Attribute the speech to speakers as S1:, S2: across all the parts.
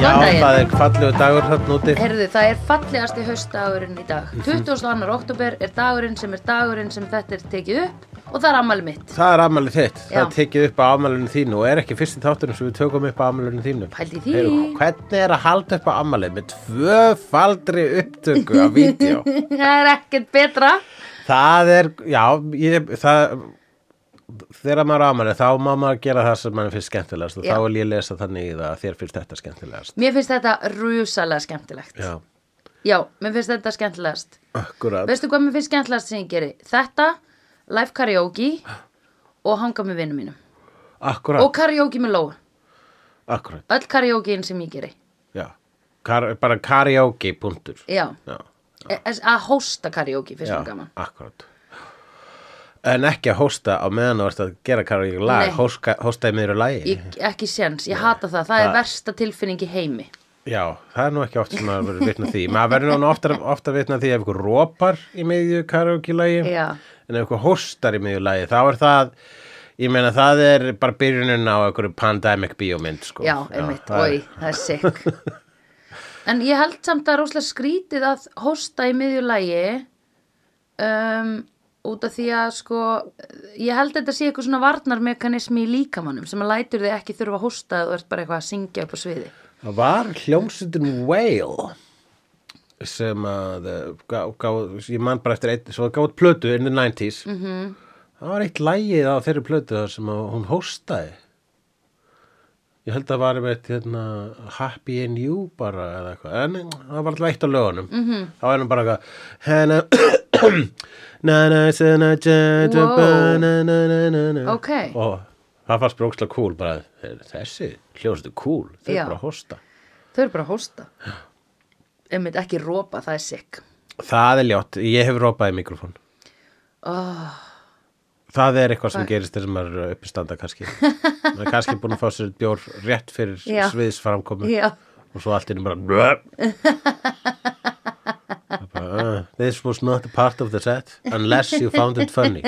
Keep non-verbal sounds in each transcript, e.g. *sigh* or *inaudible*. S1: er fallegu dagur þarna úti
S2: Herðu, það er fallegasti haustdagurinn í dag.
S1: Mhm.
S2: 22. oktober er dagurinn sem er dagurinn sem þetta er tekið upp og það er ammali mitt. *laughs*
S1: Það er afmælið þitt, það
S2: Já.
S1: er tekið upp á afmælinu þínu og er ekki fyrsti þátturinn sem við tökum upp á afmælinu þínu
S2: Pældi í því.
S1: Hvernig er að halda upp á afmælið með tvöfaldri upptöku á vídeo?
S2: *laughs* það er ekkert betra.
S1: Það er, já, ég, það, þegar maður ámæli þá má maður gera það sem mann finnst skemmtilegast og
S2: Já.
S1: þá vil ég lesa þannig í það að þér finnst þetta skemmtilegast.
S2: Mér finnst þetta rúsalega skemmtilegt.
S1: Já,
S2: Já, mér finnst þetta skemmtilegast.
S1: akkurat.
S2: Veistu hvað mér finnst skemmtilegast sem ég geri? Þetta, live karaoke og hanga með vinnum mínum.
S1: Akkurat,
S2: Og karaoke með Lóa.
S1: akkurat,
S2: Öll karaokein sem ég geri.
S1: já. Kar, bara karaoke, punktur.
S2: Já,
S1: Já,
S2: E- að hósta karaoke finnst
S1: já,
S2: mér gaman.
S1: akkurat. En ekki að hósta á meðan þú ert að gera karaoke lag,
S2: Nei.
S1: hósta, hósta í miðru lagi.
S2: Ég, ekki séns, ég hata það. Það er
S1: Það-
S2: versta tilfinning í heimi.
S1: Já, það er nú ekki oft sem maður verður vitna því. Maður verður nú ofta, ofta vitna því ef ykkur rópar í miðju karaoke-lagi
S2: Já.
S1: en ef ykkur hóstar í miðju lagi þá er það, ég meina það er bara byrjunin á einhverju pandemic bíómynd sko.
S2: Já, einmitt,
S1: það er-
S2: oi, það er
S1: *laughs*
S2: sick En ég held samt að rosalega skrítið að hósta í miðju lagi um, út af því að sko, ég held að þetta sé eitthvað svona varnarmekanismi í líkamannum sem að lætur þig ekki þurfa að hósta að þú ert bara eitthvað að syngja upp á sviði
S1: Það var hljómsutin Whale sem að eh, gá, gá, ég man bara eftir eitt, svo gátt plötu in the 90s -hmm. það var eitt lægið á þeirri plötu þar sem að hún hóstaði ég held að það var með hérna, Happy in You bara eða eitthvað, en það var alltaf eitt á lögunum mm -hmm. það var henni bara eitthvað henni na na na na
S2: Wow.
S1: na na na na na na
S2: Ok.
S1: og það fannst bróksla cool bara, þessi hljómsutin cool þau
S2: Já.
S1: eru bara að hósta
S2: Þau eru bara að hósta Einmitt ekki rópa, það er sick
S1: Það er ljótt, ég hef rópað í mikrofón
S2: oh,
S1: Það er eitthvað sem gerist þegar maður er uppistanda kannski maður er kannski búin að fá sér bjór rétt fyrir
S2: Já.
S1: sviðsframkomu
S2: Já,
S1: og svo allt er bara, bara uh, This was not a part of the set unless you found it funny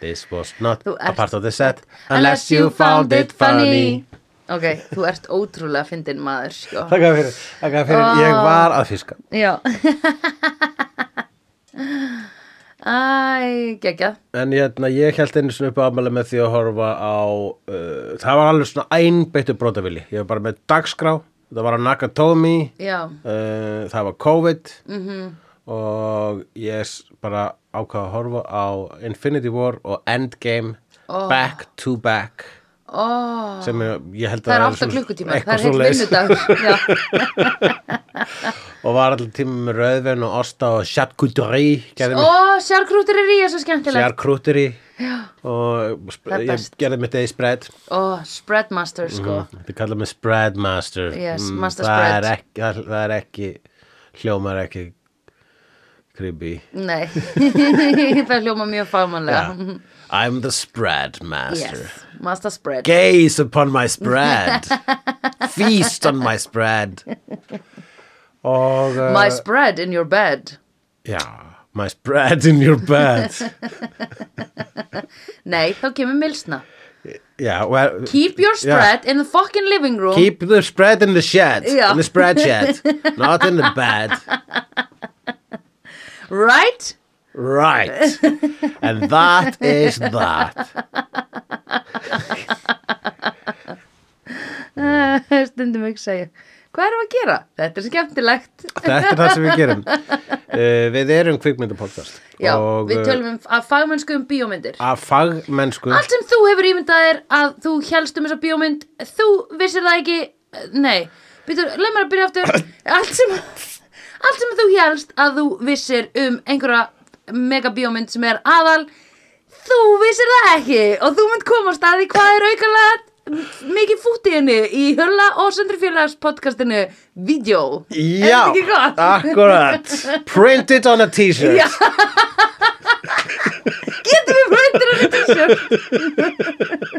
S1: This was not
S2: Þú
S1: a
S2: ert-
S1: part of the set unless you found it funny
S2: Ok, þú ert ótrúlega fyndin maður sko.
S1: Þakka fyrir, þakka fyrir, ég var að fiska
S2: Já *laughs* Æ, geggjað
S1: En hérna, ég held einu svona upp á afmæli með því að horfa á, uh, það var alveg svona einbeittu brotavili. Ég var bara með dagskrá, það var á Nakatomi,
S2: Já,
S1: uh, það var COVID
S2: Mhm.
S1: og ég s- bara ákvað að horfa á Infinity War og Endgame back to back
S2: ó,
S1: sem ég, ég held að
S2: það er
S1: svona-
S2: 8 klukkutíma Það
S1: eitthvað
S2: er heilt
S1: svoleiðis. *laughs*
S2: vinnudagur Já,
S1: og var allir tíma með Röðven og Osta og Shatkutori gerði mig
S2: Ó, sérkrútur er í þessu skemmtilegt
S1: sérkrúteri og sp-
S2: Það er
S1: ég
S2: best.
S1: gerði mitt eða í spread
S2: Ó, spreadmaster sko
S1: Þetta er kallað með spreadmaster
S2: Yes, master
S1: það
S2: spread.
S1: er ekki, það, það er ekki hljómar ekki creepy
S2: *laughs* Nei, það hljóma mjög fagmannlega
S1: I'm the spread master
S2: Yes, master spread
S1: Gaze upon my
S2: *laughs*
S1: spread Feast on my spread Og uh,
S2: My spread in your bed
S1: Já, my spread in your
S2: *laughs*
S1: bed
S2: Nei, þá kemur milsna
S1: Já, well,
S2: Keep your
S1: já.
S2: spread in the fucking living room
S1: Keep the spread in the shed
S2: Já.
S1: In the spread shed
S2: *laughs*
S1: Not in the bed
S2: Right? *laughs*
S1: Right. And that is that.
S2: Stundum ekki segja Hvað erum við að gera? Þetta er skemmtilegt
S1: Þetta er það sem við gerum. Uh, við erum kvikmyndapodcast.
S2: Já,
S1: og,
S2: við
S1: uh,
S2: tölum um að fagmennsku um bíómyndir.
S1: Af fagmennsku.
S2: Allt sem þú hefur ímyndað er að þú helst um þessa bíómynd, þú vissir það ekki, eh, nei, býtur, leið mér að
S1: *coughs*
S2: byrja aftur. Allt sem, allt sem þú helst að þú vissir um einhverja megabíómynd sem er aðal, þú vissir það ekki og þú mynd komast að því hvað er aukalega mikið fútt í henni í Hörla og Söndri Félags podcastinu Vídeó.
S1: Já, Ah,
S2: Er þetta ekki gott?
S1: akkurat. Print it on a t-shirt.
S2: Já. Getum við bröndir hann í t-shirt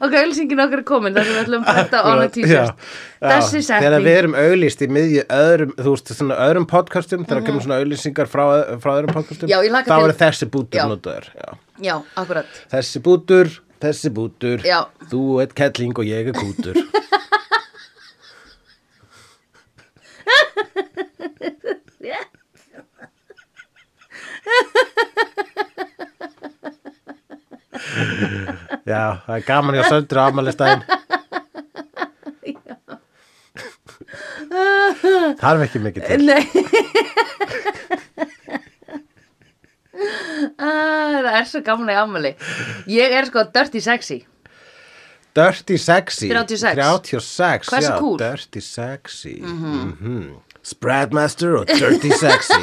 S2: Ok, ölsingin okkar er komin þar sem við ætlum að brönda on a t-shirt Þessi
S1: Þegar við
S2: setning
S1: erum auðlýst í miðju öðrum, þú veist, svona öðrum podcastum, þegar kemur svona auðlýsingar frá, frá öðrum podcastum,
S2: Mhm. Já, ég hlakka
S1: þá
S2: til.
S1: eru þessi bútur
S2: Já.
S1: notaður. Já.
S2: Já, akkurat
S1: Þessi bútur, þessi bútur,
S2: Já.
S1: þú ert kettling og ég er kútur. Já, það er gaman hjá söndur afmælistæðin Þarf ekki mikið til
S2: Nei *laughs* ah, Það er svo gaman í afmæli Ég er sko dirty sexy
S1: Dirty sexy
S2: 36.
S1: 36
S2: Hversu
S1: já,
S2: cool? Mhm.
S1: Dirty sexy mm Spreadmaster og dirty
S2: *laughs*
S1: sexy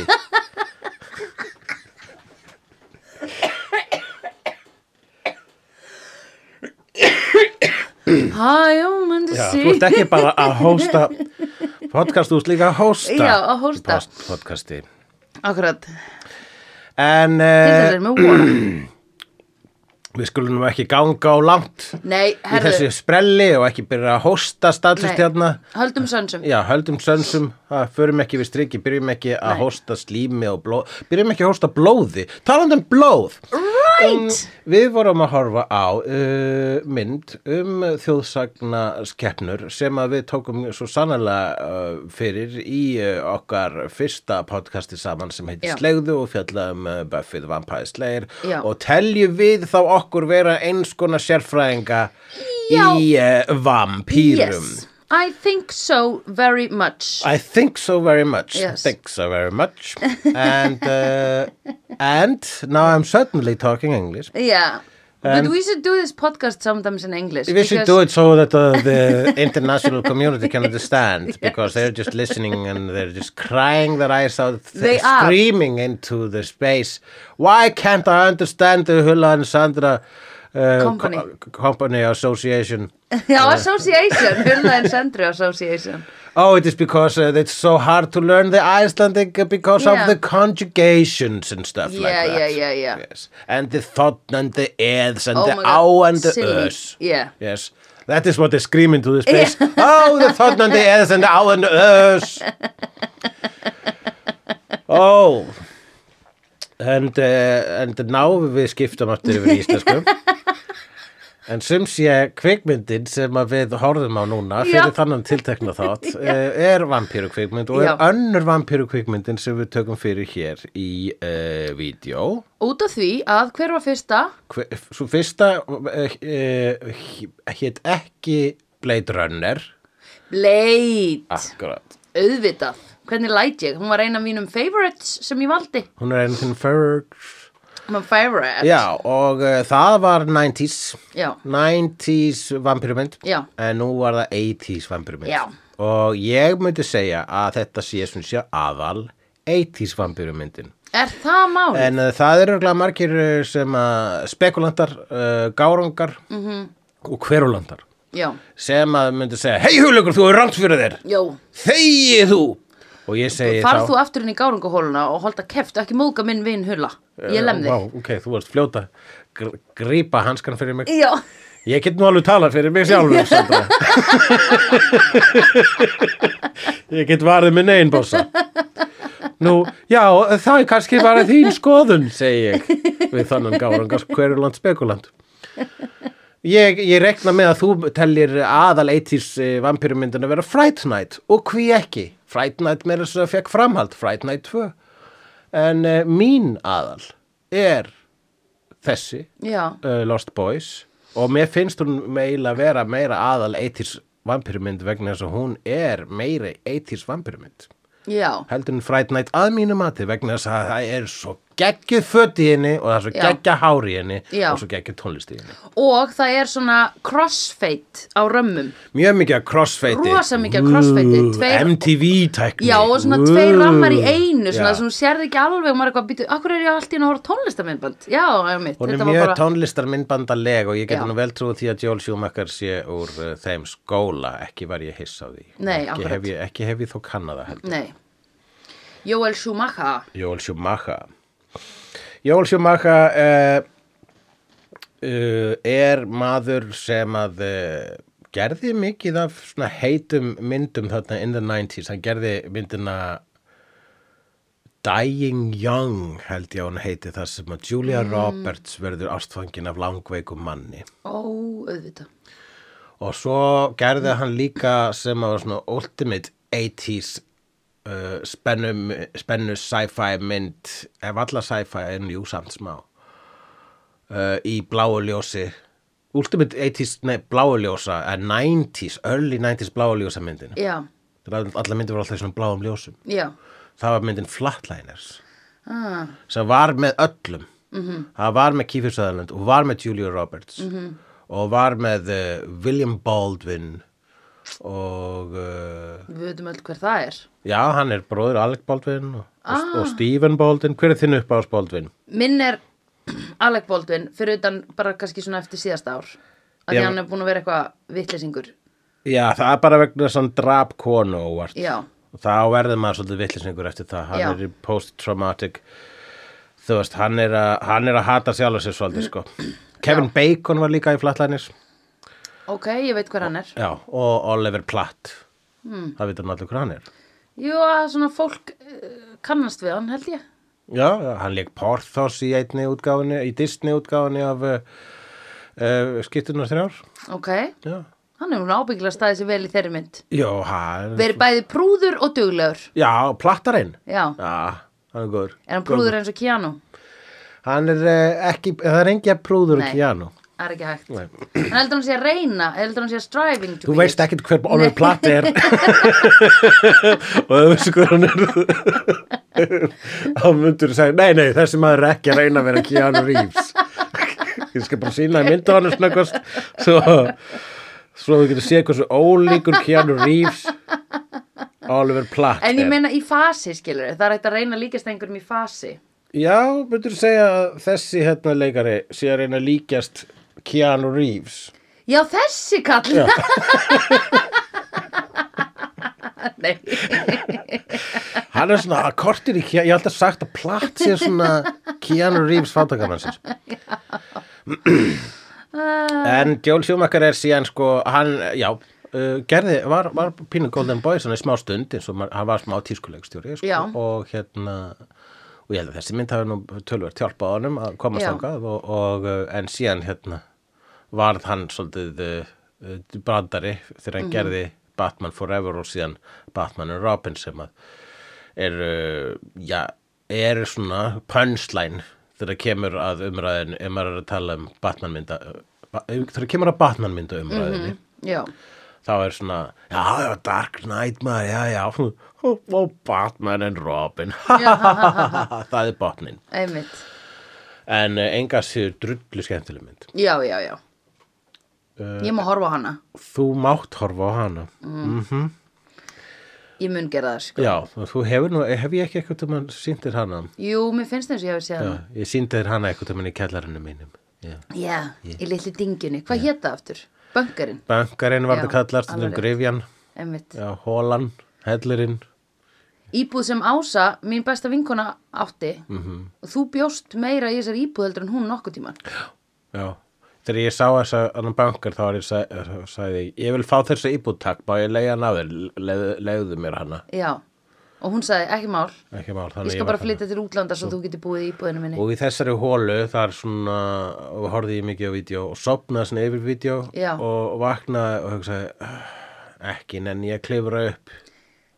S2: Hæ, já, myndi
S1: Já,
S2: sí
S1: þú ert ekki bara að hósta podcast, þú ert líka að hósta
S2: Já, að hósta.
S1: í post- podcasti
S2: Akkurat, til
S1: En
S2: þess
S1: uh,
S2: er með von
S1: við skulum nú ekki ganga á langt
S2: Nei,
S1: í þessu
S2: herðu,
S1: sprelli og ekki byrja að hósta hérna.
S2: Nei.
S1: stallustjarna
S2: höldum sönsum
S1: Já, höldum sönsum, það förum ekki við strikki, byrjum ekki að hósta slími og blóð, byrjum ekki að hósta blóði, talandi um blóð. Right! Um, við vorum að horfa á uh, mynd um þjóðsagnaskeppnur sem að við tókum svo sannlega uh, fyrir í uh, okkar fyrsta podcasti saman sem heitir
S2: Já.
S1: Slegðu og fjallaðum uh, Buffy the Vampire Slayer
S2: Já.
S1: og teljum við þá okkur vera eins konar sérfræðinga í uh, vampýrum.
S2: Yes, I think so very much
S1: I think so very much.
S2: Yes.
S1: Think so very much. And uh, and now I'm certainly talking English.
S2: Yeah, but we should do this podcast sometimes in English
S1: We should
S2: because-
S1: do it so that uh, the international community can
S2: *laughs*
S1: understand because they're just listening and they're just crying their eyes out, th-
S2: They are.
S1: screaming into the space. Why can't I understand the Hula and Sandra uh,
S2: Company.
S1: co- company Association?
S2: Já, association, Hulna and Sandri association
S1: Oh, it is because uh, it's so hard to learn the Icelandic uh, because
S2: Yeah.
S1: of the conjugations and stuff
S2: Yeah,
S1: like that.
S2: yeah, yeah, yeah.
S1: Yes. And the thot and the eðs and
S2: Oh
S1: the
S2: my
S1: á
S2: God,
S1: and the
S2: silly.
S1: ös.
S2: Yeah.
S1: Yes. That is what they scream into the space. *laughs* oh, the thot and the eðs and the á and the
S2: *laughs*
S1: ös. oh. And, uh, and now við skiptum aftur yfir í íslensku.
S2: *laughs*
S1: En sem sé kvikmyndin sem að við horfum á núna fyrir
S2: Já.
S1: þannan tiltekna
S2: *laughs*
S1: þátt eh, er vampíru kvikmynd og
S2: Já.
S1: er önnur vampíru kvikmyndin sem við tökum fyrir hér í uh, vídeo.
S2: Út af því að hver var fyrsta
S1: Svo fyrsta uh, uh, hétt ekki Blade Runner.
S2: Blade
S1: Ah. Akkurat.
S2: auðvitað, hvernig læt ég hún var eina af mínum favorites sem ég valdi
S1: Hún er einhvern fyrir...
S2: hún var favorite
S1: Já, og uh, það var 90s.
S2: Já.
S1: 90s vampirumynd.
S2: Já.
S1: En nú var það 80s vampirumynd.
S2: Já.
S1: Og ég myndi segja að þetta sé svona sé aðal 80s vampirumyndin.
S2: er það mál?
S1: En uh, það eru örugglega margir uh, sem uh, spekulantar, uh, gárangar
S2: Mhm.
S1: -hmm. og hverulandar
S2: já,
S1: sem að myndi segja, hei hulugur, þú er rangt fyrir þér,
S2: já
S1: þegið þú! Og ég segi
S2: farð þú
S1: þá,
S2: aftur inn í gárungahóluna og holda keft ekki móðga minn vinn hulla ég lem
S1: Vá,
S2: þig
S1: ok, þú varst fljóta, gr grípa hanskan fyrir mig.
S2: já,
S1: Ég get nú alveg talað fyrir mig sjálfur, Sandra. ég get varðið minn einn bósa. Nú, já, það er kannski bara þín skoðun, segi ég við þannan gárangas hverjuland spekulant. Ég, ég rekna með að þú tellir aðal 80s vampirumyndin að vera Fright Night og hví ekki? Fright Night meira þess að fekk framhald, Fright Night 2. En uh, mín aðal er þessi
S2: já,
S1: uh, Lost Boys og mér finnst hún meila vera meira aðal 80s vampirumynd vegna þess að hún er meira 80s vampirumynd
S2: já
S1: heldur en Fright Night að mínu mati vegna þess að það er svo geggjuð fött í henni og það er svo
S2: Já.
S1: geggja hár í henni
S2: Já.
S1: og svo geggjuð tónlist í henni
S2: og það er svona crossfade á römmum
S1: mjög mikið að crossfeiti
S2: Rosa mikið af crossfeiti, tveir-
S1: MTV tækni
S2: já, og svona tveir
S1: Ú,
S2: rammar í einu svona
S1: já.
S2: sem þú sérði ekki alveg og maður er eitthvað býtu, akkur er ég allt í enn að horfa á tónlistamindband já, ég mitt,
S1: Hún er
S2: þetta
S1: mjög
S2: var bara
S1: tónlistarmyndbandaleg og ég
S2: Já.
S1: geti nú vel trúið því að Joel Schumacher sé úr uh, þeim skóla, ekki var ég hiss á því.
S2: Nei,
S1: ekki
S2: akkurat.
S1: hef, ég, ekki hef ég þó kannada heldur.
S2: nei Joel Schumacher
S1: Joel Schumacher. Joel Schumacher uh, uh, er maður sem að uh, gerði mikið af svona heitum myndum þarna in the 90s. Hann gerði myndina Dying Young held ég að hún heiti þar sem að Julia
S2: Mm.
S1: Roberts verður ástfangin af langveikum manni.
S2: ó, auðvitað
S1: Og svo gerði hann líka sem að var svona ultimate 80s uh, spennum, spennu sci-fi mynd ef alla sci-fi en jú samt smá uh, í bláu ljósi Ultimate 80s, nei, bláu ljósa eh, 90s, early 90s bláu ljósa myndina
S2: já,
S1: allar myndir voru alltaf í svona bláum ljósum
S2: já
S1: það var myndin Flatliners
S2: ah,
S1: sem var með öllum það var með Kiefer Sutherland og var með Julia Roberts og var með uh, William Baldwin og uh,
S2: Við veitum öll hver það er
S1: já, hann er bróður Alec Baldwin og, ah. og Stephen Baldwin hver er þinn upp ás Baldwin?
S2: Minn er *clears throat* Alec Baldwin fyrir utan bara kannski svona eftir síðasta ár að því
S1: Já.
S2: hann er búin að vera eitthvað vitleysingur
S1: já, það er bara vegna þess að hann drap konu og vart
S2: Já,
S1: og þá verður maður svolítið vitlisningur eftir það hann
S2: Já.
S1: er í post-traumatic þú veist, hann er að, hann er að hata sjálf sér svolítið sko Kevin Bacon var líka í Flatliners
S2: ok, ég veit hver hann er
S1: Já, og Oliver Platt
S2: Hmm.
S1: Það vita hann allir hver hann er
S2: Jú, að svona fólk eh, kannast við hann held ég
S1: Já, já, hann leik Porthos í einni útgáfunni í Disney útgáfunni af uh, uh, skiptunar þrjár
S2: Ok,
S1: Já,
S2: hann hefur nú ábyggilega staðið sér vel í þeirri mynd
S1: já hann
S2: Verið bæði prúður og duglegur
S1: Já, plattarinn
S2: Já,
S1: Já, hann er góður
S2: er hann prúður eins og Keanu?
S1: Hann er uh, ekki, það er engi að prúður
S2: Nei.
S1: ekki hann
S2: Það er ekki hægt
S1: Nei.
S2: Hann heldur hann sé að reyna, heldur hann sé að striving to
S1: Þú
S2: be
S1: veist
S2: it.
S1: ekkert hver Oliver Platt
S2: *laughs*
S1: er og þú veist hver hann er þá myndur þú segja nei, nei, þessi maður er ekki að reyna að vera Keanu Reeves ég skal bara sína að mynda hann snöggvast svo, svo þú getur séð hversu ólíkur Keanu Reeves Oliver Platt
S2: En ég
S1: er
S2: meina í fasi skilur Það er hægt að reyna að líkast einhverjum í fasi
S1: Já, myndur þú segja að þessi hérna leikari sé að reyna að líkjast Keanu Reeves
S2: Já, þessi kall
S1: Já.
S2: *laughs* Nei,
S1: Hann er svona að kortir í Keanu, ég hef alltaf sagt að platt sé svona Keanu Reeves fátakamannsins. en Joel Schumacher er síðan sko, hann, já, uh, gerði, var, var pínu Golden Boy svona í smá stund eins og ma- hann var smá tískuleikstjóri sko,
S2: Já.
S1: og hérna, og ég held að þessi mynd hafi nú tölvert hjálpað honum að komast
S2: Já.
S1: þangað og, og uh, en síðan hérna varð hann svolítið uh, uh, brandari þegar
S2: Mhm.
S1: hann gerði Batman Forever og síðan Batman and Robin sem að er, uh, já, er svona punchline þegar kemur að umræðin ef maður er að tala um Batmanmynda ba- þegar kemur að Batmanmynda umræðinni
S2: Mhm. já
S1: þá er svona, já, já, Dark Knight maður, já, já, og Batman and Robin *laughs* það er botnin
S2: Einmitt,
S1: en uh, enga séu drullu skemmtileg mynd
S2: já, já, já
S1: Uh,
S2: Ég má horfa á hana
S1: þú mátt horfa á hana
S2: Mm. Ég mun gera það sko
S1: já, og þú hefur nú, hef ég ekki eitthvað um að sýndir hana
S2: Jú, mér finnst eins og ég hafi séð hana
S1: já, ég sýndi þér hana eitthvað um í kjallarinu mínum já
S2: Já, í litli dingjunni Hvað hét það aftur? Bönkarinn,
S1: Bankarinn var
S2: Já,
S1: þetta kallar, stundum
S2: alveg rétt.
S1: grifjan,
S2: einmitt
S1: já, hólan, hellurinn.
S2: Íbúð sem Ása, mín besta vinkona átti
S1: Mhm.
S2: og þú bjóst meira í þessari íbúð heldur en hún nokkuð tíman
S1: Já. Þegar ég sá þess að annan bankar þá var ég sa- þá sagði, ég, ég vil fá þessa íbúttak, bá ég leiða hann af þér, leið- leiðu mér hana.
S2: Já, og hún sagði ekki mál
S1: Ekki mál,
S2: Ég
S1: þannig
S2: skal
S1: var
S2: bara flytja til útlanda svo þú getur búið í íbúðinu minni
S1: þarna. Og í þessari hólu þar svona, og horfði ég mikið á vídeo og sopnaði svona yfir vídeo
S2: Já.
S1: og vaknaði og hugsaði, "Ah, ekki nenni ég að klifra upp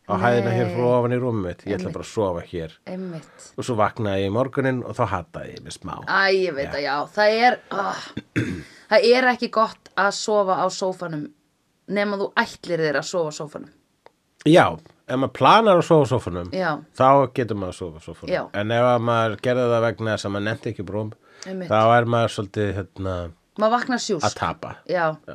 S1: á hæðina hér frá ofan í rúmið mitt, ég ætla bara að sofa hér.
S2: Einmitt
S1: Og svo vaknaði ég í morgunin og þá hattaði ég mig smá.
S2: Æ, ég veit að já, það er ah, það er ekki gott að sofa á sófanum nema þú ætlir þér að sofa á sófanum
S1: Já, ef maður planar að sofa á sófanum
S2: Já.
S1: þá getur maður að sofa á sófanum
S2: Já.
S1: en ef að maður gerði það vegna þess að maður nefndi ekki brúm
S2: Einmitt.
S1: þá er maður svolítið hérna,
S2: Maður vaknar sjúsk
S1: að tapa
S2: Já.
S1: Já.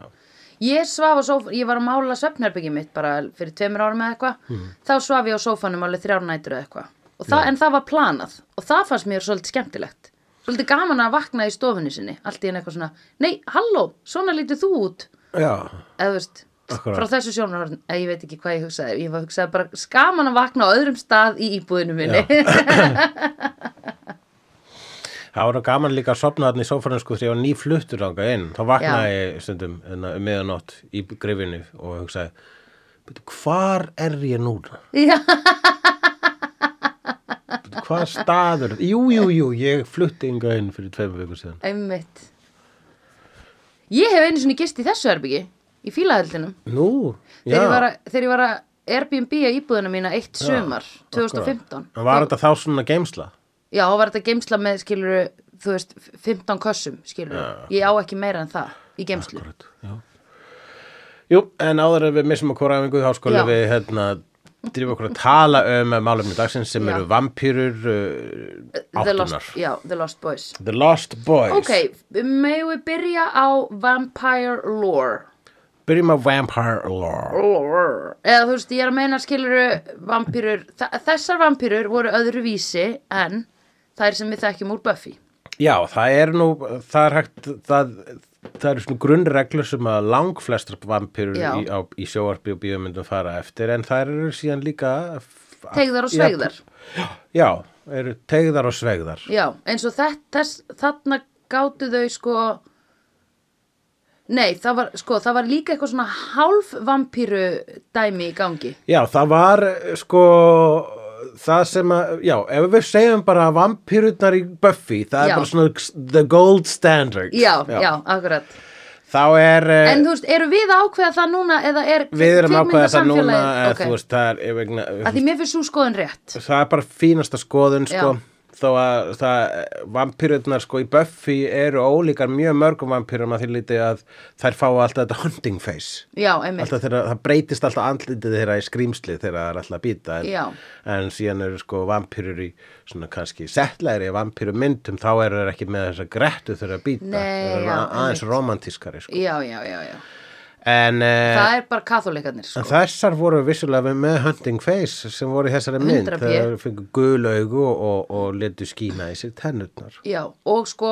S2: Ég svaf á sófanum, ég var að mála svefnherbyggjum mitt bara fyrir tveimur árum eða eitthvað, þá svaf ég á sófanum alveg þrjár nætur eða eitthvað. Og það, en það var planað og það fannst mér svolítið skemmtilegt. Svolítið gaman að vakna í stofunni sinni, allt í enn eitthvað svona, nei, halló, svona lítið þú út,
S1: Já,
S2: eða þú veist,
S1: Akkúrat.
S2: frá þessu sjónarhorn, eða ég veit ekki hvað ég hugsaði, ég var hugsaði bara skaman að vakna á öðrum stað í íbúðinu minni.
S1: það var nú gaman líka að sopna þarna í sófanum sko þegar ég var nýfluttur ánga inn þá vaknaði ég stundum hérna, um miðanótt í grifinu og hugsaði "Bíddu, hvar er ég núna?
S2: *laughs* Já,
S1: Bíddu, Hvað staður? Jú, jú, jú, ég flutti ynga inn fyrir tveimur vikur síðan
S2: einmitt. Ég hef einu sinni gist í þessu herbyggi, í fílaheldinum.
S1: Nú, já,
S2: þegar ég var að, þegar ég var að Airbnb að íbúðina mína eitt sumar 2015
S1: En var þetta þá svona geimsla?
S2: Já, og var þetta geimsla með skiluru þú veist, 15 kössum skiluru ég á ekki meira en það í geimslu
S1: Akkurat, já. Jú, en áður en við missum okkur æfingu þá skulum
S2: Já.
S1: við hérna drifum okkur að tala um málefni dagsins sem
S2: Já.
S1: eru vampýrur uh,
S2: The Lost,
S1: áttunar.
S2: já, The Lost Boys
S1: The Lost Boys.
S2: Ok, megum við byrja á Vampire Lore
S1: Byrjum að Vampire Lore.
S2: Lore. eða þú veist, ég er að meina skiluru vampýrur, þessar vampýrur voru öðru vísi en þær sem við þekkjum úr Buffy
S1: Já, það er nú, það er hægt, það, það eru svona grunnreglur sem að langflestar vampýrur
S2: Já.
S1: í, á- í sjóarpi og bíómyndum fara eftir en það eru síðan líka... f-
S2: Teygðar og sveigðar.
S1: Já, já, eru tegðar og sveigðar.
S2: Já, eins og þett, þess, þarna gátu þau sko Nei, það var, sko, það var líka eitthvað svona hálf vampíru dæmi í gangi
S1: Já, það var eh, sko það sem að, já, ef við segjum bara vampýrurnar í Buffy, það
S2: Já.
S1: er bara svona the gold standard.
S2: Já, já, akkurat
S1: Þá er, eh,
S2: En þú veist, eru við að ákveða það núna eða er
S1: við erum ákveða það núna,
S2: kvikmyndasamfélagið?
S1: okay.
S2: Ok.
S1: þú veist, það er, eh, vegna,
S2: Að því mér finnst svo skoðin rétt
S1: það er bara fínasta skoðun,
S2: Já.
S1: sko. Þó að það, vampýrurnar sko í Buffy eru ólíkar mjög mörgum vampýrum að því lítið að þær fá alltaf þetta hunting face.
S2: Já, einmitt
S1: Alltaf þeirra, það breytist alltaf andlitið þeirra í skrýmsli þegar það er alltaf að býta
S2: Já.
S1: en, en síðan eru sko vampýrur í svona kannski settlegri vampýru myndum þá eru þeir ekki með þessa grettu þeirra að býta
S2: Nei,
S1: Þeir eru
S2: já,
S1: a- aðeins
S2: einmitt.
S1: romantískari sko.
S2: Já, já, já, já
S1: en, eh,
S2: Það er bara kathólikarnir sko.
S1: en þessar voru vissulega með hunting face sem voru í þessari mynd
S2: 100 B.
S1: þegar fengu gul augu og, og, og letu skína í sér tennutnar
S2: Já, og sko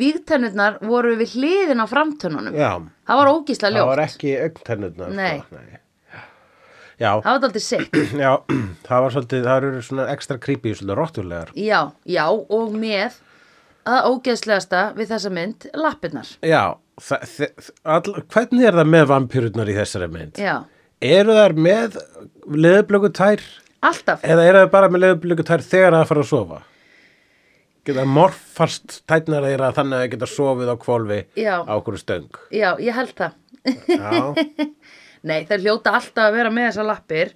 S2: Vígtennurnar voru við hliðin á framtönnunum
S1: Já.
S2: Það var ógísla
S1: Eh, það var
S2: ljótt
S1: ekki augntennunar
S2: Nei.
S1: sko. Nei. Já, *clears throat*
S2: Það var aldrei sick
S1: já, það var svolítið, það eru svona ekstra creepy, svolítið rottulegar.
S2: Já, já, og með að ógeðslegasta við þessa mynd, lappirnar.
S1: Já, þa- þe- þ- all, hvernig er það með vampýrurnar í þessari mynd?
S2: Já,
S1: Eru þær með leðublökutær
S2: alltaf.
S1: eða eru þær bara með leðublökutær þegar það fara að sofa? Geta morfast tætnar þeirra þannig að þær geta sofið á kvolfi
S2: Já.
S1: á okkur stöng.
S2: Já, ég held það.
S1: Já,
S2: Nei, þær hljóta alltaf að vera með þessar lappir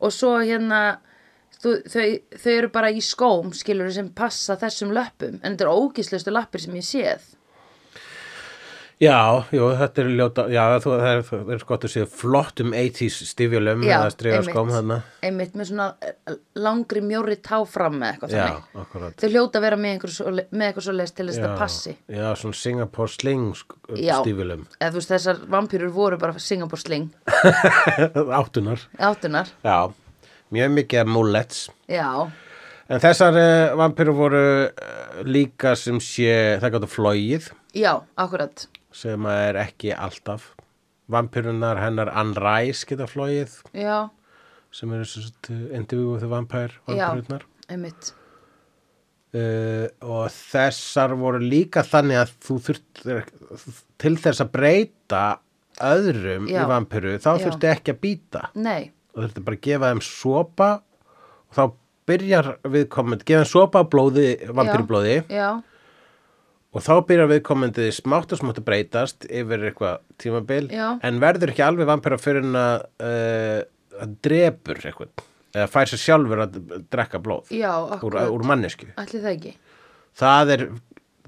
S2: og svo hérna, þú, þau, þau eru bara í skóm, skilur sem passa þessum löppum, en þetta eru ógeðslegustu lappir sem ég séð.
S1: *laughs* já, jú, þetta er ljóta, já, þú, það er, það er skott að um séu flottum 80s stífjölum
S2: Já,
S1: eða stríðaskóm þarna.
S2: Einmitt með svona eh, langri mjóri táfram með eitthvað
S1: Já,
S2: þannig.
S1: akkurat.
S2: Þau hljóta að vera með einhver svo, með eitthvað svo leist til þess að þetta passi.
S1: Já, svona Singapore Sling sk-
S2: Já.
S1: stífjölum.
S2: Eða þú veist, þessar vampýrur voru bara Singapore Sling,
S1: *laughs* Áttunar.
S2: áttunar.
S1: Já, mjög mikið af mullets.
S2: Já,
S1: En þessar uh, vampirur voru uh, líka sem sé, það gáttu flóið,
S2: já, akkurat.
S1: sem að er ekki alltaf. Vampirunar hennar Unrise geta flóið,
S2: Já,
S1: sem eh, eru svo sett indivíu þegar vampær, vampirunar.
S2: einmitt.
S1: Uh, og þessar voru líka þannig að þú þurftir til þess að breyta öðrum
S2: Já.
S1: í vampiru, þá
S2: Já.
S1: þurfti ekki að býta.
S2: Nei,
S1: og þurfti bara að gefa þeim sopa og þá byrjar viðkomandi, gefa þeim sopa af blóði, vampýrublóði
S2: já,
S1: og þá byrjar viðkomandi smátt og smátt að breytast yfir eitthvað tímabil
S2: Já.
S1: en verður ekki alveg vampýra fyrir en að, uh, að drepur eitthvað eða fær sér sjálfur að drekka blóð
S2: já,
S1: úr,
S2: akkurat.
S1: úr mannesku.
S2: Ætli það ekki.
S1: Það er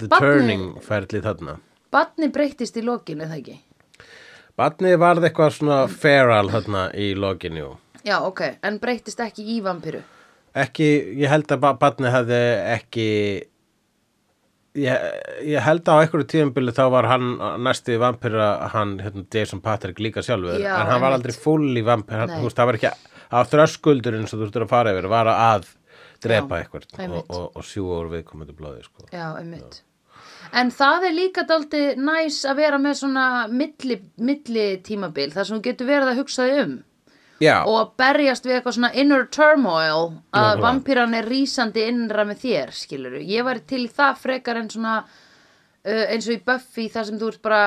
S1: the
S2: Barnið-
S1: turning ferli þarna.
S2: Batni breyttist í lokinu, það ekki.
S1: Batnið varð eitthvað svona feral þarna í loginju.
S2: Já, ok, en breyttist ekki í vampiru.
S1: ekki, ég held að barni hefði ekki ég, ég held að á einhverju tíðanbili þá var hann næsti vampira hann, hérna, Jason Patrick líka sjálfur en
S2: Já,
S1: hann var
S2: einmitt.
S1: aldrei full í vampir hann,
S2: Nei.
S1: þú veist, það var ekki á þröskuldurinn sem þú þurftur að fara yfir, var að drepa
S2: Já,
S1: eitthvað
S2: einmitt.
S1: og, og, og sjúa úr viðkomandi blóði sko.
S2: Já, einmitt. En það er líka daldi næs að vera með svona milli, milli tímabil, þar sem þú getur verið að hugsa þig um.
S1: já,
S2: Og að berjast við eitthvað svona inner turmoil, að
S1: Nákvæmlega.
S2: vampíran er rísandi innra með þér, skiluru. Ég var til í það frekar en svona, uh, eins og í Buffy, þar sem þú ert bara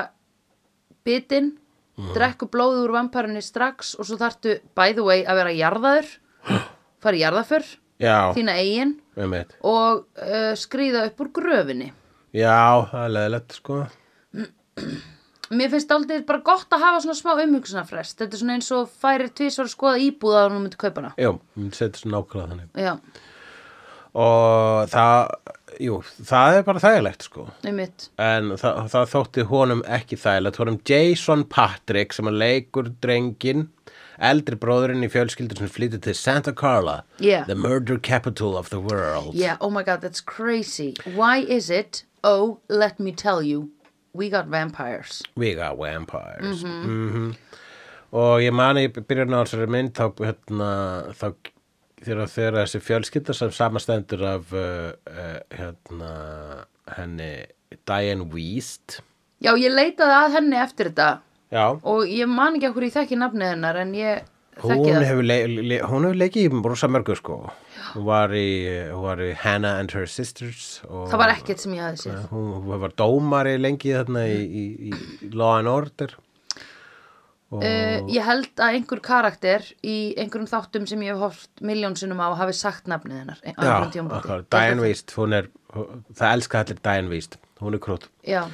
S2: bitinn,
S1: Mhm.
S2: drekku blóð úr vampærunni strax og svo þartu, by the way, að vera jarðaður,
S1: *gasps*
S2: fara í jarðaför,
S1: já,
S2: þína eigin
S1: einmitt
S2: og uh, skrýða upp úr gröfinni.
S1: já, það er leðilegt sko
S2: mér finnst aldrei bara gott að hafa svona smá umhugsunarfrest þetta er svona eins og færir tvisvar að skoða íbúð að hún myndi kaupa hana
S1: já, hún setur svo nákvæmlega þannig
S2: já,
S1: og það, jú, það er bara þægilegt sko
S2: einmitt
S1: en það, það þótti honum ekki þægilegt honum Jason Patrick sem að leikur drengin eldri bróðurinn í fjölskyldur sem flyttir til Santa Carla
S2: Yeah.
S1: the murder capital of the world
S2: yeah, oh my god, that's crazy why is it, oh, let me tell you we got vampires
S1: we got vampires mm
S2: Mm-hmm.
S1: og ég mani byrjun á þessari mynd þá, hérna, þá þegar, þegar þessi fjölskylda sem samastendur af uh, uh, hérna, henni Diane Weist
S2: já, ég leitaði að henni eftir þetta
S1: já,
S2: og ég man ekki að hverju ég þekki nafnið hennar en ég þekki
S1: Hún
S2: það
S1: hefur, le le hún hefur leikið í rosa mörgu sko hún var, í, hún var í Hannah and her sisters og
S2: það var ekkert sem ég hafði séð
S1: hún, hún var dómari lengi þarna í, í, í Law and Order
S2: Uh, ég held að einhver karakter í einhverjum þáttum sem ég hef hort miljónsinnum á hafi sagt nafnið hennar á einhverjum tímapunkti.
S1: akkur, Diane Weist hún er, það elska allir Diane Weist hún er krútt
S2: Já,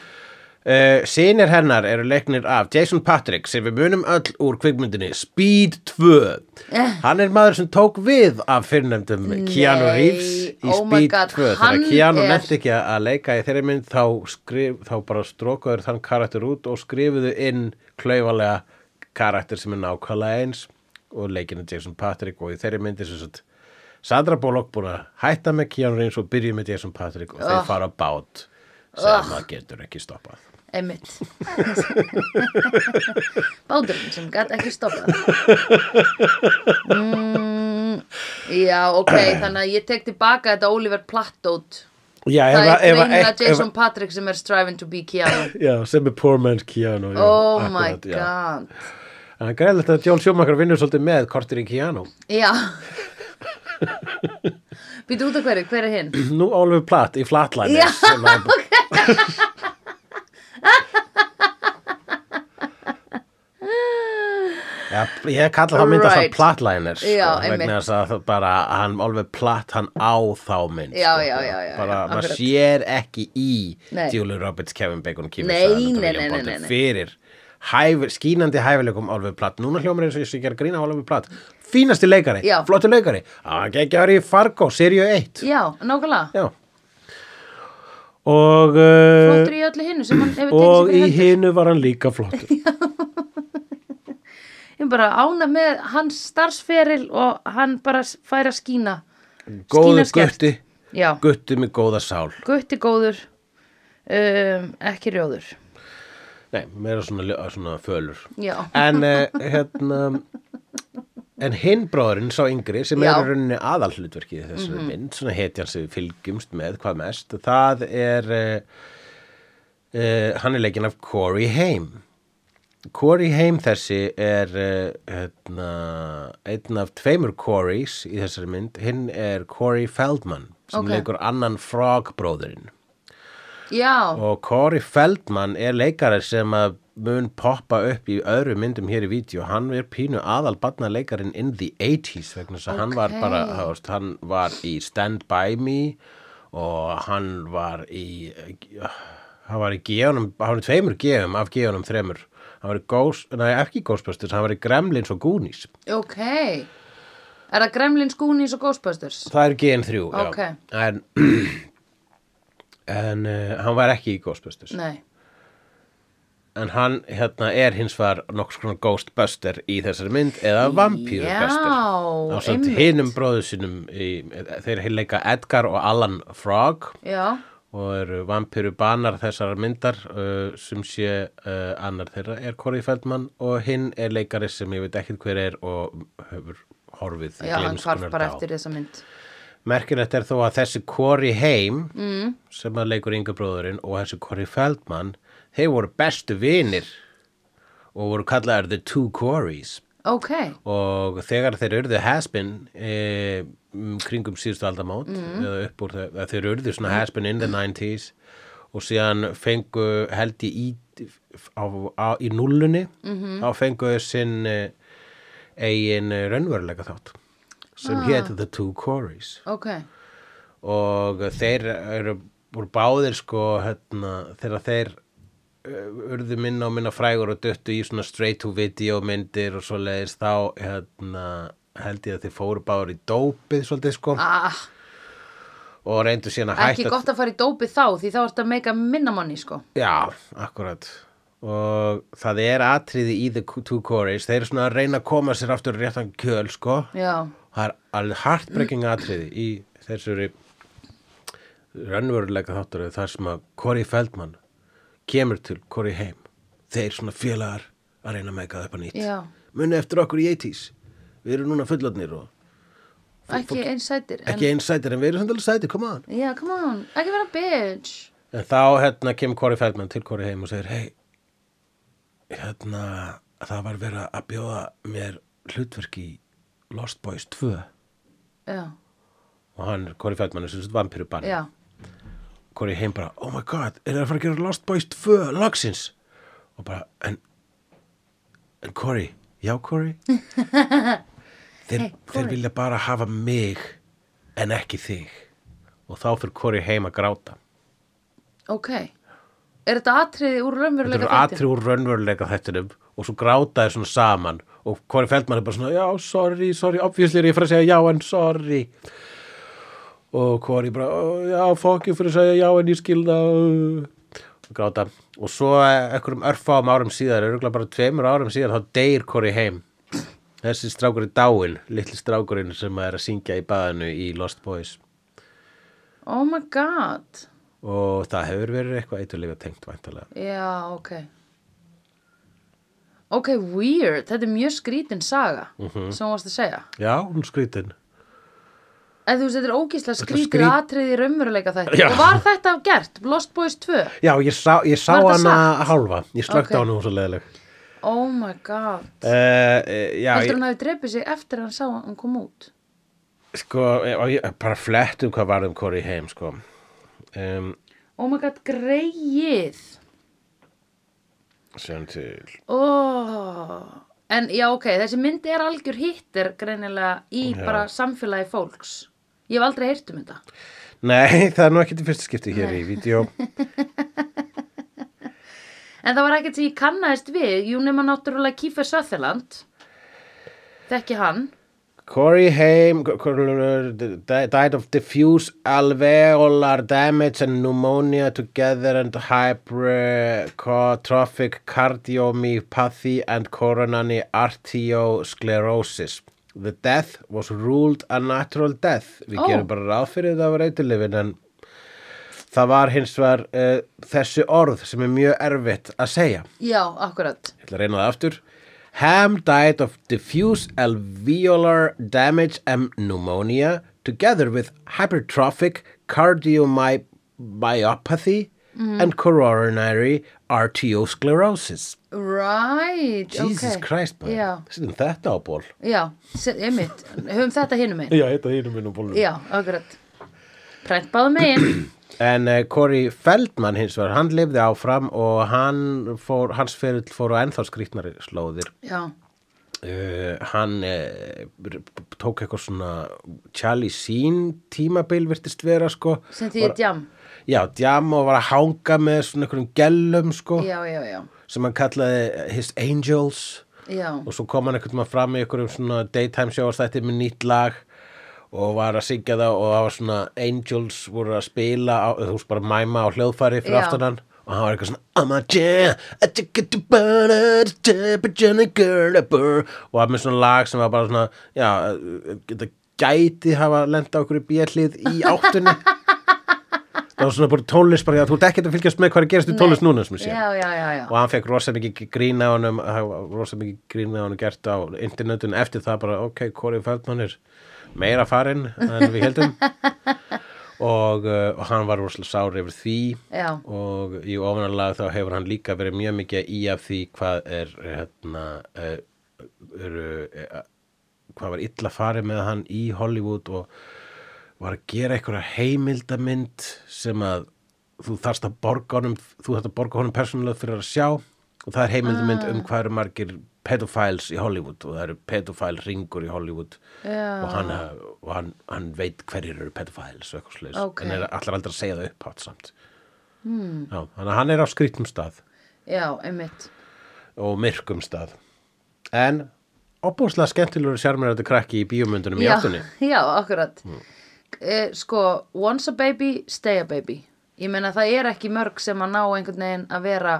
S1: Uh, Sýnir hennar eru leiknir af Jason Patrick sem við munum öll úr kvikmyndinni Speed 2 Hann er maður sem tók við af fyrrnefndum Keanu
S2: Eh. Nei,
S1: Reeves í
S2: oh my
S1: Speed
S2: God,
S1: 2
S2: hann
S1: Þegar Keanu
S2: er-
S1: er... ekki að leika í þeirri mynd þá, skrif, þá bara strókaður þann karakter út og skrifuðu inn klaufalega karakter sem er nákvæmlega eins og leikinu Jason Patrick og í þeirri myndi sem sagt Sandra Bullock búin að hætta með Keanu Reeves og byrja með Jason Patrick og
S2: Ah.
S1: þeir fara á bát sem maður getur ekki stoppað
S2: einmitt. Báturinn sem gæti ekki stoppað. Mm, já, ok, þannig að ég tek tilbaka þetta Oliver Platt-dót.
S1: Já,
S2: Það
S1: ef,
S2: er
S1: að- ef, að-
S2: greinilega
S1: ef, ef,
S2: Jason Patrick sem er striving to be Keanu.
S1: já, sem er poor man's Keanu já,
S2: Oh my
S1: akkurat, já.
S2: god.
S1: En það er greiðlegt að John Schumacher vinnur svolítið með kortir í Keanu
S2: Já. Býtu út af hverju, hver er hinn?
S1: Nú Oliver Platt í Flatline
S2: Já,
S1: ok Já, ég kalla það mynd að
S2: Right.
S1: það Plattliners sko,
S2: Já, einmitt.
S1: vegna þess að það bara hann Oliver Platt, hann á þá mynd
S2: Já,
S1: sko,
S2: já, já, já,
S1: bara
S2: já,
S1: maður
S2: akkurat.
S1: sér ekki í
S2: Nei.
S1: Julie Roberts, Kevin Bacon, Kimi
S2: Nei,
S1: Sæðan
S2: nei, nei, nei, nei.
S1: fyrir hæf, skínandi hæfileikum Oliver Platt núna hljómar eins og ég sé ekki að grína á Oliver Platt fínasti leikari,
S2: Já.
S1: flottu leikari hann geggjari í Fargo, Serio 1
S2: Já, nákvæmlega.
S1: Já Og uh,
S2: Flottur í öllu hinnu sem hann hefur
S1: og í
S2: tekið sér fyrir hendur.
S1: hinu var hann líka flottur
S2: *laughs* Ég er bara ána með hans starfsferil og hann bara s- fær að skína.
S1: Góður
S2: skert.
S1: gutti,
S2: Já,
S1: gutti með góða sál
S2: gutti góður, um, ekki rjóður.
S1: Nei, meira svona, ljó- svona fölur
S2: Já.
S1: En uh, hérna En hinn bróðurinn, sá yngri, sem
S2: Já.
S1: er
S2: Mhm.
S1: í rauninni aðalhlutverkið í þessari mynd, svona hetjan sem við fylgjumst með hvað mest, það er, uh, uh, hann er leikinn af Corey Haim. Corey Haim þessi er uh, hérna, einn af tveimur Coreys í þessari mynd, hinn er Corey Feldman sem
S2: Ok.
S1: leikur annan Frog bróðurinn.
S2: Já,
S1: Og Corey Feldman er leikari sem að mun poppa upp í öðru myndum hér í vídeo. Hann er pínu aðal batna leikarin in the 80s vegna þess að hann var
S2: Ókei.
S1: bara, þú veist, hann var í Stand By Me og hann var í, hann var í geunum, hann var í tveimur geunum af geunum þremur. Hann var í Ghost, nei ekki í Ghostbusters, hann var í Gremlins og Goonies.
S2: ok. Er það Gremlins, Goonies og Ghostbusters?
S1: Það er gen 3,
S2: Ok.
S1: já. En, *clears throat* en uh, hann var ekki í Ghostbusters.
S2: Nei,
S1: en hann hérna er hins var nokks konar ghostbuster í þessari mynd eða vampýrubuster
S2: Já,
S1: ásamt
S2: einmitt.
S1: hinum bróðu sínum í, þeir leika Edgar og Alan Frog
S2: já,
S1: og eru vampýrubanar þessar myndar uh, sem sé uh, annar þeirra er Corey Feldman og hinn er leikari sem ég veit ekkert hver er og hefur horfið
S2: já, hann
S1: gleymskunnar
S2: hvarf bara
S1: dá.
S2: eftir þessa mynd.
S1: Merkilegt er þó að þessi Corey Haim mm. sem að leikur yngur bróðurinn og þessi Corey Feldman þeir voru bestu vinir og voru kallaðar The Two Coreys
S2: Ok,
S1: og þegar þeir urðu haspin e, kringum síðustu aldamót eða upp úr þau, að þeir urðu svona haspin in the 90s og síðan fengu held í í, á, á, í nullunni þá fengu þau sinn eh, eigin eh, raunveruleika þátt sem ah. hétt The Two Coreys
S2: ok,
S1: og þeir eru voru báðir sko hérna, þegar þeir uh, urðu minna og minna frægur og döttu í svona straight to video myndir og svo leiðis þá hérna, held ég að þið fóru báður í dópið svolítið sko
S2: ah,
S1: og reyndu síðan að
S2: ekki
S1: hætta
S2: gott að fara í dópið þá því þá ertu að meika minnamanni sko
S1: Já, akkurat og það er atriði í The Two Corys þeir eru svona að reyna að koma sér aftur á réttan kjöl sko
S2: já,
S1: það er alveg heartbreaking atriði í þessari raunveruleika þáttur þar sem að Corey Feldman kemur til Corey heim þeir svona félagar að reyna að meika það upp að nýtt
S2: Já.
S1: muni eftir okkur í 80s við erum núna fullotnir og
S2: ekki einsætir en,
S1: ekki eins sætir en við erum samtalið sætir, come on
S2: já, come on, ekki vera bitch
S1: En þá hérna kemur Corey Feldman til Corey heim og segir hei, hérna það var verið að bjóða mér hlutverk í Lost Boys 2
S2: já,
S1: og hann, Corey Feldman, er sem sagt vampirubann
S2: já,
S1: Corey heim bara, oh my god, er það að fara að gera Lost Boys 2 loksins og bara, en en Corey, já
S2: *laughs*
S1: Corey þeir, þeir
S2: Corey.
S1: vilja bara hafa mig en ekki þig og þá fyrir Corey heim að gráta
S2: ok er þetta atriði úr
S1: Þetta
S2: raunveruleika
S1: eru atri úr raunveruleika þættinum og svo gráta þeir svona saman og Kori Feldman er bara svona, já, sorry, sorry obviously er ég fyrir að segja já en sorry og Kori bara, "Ó, já, fokk ég fyrir að segja já en ég skilða og gráta og svo eh, einhverjum örfáum árum síðar, örgulega bara tveimur árum síðar þá deyr Kori heim þessi strákur er dáin, litli strákurinn sem er að syngja í baðinu í Lost Boys
S2: oh my god
S1: og það hefur verið eitthvað eiturlega tengt væntalega
S2: já, ok ok, weird þetta er mjög skrítin saga sem hún varst að segja
S1: já, hún er skrítin
S2: eða þú veist, þetta er ógíslega skrítið
S1: skrít-
S2: skrít... atriði í raunveruleika þetta
S1: Já.
S2: og var þetta gert, Lost Boys 2
S1: Já, ég sá, ég sá
S2: Var þetta
S1: hana hálfa, ég slökti
S2: Ok.
S1: á hana hún svo leðileg.
S2: oh my god
S1: Uh, uh, já,
S2: heldur
S1: ég,
S2: hann hafi drepið sig eftir að hann sá að hann kom út
S1: sko, ég, ég, bara flett um hvað var um Corey heim, sko. Um,
S2: oh my god, greið
S1: sem til,
S2: oh. en já, ok, þessi mynd er algjör hittir greinilega í bara samfélagi fólks ég hef aldrei heyrt um þetta
S1: nei, *laughs* það er nú ekki til fyrsta skipti hér í vídeo.
S2: en það var ekkert sem ég kannaðist við jú nema náttúrulega Kífer Söðeland þekki hann
S1: Corey Haim co- co- died of diffuse alveolar damage and pneumonia together and hypertrophic cardiomyopathy and coronary arteriosclerosis. The death was ruled a natural death. Við
S2: Ó.
S1: gerum bara ráð fyrir það var eitilifin en það var hins vegar uh, þessi orð sem er mjög erfitt að segja.
S2: já, akkurat
S1: Ég ætla að reyna það aftur. Ham died of diffuse alveolar damage and pneumonia together with hypertrophic cardiomyopathy and coronary arteriosclerosis.
S2: right,
S1: Jesus
S2: ok
S1: Christ, maður.
S2: já,
S1: Settum þetta á ból.
S2: Já, se- einmitt, höfum þetta hinum einn
S1: Já, þetta hýrum minn á bólum.
S2: Já, akkurat Prent báðum megin
S1: En uh, Corey Feldman hins vegar, hann lifði áfram og hann fór, hans ferill fór á ennþá skrýtnari slóðir.
S2: *clears throat* Já,
S1: uh, hann uh, tók eitthvað svona Charlie Sheen tímabil virtist vera sko
S2: sem því ég djam
S1: já, djam og var að hanga með svona einhverjum gellum sko
S2: Já, já, já,
S1: sem hann kallaði His Angels
S2: já
S1: og svo kom hann einhvern veginn fram í einhverjum svona daytime sjóastætti með nýtt lag og var að syngja það og það var svona Angels voru að spila á, þú veist bara mæma á hljóðfæri fyrir
S2: Já.
S1: aftan hann og hann var eitthvað svona I'm a jam, I take it to burn it, tip it, jenny girl, a burr og var með svona lag sem var bara svona já, þetta gæti hafa lenda okkur í bjallið í
S2: *laughs*
S1: áttunni það var svona bara tónlist bara, já, þú ert ekkert að fylgjast með hvað er að gerast í tónlist núna sem ég sé
S2: Já, já, já, já
S1: og hann fekk rosa mikið grína honum það var rosa mikið grína honum gert á internetun eftir það bara ok, Corey Feldman er meira farinn en við
S2: *laughs*
S1: heldum og, uh, og hann var rosa sári yfir því
S2: Já,
S1: og í ofanarlag þá hefur hann líka verið mjög mikið í af því hvað er hérna uh, eru, uh, hvað var illa farið með hann í Hollywood og var að gera einhverja heimildamynd sem að þú þarft að borga honum þú þarft að borga honum persónulega fyrir að sjá og það er heimildamynd um hvað eru margir pedophiles í Hollywood og það eru pedophile ringur í Hollywood
S2: Já.
S1: og, hann, og hann, hann veit hverjir eru pedophiles og eitthvað slags
S2: Ok. Hmm.
S1: en er allar aldrei að segja það upphátt samt Já, þannig að hann er á skrítum stað
S2: já, einmitt
S1: og myrkum stað en opbúslega skemmtilegur og sjarmirandi krakki í bíómyndunum í
S2: já,
S1: áttunni Mm.
S2: já, akkurat Eh, sko, once a baby, stay a baby ég meina það er ekki mörg sem að ná einhvern veginn að vera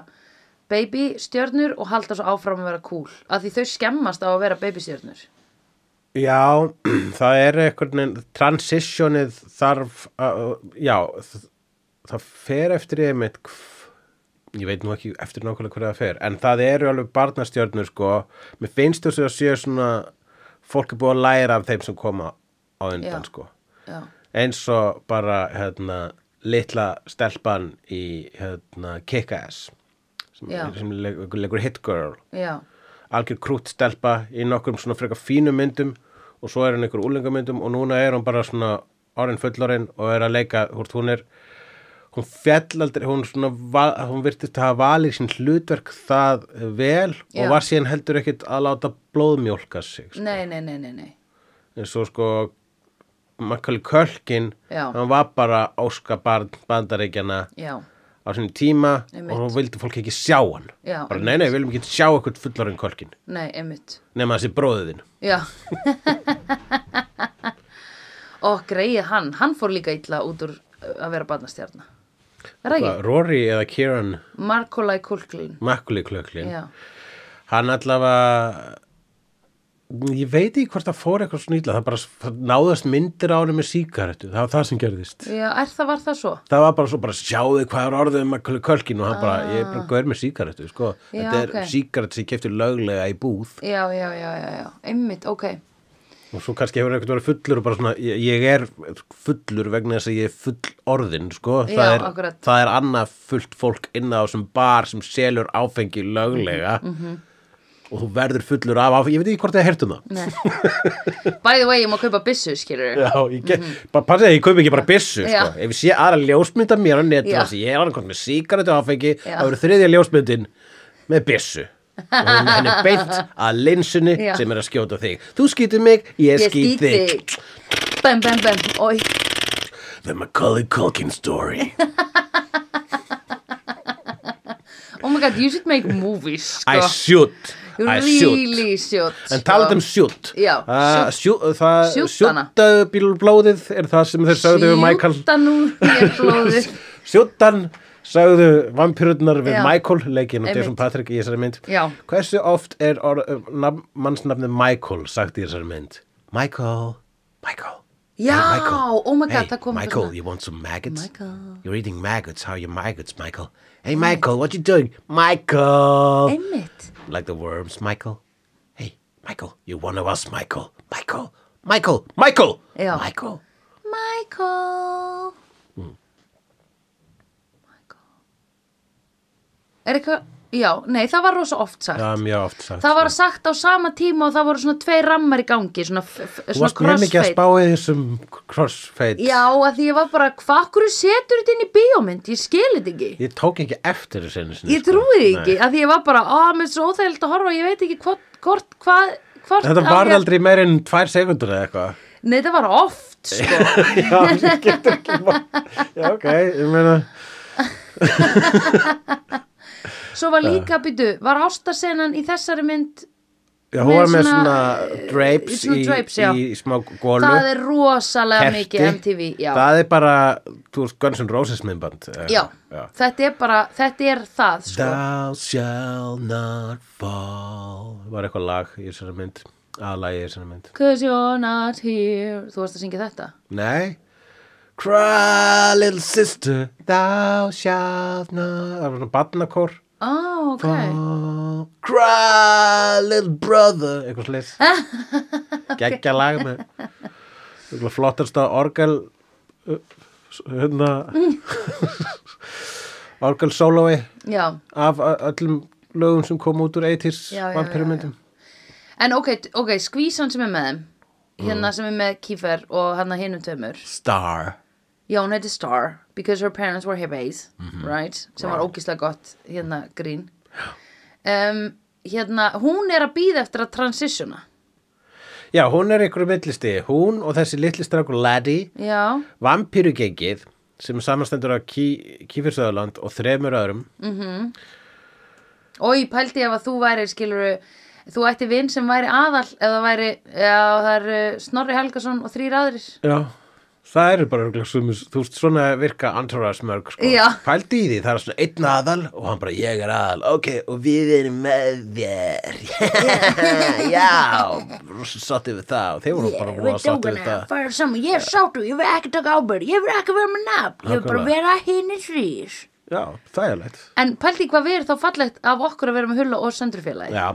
S2: baby stjörnur og halda svo áfram að vera cool af því þau skemmast á að vera baby stjörnur
S1: Já, *clears throat* það er einhvern veginn, transitionið þarf að, já, þ- það fer eftir ég mitt, ég veit nú ekki eftir nákvæmlega hverja það fer, en það eru alveg barnastjörnur sko, mér finnst þess að séu svona, fólk er búið að læra af þeim sem koma á undan
S2: Já.
S1: sko,
S2: já,
S1: eins og bara, hérna, litla stelpan í, hérna, Kick-Ass, sem,
S2: Já.
S1: sem leikur, leikur Hit Girl
S2: já,
S1: algjör krútt stelpa í nokkrum svona frekar fínum myndum og svo er hann ykkur úlengamyndum og núna er hann bara svona orðin fullorinn og er að leika hvort hún er hún fjall aldrei, hún svona va- hún virtist að hafa valið sín hlutverk það vel
S2: Já.
S1: og var síðan heldur ekkit að láta blóðmjólka sig sko.
S2: nei, nei, nei, nei, nei.
S1: eins og sko Makkali Kölkin
S2: Já.
S1: hann var bara óska barn bandaríkjana
S2: já,
S1: á sinni tíma
S2: Einmitt.
S1: og hún vildi fólk ekki sjá hann
S2: Já,
S1: bara
S2: einmitt.
S1: nei nei, við viljum ekki sjá eitthvað fullorinn Kölkin
S2: nei, einmitt
S1: nema þessi bróðiðin *laughs*
S2: já og greið hann, hann fór líka illa út úr uh, að vera barnastjarna er það
S1: Hvað,
S2: ekki?
S1: Rory eða Kieran
S2: Markolai Kulklin
S1: Makkuli klöklin
S2: já,
S1: hann allavega ég veit ekki hvort það fór eitthvað svona illa það bara það náðast myndir á hann með sígarettu það var það sem gerðist
S2: já, er það var það svo?
S1: það var bara svo bara sjáðu hvað er orðið um Makkuli klöklin og hann bara, ég er bara gaur með sígarettu sko.
S2: Ah. Já,
S1: þetta er
S2: ok.
S1: okay. sígarettu sem keftur löglega í búð
S2: já, já, já, já, já, einmitt, ok
S1: og svo kannski hefur eitthvað verið fullur og bara svona, ég, ég er fullur vegna þess að ég er full orðin sko.
S2: Já,
S1: það, er,
S2: akkurat.
S1: það er annað fullt fólk inn á sem bar sem selur áfengi löglega
S2: Mhm,
S1: og þú verður fullur af áfengi, ég veit ekki hvort þið heyrtum það
S2: Nei. by the way, ég má kaupa byssu, skilur
S1: Já, ég get, bara passa að ég kaupi ekki bara byssu sko.
S2: Mhm. Já.
S1: ef ég sé aðra ljósmynda mér á netu
S2: Já.
S1: þess að ég er annað með sígarettu áfengi
S2: Já.
S1: þá eru þriðja ljósmyndin með byssu og hún henni er beint að linsunni
S2: Já.
S1: sem er að skjóta þig þú skýtur mig, ég,
S2: Ég
S1: skýt
S2: skýt
S1: þig
S2: bæm, bæm, bæm, oi
S1: The Macaulay Culkin
S2: *laughs*
S1: story
S2: oh my god, you should make movies, sko
S1: I shoot
S2: you
S1: I shoot
S2: really shoot
S1: En
S2: sko.
S1: talað um shoot
S2: Já,
S1: uh, shoot Það
S2: Shootana.
S1: shootaðu bílblóðið er það sem þeir sögðu við Michael
S2: sjúta nú mér
S1: *laughs*
S2: blóðið
S1: Shootan sögðu vampirurnar við
S2: Já.
S1: Michael leikin og
S2: Einmitt.
S1: Jason Patrick í þessari mynd
S2: Já.
S1: Hversu oft er or, nab, mannsnafnið Michael sagt í þessari mynd Michael, Michael
S2: Já,
S1: hey, Michael.
S2: oh my God,
S1: hey,
S2: það kom
S1: Michael,
S2: þarna.
S1: you want some maggots?
S2: Michael.
S1: You're eating maggots, how are your maggots, Michael? Hey, Michael, what you doing? Michael
S2: einmitt
S1: Like the worms, Michael. Hey, Michael, you're one of us, Michael. Michael, Michael, Michael,
S2: Já.
S1: Michael.
S2: Michael
S1: Hmm.
S2: Michael er eitthvað já, nei, það var rosa oft sagt
S1: Já, mjög oft sagt.
S2: það var sagt á sama tíma og það voru svona tvei rammar í gangi svona, f- f-
S1: Þú
S2: svona
S1: varst mjög mikið að
S2: crossfade
S1: spáði þessum crossfade.
S2: já, að því ég var bara, hvað okkur setur þetta inn í bíómynd, ég skil þetta ekki
S1: Ég tók ekki eftir þessu einu sinni. sko.
S2: ég trúi því ekki, að því ég var bara á, mér er svo óþægild að horfa, ég veit ekki hvort, hvort, hvað, hvort
S1: Þetta
S2: á
S1: varð
S2: ég-
S1: aldrei meir en tvær sekundur eða eitthvað. *laughs*
S2: nei, þetta var oft, sko
S1: Já, ég getur ekki bara. Já, ok, ég meina.
S2: svo var líka, býtu, var ástasenan í þessari mynd,
S1: Já, hún
S2: Með
S1: var með
S2: svona,
S1: svona
S2: eh,
S1: drapes
S2: svona
S1: í,
S2: drapes, já.
S1: í smá gólu.
S2: það er rosalega mikið MTV, já,
S1: Það er bara, þú veist, Guns N' Roses minnband.
S2: já. þetta er bara, þetta er það, sko
S1: Thou shall not fall var eitthvað lag í þessari mynd aðlagi í þessari mynd
S2: cause you're not here þú varst að syngja þetta
S1: Nei Cry little sister Thou shall not Það var svona badnakór
S2: á, Ah, ok
S1: Fall. Cry little brother eitthvað
S2: *laughs*
S1: slis Gekkja lag með eitthvað flottasta orgel uh, s- hérna
S2: Mm.
S1: *laughs* orgel sólói
S2: já,
S1: af ö- öllum lögum sem kom út úr 80s
S2: Já, já, já,
S1: vampirumyndum
S2: en ok, t- ok, skvísan sem er með þeim
S1: Mm.
S2: hérna sem er með Kífer og hann að hinum tveimur
S1: Star
S2: Já, hún heiti Star because her parents were hippies,
S1: Mhm.
S2: right? Sem var ógislega gott, hérna,
S1: *gasps*
S2: grín. Um, hérna, hún er að býða eftir að transitiona.
S1: Já, hún er ykkur millisti, hún og þessi litli strákur Laddie,
S2: Já,
S1: vampirugengið sem samanstendur af Kí, Kífirsöðaland og þremur öðrum mm -hmm.
S2: og ég pældi ef að þú væri skiluru þú ætti vinn sem væri aðal ef það væri, já það er uh, Snorri Helgason og þrýr aðrir
S1: Já, það eru bara örugglega sumir- þú veist svona virka antóraðsmörg sko.
S2: Já.
S1: Pældi í því, það er svona einn aðal og hann bara ég er aðal, ok, og við erum með
S2: *laughs*
S1: þér Já, rosa sátti við það og þeir voru bara voru að sátti við það
S2: fara saman, ég er sáttu, ég vil ekki taka ábyrð ég vil ekki vera með nafn,
S1: ég vil bara Nákvæmlega.
S2: vera hinn í þrýr
S1: Já, það er leitt
S2: En pældi hvað verið þá fallegt af okkur að vera með hulla og söndrufélagi
S1: Já,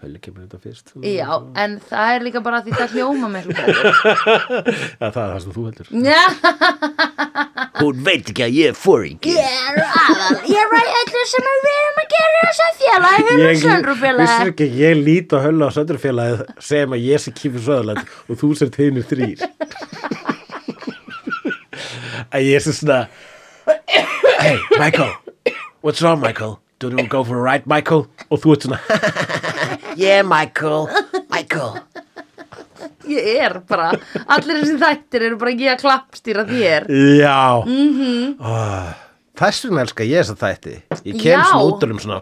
S1: höll kemur þetta fyrst
S2: Já, en það er líka bara því það hljóma mér betur.
S1: *laughs* Já, það er það sem þú heldur
S2: Já,
S1: Hún veit ekki að ég er fóringi
S2: ég er aðal Ég er að öllu sem við erum að gera þess að félagi Hulla og
S1: vissir
S2: söndrufélagi
S1: ekki að ég lít á höll á söndrufélagið sem að ég sé kýfur söðalætt og þú sér teginir þrýr að ég sé svona hey Michael what's wrong Michael do you want to go for a ride Michael og þú ert svona *laughs* yeah Michael Michael
S2: Ég er bara, allir þessi þættir eru bara ekki að klappstýra þér
S1: já mm
S2: Mhm.
S1: -hmm. þess vegna elska ég þess að þætti ég kem
S2: Já.
S1: svona út um svona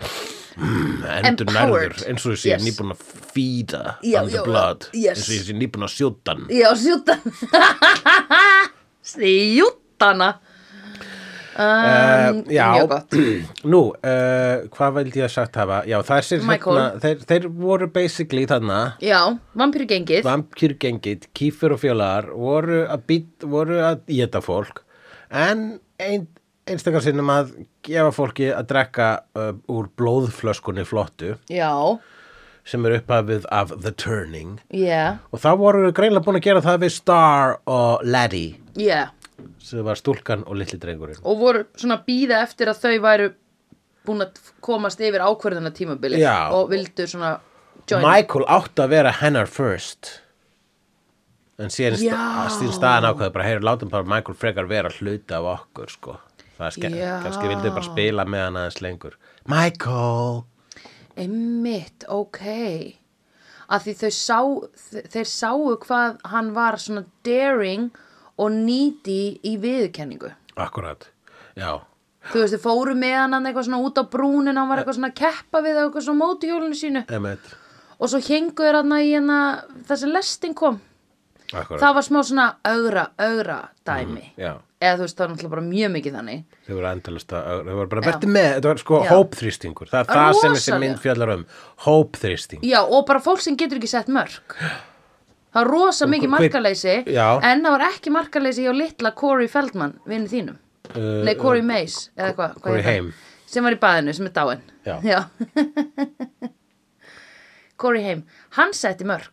S1: mm, endur
S2: Empowered.
S1: nærður eins og ég sé
S2: Yes.
S1: nýbúin að feeda
S2: Já,
S1: on the
S2: já,
S1: blood
S2: yes.
S1: eins og ég sé nýbúin að sjóta hann
S2: Já, sjúta *laughs* Sjútana um,
S1: Eh, já.
S2: Mjög gott
S1: *clears throat* Nú, uh, hvað veldi ég að sagt hafa? Já, það er sér
S2: Michael.
S1: þeir, þeir voru basically þarna
S2: Já, vampíru gengið
S1: vampýrgengið, kýfur og fjólar voru að být, voru að geta fólk en ein, einstakar sinnum að gefa fólki að drekka uh, úr blóðflöskunni flottu
S2: Já,
S1: sem er upphafið af The Turning
S2: yeah,
S1: og það voru greinlega búin að gera það við Star og Laddie
S2: yeah
S1: sem var stúlkan og litli drengurinn
S2: og voru svona að býða eftir að þau væru búin að komast yfir ákvörðuna tímabili
S1: Já.
S2: og vildu svona join
S1: Michael átti að vera hennar first en síðan
S2: Já.
S1: sta- síðan staðan ákveði bara heyra látum bara Michael frekar vera hluti af okkur sko. það er skemmt,
S2: Já.
S1: kannski vildi bara spila með hann aðeins lengur Michael
S2: einmitt, ok að því þau sá þe- þeir sáu hvað hann var svona daring og needy í viðkenningu
S1: akkurat, já
S2: þú veist, þau fóru með hann þarna eitthvað svona út á brúnin hann var eitthvað svona að keppa við á eitthvað svona mótihjólinu sínu
S1: emmett,
S2: og svo hengu þér hann í hann þar sem lestin kom
S1: akkurat
S2: það var smá svona augra, augra dæmi
S1: Mm, já,
S2: eða þú veist, það var náttúrulega bara mjög mikið þannig
S1: þau voru endalist að þau voru bara
S2: Já.
S1: verði með, þetta var sko
S2: Já.
S1: hópþrýstingur það er það sem þessi
S2: Rosalega.
S1: mynd fjallar um hópþrýsting
S2: Já, og bara fólk sem getur ekki sett mörg. Það var rosa mikið
S1: hver-
S2: markaleysi,
S1: Já.
S2: en það var ekki markaleysi hjá litla Corey Feldman, vinnu þínum.
S1: Uh,
S2: Nei, Corey Mays, eða hvað. hvað
S1: Corey
S2: heitir
S1: Haim.
S2: hann? Sem var í baðinu, sem er dáin.
S1: Já.
S2: *laughs* Corey Haim, hann setti mörg.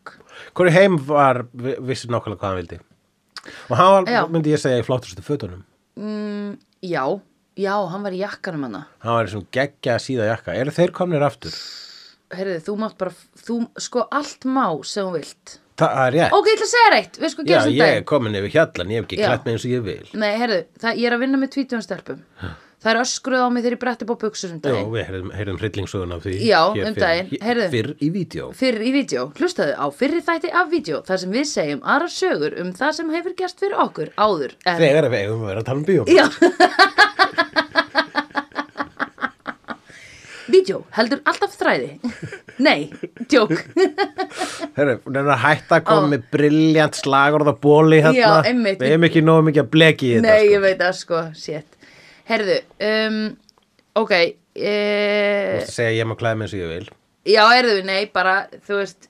S1: hverju heim var, vi- vissi nákvæmlega hvað hann vildi og hann var,
S2: Já.
S1: myndi ég segja, í flottustu fötunum
S2: Já, já, hann var í jakkanum hana.
S1: hann var eins og geggja síða jakka eru þeir komnir aftur?
S2: Herriði, þú mátt bara, þú, sko, allt má sem þú vilt.
S1: það er rétt,
S2: Ok, ég ætla að segja reitt, við sko
S1: já
S2: gerum
S1: ég er komin yfir hjallan ég hef ekki
S2: Já.
S1: klætt mig eins og ég vil
S2: Nei, herðu, það, ég er að vinna með tvítunstelpum. Það er öskruð á mig þegar ég bretti upp á buksur um
S1: já,
S2: daginn.
S1: við heyrðum, heyrðum hryllingsögun af því
S2: Já,
S1: hér
S2: um
S1: fyrr-
S2: daginn.
S1: hér-
S2: Heyrðu.
S1: fyrr í vídeo
S2: Fyrir í vídeo, hlustaðu á fyrri þætti af vídeo þar sem við segjum aðra sögur um það sem hefur gerst fyrir okkur áður en...
S1: þegar við eigum að vera að tala um bíó
S2: Já. vídeo heldur alltaf þræði. Nei, djók.
S1: Heyrðu, hún er að hætta að koma með briljant slagorð og bóli hérna
S2: Já, einmitt.
S1: við hefum ekki nógu mikið að bleki í þetta
S2: Nei,
S1: sko.
S2: ég veit það sko, shit. Herðu, um, ok, eh,
S1: Þú
S2: e...
S1: veist að segja ég má klæða mig eins og ég vil
S2: já, erðu, nei, bara, þú veist,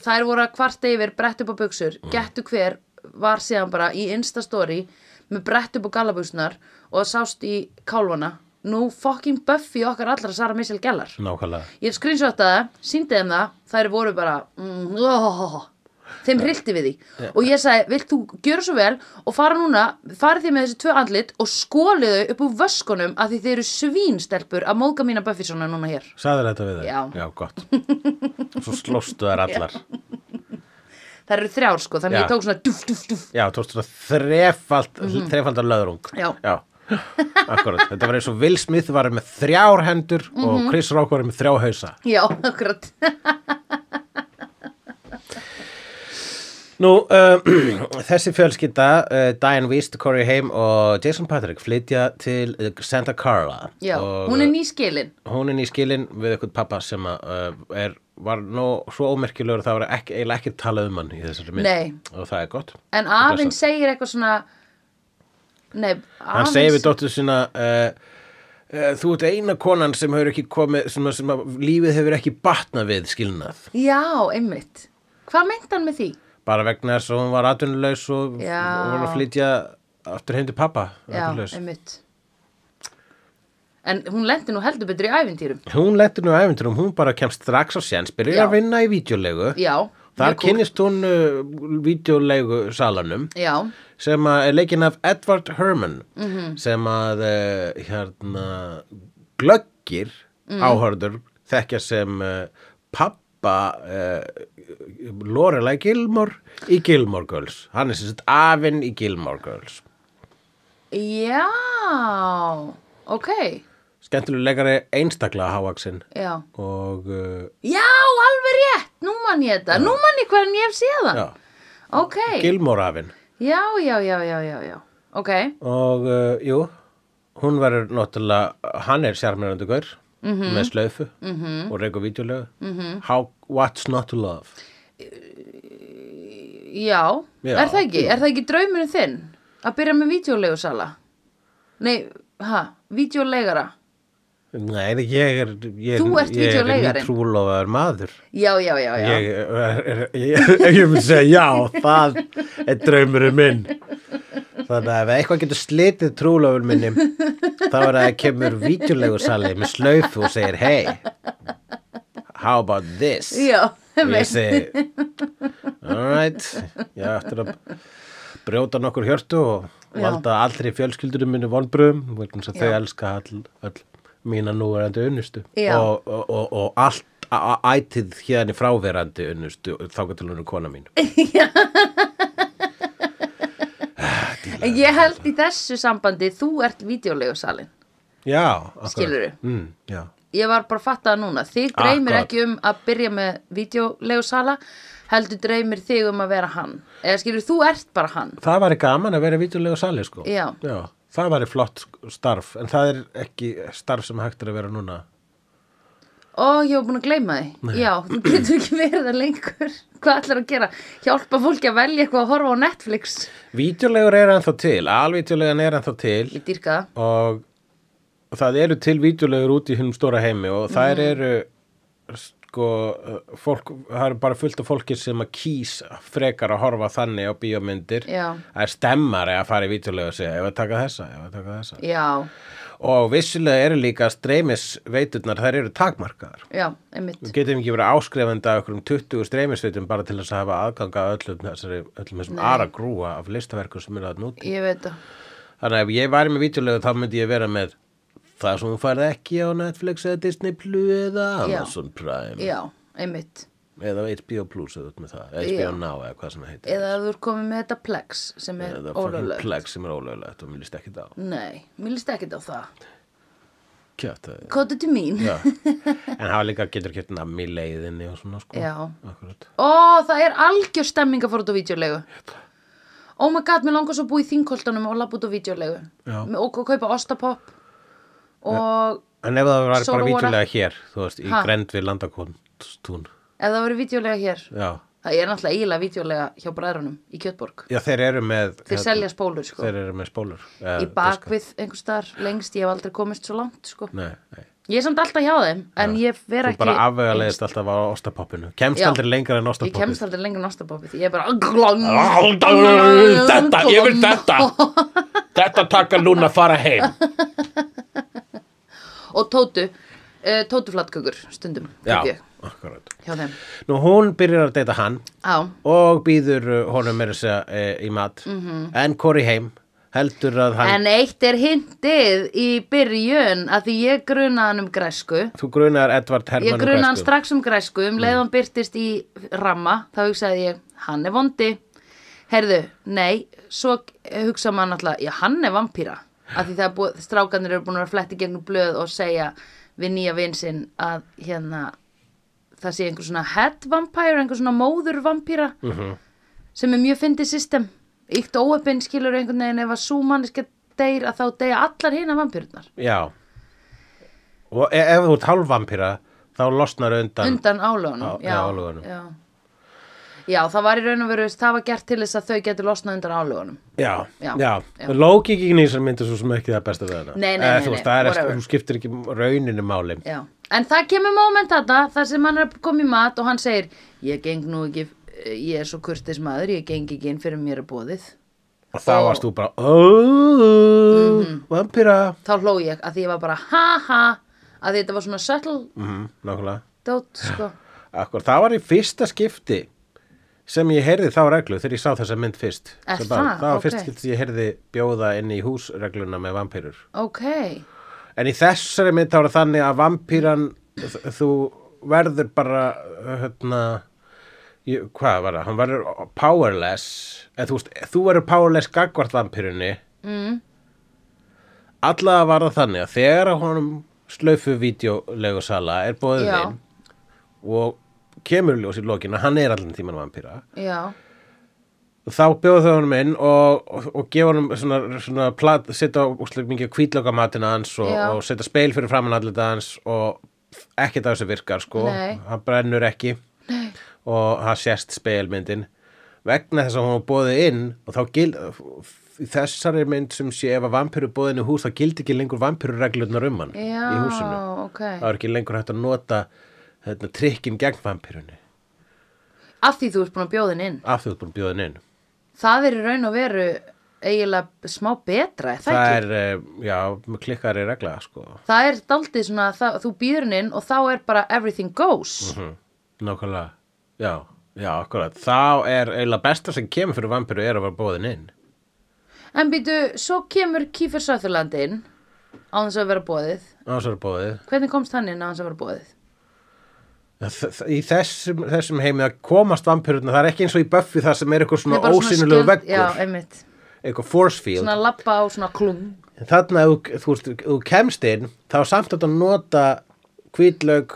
S2: þær voru að kvarta yfir brett upp á buksur, gettu hver var síðan bara í Insta-story með brett upp á gallabuxunar og sást í kálfana. Nú fucking Buffy okkar allra Sara Michelle Gellar.
S1: nákvæmlega
S2: Ég screenshotaði það, síndi þeim það, þær voru bara, mm, oh, þeim hrilti við því. Og ég sagði, vilt þú gjöra svo vel og fara núna, farið þið með þessi tvö andlit og skólið þau upp úr vöskunum að því þið eru svínstelpur að móðga mína Buffysona núna hér.
S1: Sæður þetta við þau?
S2: Já. *laughs*
S1: gott. Svo slóstu þær allar. Já,
S2: Það eru þrjár sko, þannig
S1: Já.
S2: ég tók svona duf, duf, duf.
S1: tókst svona þrefald, þrefaldar löðrung.
S2: Mhm. Já.
S1: Já, akkurat. Þetta var eins og Will Smith var með þrjár hendur
S2: Mhm.
S1: og Chris Rock var með
S2: *laughs*
S1: þrjá hausa.
S2: Já, akkurat.
S1: Nú, uh, *clears throat* þessi fjölskylda, uh, Diane Weist, Corey Haim og Jason Patrick flytja til uh, Santa Carla.
S2: Já,
S1: og, uh, eh,
S2: hún er nýskilin
S1: Hún er nýskilin við eitthvað pappa sem að, uh, er, var nú svo ómerkilegur að það var ekki, eiginlega ekki talað um hann í þessari mynd.
S2: Nei.
S1: Og það er gott.
S2: En afinn
S1: Blessað.
S2: segir eitthvað svona Nei,
S1: Hann
S2: afinn
S1: segir við dóttur sína, uh, uh, þú ert eina konan sem hefur ekki komið, sem, sem að lífið hefur ekki batnað við skilnað.
S2: Já, einmitt Hvað meint hann með því?
S1: Bara vegna þess að hún var atvinnulegs og, og
S2: Já.
S1: var að flytja aftur heim til pappa.
S2: Já,
S1: atvinnulaus.
S2: einmitt En hún lendi nú heldur betur í æfintýrum
S1: Hún lettur nú æfinturum, hún bara kemst strax á séns, byrjar
S2: Já.
S1: að vinna í vídeolegu.
S2: Já,
S1: Þar
S2: mjög kúl.
S1: kynnist hún uh, vídeolegu salanum
S2: Já,
S1: sem að er leikinn af Edward Herman sem að uh, hérna glöggir áhörður þekkja sem uh, pappa uh, Lorelai Gilmore í Gilmore Girls. Hann er sem sagt afinn í Gilmore Girls.
S2: já Ok,
S1: Skemmtilegur leikari einstaklega hávaksinn
S2: já
S1: og uh,
S2: Já, alveg rétt, nú man ég þetta Nú man ég hvernig ég hef séð það
S1: já,
S2: Ok,
S1: Gilmore afinn.
S2: já, já, já, já, já, já Ok,
S1: og uh, jú hún verður náttúrulega hann er sjarmirandi gaur
S2: Mhm.
S1: með slaufu -hmm. og reyku vídeolegu -hmm. How, what's not to love
S2: já,
S1: Já,
S2: er það ekki, er það ekki draumurinn þinn að byrja með vídeolegusala? Nei, ha, vídeolegara
S1: nei, ég er ég,
S2: Þú ert
S1: ég er
S2: vídeóleikarinn.
S1: trúlofaður maður
S2: Já, já, já, já
S1: ég, er, er, ég, *laughs* ég myndi segja já það er draumurinn minn þannig að ef eitthvað getur slitið trúlofur minni þá er að það kemur vídeolegu sali með slaufu og segir hey how about this
S2: Já,
S1: og ég segi alright ég eftir að brjóta nokkur hjörtu og
S2: Já.
S1: valda allri fjölskyldurum minni vonbröðum vegna þess að þau
S2: Já.
S1: elska all, all mína núverandi unnustu
S2: Já.
S1: og, og, og, og allt a- a- ætið hérna fráverandi unnustu þá til hún er kona mín
S2: Eh. En ég held í þessu sambandi þú ert vídeolegusalinn.
S1: já, akkurat.
S2: Skilurðu?
S1: mm, já.
S2: Ég var bara að fatta það núna. Þig dreymir
S1: Akkurat.
S2: ekki um að byrja með vídeolegusala, heldur dreymir þig um að vera hann. Eða skilur, þú ert bara hann.
S1: það væri gaman að vera vítjulegu sali sko.
S2: Já.
S1: það væri flott sko, starf en það er ekki starf sem hægt er að vera núna
S2: Ó, ég var búin að gleyma því. Já, þú getur ekki verið það lengur. Hvað ætlar að gera? Hjálpa fólki að velja eitthvað að horfa á Netflix.
S1: Vídeolegur er ennþá til, alvídeolegan er ennþá til
S2: Ég dýrka það.
S1: og það eru til vídeolegur út í hinnum stóra heimi og þær eru sko, fólk, það eru bara fullt af fólki sem að kýs frekar að horfa þannig á bíómyndir
S2: Já.
S1: það er stemmari að fara í vídeolegur og segja, ef að taka þessa, ef að taka þessa
S2: Já,
S1: og vissulega eru líka streymisveiturnar, þær eru takmarkaðar
S2: já, einmitt.
S1: við getum ekki verið áskrefandi að okkur um 20 streymisveitum bara til þess að hafa aðganga öllum, þessari, öllum þessum ara grúa af listaverkum sem eru að núti
S2: Ég veit það.
S1: Þannig að ef ég væri með vítjulegu þá myndi ég vera með það sem hún færði ekki á Netflix eða Disney Plus eða
S2: Já.
S1: Amazon Prime
S2: Já, einmitt.
S1: eða HBO Plus eða út með það, eða
S2: Já.
S1: HBO Now eða hvað sem það heitir
S2: Eða þú er komið með þetta Plex sem er
S1: eða fucking
S2: ólöflegt.
S1: Plex sem er ólöglegt og mér líst ekki það á
S2: Nei, mér líst ekki á það.
S1: kjöft
S2: *laughs*
S1: það
S2: Kóta til mín.
S1: Já. en hafa líka getur kjöft nammi í leiðinni og svona sko
S2: Já.
S1: Akkurat.
S2: Ó, það er algjör stemming að fara út á vídeolegu. Oh my god, mér langar svo að búa í þingkoltanum og labba út á vídeolegu.
S1: Já.
S2: Og kaupa ostapopp og
S1: en ef það var bara
S2: Sólóra.
S1: vítjulega hér þú veist, í
S2: Ha?
S1: Grenville landakóntstún
S2: ef það verið vídeolega hér.
S1: já.
S2: Það er náttúrulega íla vídeolega hjá bræðrunum í Kjötborg.
S1: já, þeir eru með
S2: Þeir selja spólur, sko.
S1: Hérna. þeir eru með spólur eða
S2: Í bakvið einhvers staðar lengst, ég hef aldrei komist svo langt, sko.
S1: diska. nei, nei
S2: Ég er samt alltaf hjá þeim, en ég ver
S1: Þú
S2: ekki...
S1: bara afvegalegist alltaf á ostapoppinu Kemst
S2: Já.
S1: aldrei lengra en
S2: Ég
S1: ostapoppinu
S2: kemst aldrei lengur en ostapoppið. Ég er bara...
S1: Þetta, ég vil
S2: *laughs*
S1: þetta Þetta taka Lúna að fara heim
S2: Og tótu, uh, tótuflatkökur stundum.
S1: Já,
S2: kaupi ég
S1: akkurat
S2: Hjá þeim.
S1: Nú hún byrjar að deyta hann
S2: Já.
S1: og býður uh, honum meira að segja e, í mat en Corey heim heldur að hann
S2: En eitt er hindið í byrjun að því ég grunaði hann um græsku.
S1: þú grunar Edvard Herman
S2: Ég grunaði hann strax um græsku um leið hann byrtist í ramma. Þá hugsaði ég, hann er vondi. Herðu, nei, svo hugsa maður náttúrulega, já, hann er vampíra. Af því það er búið, strákanir eru búin að vera fletti gegnum blöð og segja við nýja vinsinn að hérna, það sé einhver svona head vampire, einhver svona móður vampíra. sem er mjög fyndið system íkt óöpinn skilur einhvern veginn ef að sú manneska deyr að þá deyja allar hina vampýrnar
S1: Já Og e ef þú ert hálfvampýra þá losnar undan,
S2: undan álögunum
S1: Á- já, álögunum.
S2: já. já, það var í raun og veru það var gert til þess að þau getur losnað undan álögunum
S1: Já, já,
S2: Já,
S1: já.
S2: já.
S1: Lókikinn í þessar myndir svo sem ekki það besta við hana
S2: Nei, nei,
S1: Eh,
S2: nei,
S1: Þú
S2: nei,
S1: veist, það er
S2: whatever.
S1: ekki, þú skiptir ekki rauninu máli
S2: já. en það kemur moment þetta þar sem hann er að koma í mat og hann segir ég geng nú ekki, ég er svo kurtis maður ég geng ekki inn fyrir mér er bóðið
S1: Og þá
S2: Og- Mhm.
S1: varst þú bara Óóóó, vampýra
S2: þá hló ég að því ég var bara ha ha að þetta var svona subtle
S1: Mhm, Nákvæmlega
S2: dót sko
S1: Akkur, það var í fyrsta skipti sem ég heyrði þá reglu þegar ég sá þessa mynd fyrst
S2: Er
S1: Sem
S2: það?
S1: það var fyrst
S2: Ok.
S1: skipti sem ég heyrði bjóða inn í húsregluna með vampýrur
S2: ok
S1: En í þessari mynd þá er það þannig að vampýran þú verður bara hérna ég, hvað var það, hann verður powerless eða þú veist, þú verður powerless gagvart vampýrunni mm. allavega var það þannig að þegar að honum slaufu vídeolegusala er bóðið
S2: Já.
S1: inn og kemur í ljós í lokin að hann er allan tíman vampýra
S2: já,
S1: þá bjóðu þau honum inn og, og, og gefa honum svona, svona plat, setja úslega mikið kvítloka matina hans og,
S2: Já.
S1: og setja speil fyrir framann allita hans og ekkert af þessu virkar sko
S2: Nei.
S1: hann brennur ekki Nei. og hann sést speilmyndin vegna þess að hún var bóðið inn og þá gild í þessari mynd sem sé ef að vampiru inn í hús þá gildi ekki lengur vampirureglunar um hann
S2: já
S1: í húsinu
S2: ok
S1: það er ekki lengur hægt að nota hérna, trikkin gegn vampirunni
S2: að því þú ert búin að bjóðin inn
S1: af því þú ert búin að bjóða henni inn
S2: það er í raun og veru eiginlega smá betra er það,
S1: það
S2: ekki?
S1: er, eh, já, með klikkari regla sko,
S2: það er daldið svona það, þú býður hann inn og þá er bara everything goes
S1: hm. nákvæmlega já, já, akkurat þá er eiginlega besta sem kemur fyrir vampiru er að vera bóðin inn
S2: en býtu, svo kemur Kífur Söðurland inn á þess að vera bóðið
S1: á þessari bóðið
S2: hvernig komst hann inn á þess að vera bóðið
S1: Þ- þ- í þessum, þessum heimi að komast vampiruna, það er ekki eins og í Buffy það sem er eitthvað
S2: Það
S1: svona
S2: er bara svona
S1: ósynulegu
S2: skjöld-
S1: veggur
S2: já, einmitt,
S1: eitthvað force field
S2: svona lappa á svona klung
S1: þarna ef þú, þú, veist, þú kemst inn þá er samt að nota hvítlaug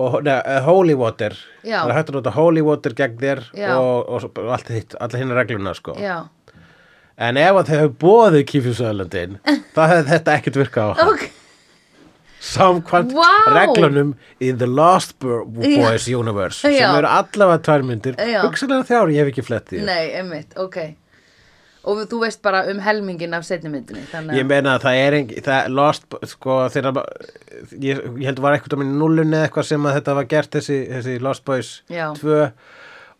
S1: og neða, eh, holy water
S2: Já.
S1: það er hægt að nota holy water gegn þér
S2: Já.
S1: og, og, og allt hitt, alla hinn regluna sko.
S2: já
S1: En ef að þau hefur bóðið kýfjusöðlandin, þá hefði þetta ekkert virkað á hann.
S2: ok
S1: Samkvæmt
S2: Vá!
S1: reglunum in the Lost Bo- Boys Universe, sem
S2: Já.
S1: eru allavega tvær myndir,
S2: Já.
S1: hugsalega þjár, ég hef ekki flett í. þau.
S2: Nei, einmitt, ok Og þú veist bara um helmingin af setni myndinni Þannig
S1: Ég meina að það er engi, það er Lost, Bo- sko, þeirra, ma- ég, ég held var ekkert á minni nullunni eða eitthvað sem að þetta var gert þessi, þessi Lost Boys
S2: Já.
S1: 2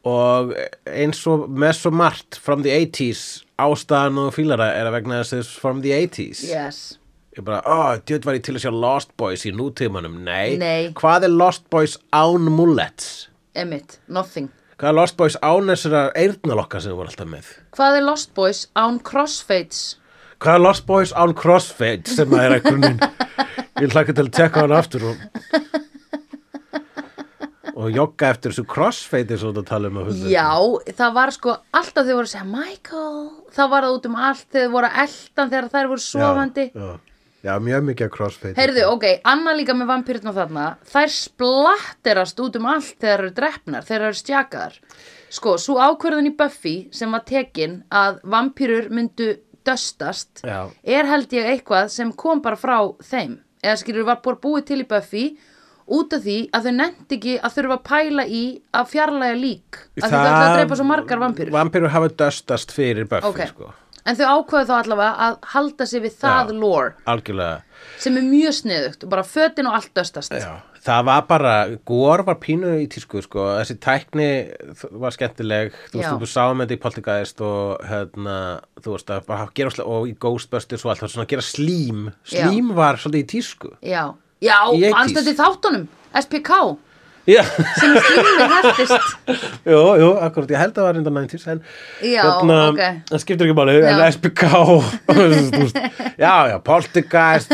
S1: og eins og með svo margt from the 80s, ástæðan og fílara er að vegna þessi from the 80s.
S2: yes.
S1: Ég bara, ó, djöð var ég til að sjá Lost Boys í nútímanum, nei.
S2: Nei.
S1: Hvað er Lost Boys án mullets?
S2: Einmitt, nothing
S1: Hvað er Lost Boys án þessara eyrnalokka sem þú voru alltaf með?
S2: Hvað er Lost Boys án crossfades?
S1: Hvað er Lost Boys án crossfade sem það er að grunin? ég hlaka til að tekka hann aftur og, og jogga eftir þessu crossfade eins og þetta tala um að hullu.
S2: Já, það var sko alltaf þau voru að segja Michael Það var það út um allt þegar þau voru að eldan þegar þær voru sofandi
S1: Já, já, já mjög mikið af crossfade.
S2: Heyrðu, ok, annað líka með vampýrna þarna Þær splatterast út um allt þegar þær eru drefnar, þegar þær eru stjakaðar Sko, svo ákvörðun í Buffy sem var tekin að vampýrur myndu döstast
S1: Já.
S2: er held ég eitthvað sem kom bara frá þeim eða skilur var bara búið til í Buffy út af því að þau nefndi ekki að þurfa að pæla í að fjarlæga lík að þau ætla að drepa svo margar vampýrur
S1: Vampýrur hafa döstast fyrir Buffy,
S2: Ok,
S1: sko.
S2: en þau ákvöðu þá allavega að halda sig við það
S1: Já.
S2: lore
S1: Algjörlega.
S2: sem er mjög sniðugt og bara fötin og allt döstast
S1: Já, það var bara, gór var pínu í tísku sko, þessi tækni var skemmtileg, þú
S2: Já.
S1: veist, þú sáum þetta í Poltergeist og hérna, þú veist, að bara gera, sl- og í Ghostbusters og allt, það var svona að gera slím,
S2: Já.
S1: slím var svolítið í tísku.
S2: Já, já,
S1: Í 80s.
S2: anstætti þáttunum SPK,
S1: Já,
S2: sem er slímið *laughs* hættist
S1: *laughs* jú, jú, akkurat, ég held að það var enda 90s, en
S2: Já, ok.
S1: Hérna, það skiptir ekki máli, en
S2: Já.
S1: SPK, þú
S2: *laughs*
S1: veist, já, já, Poltergeist,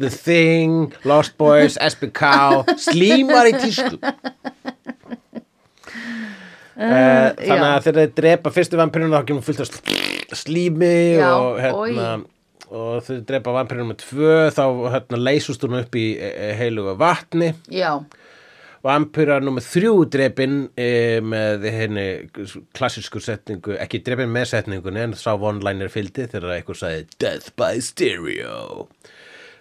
S1: The Thing, Lost Boys, SPK, slím var í tísku. Eh, þannig að
S2: já.
S1: þegar þeir drepa fyrstu vampirinu þá kemur fullt af sl- slími
S2: Já,
S1: og hérna og þegar þeir drepa eh, vampirinu með tvö þá hérna leysust hún upp í e, e, heilugu vatni
S2: Já,
S1: Vampyra nummer þrjú drepin e, með henni klassísku setningu, ekki drepin með setningunni en sá vonlænir fylgdi þegar eitthvað sagði Death by Stereo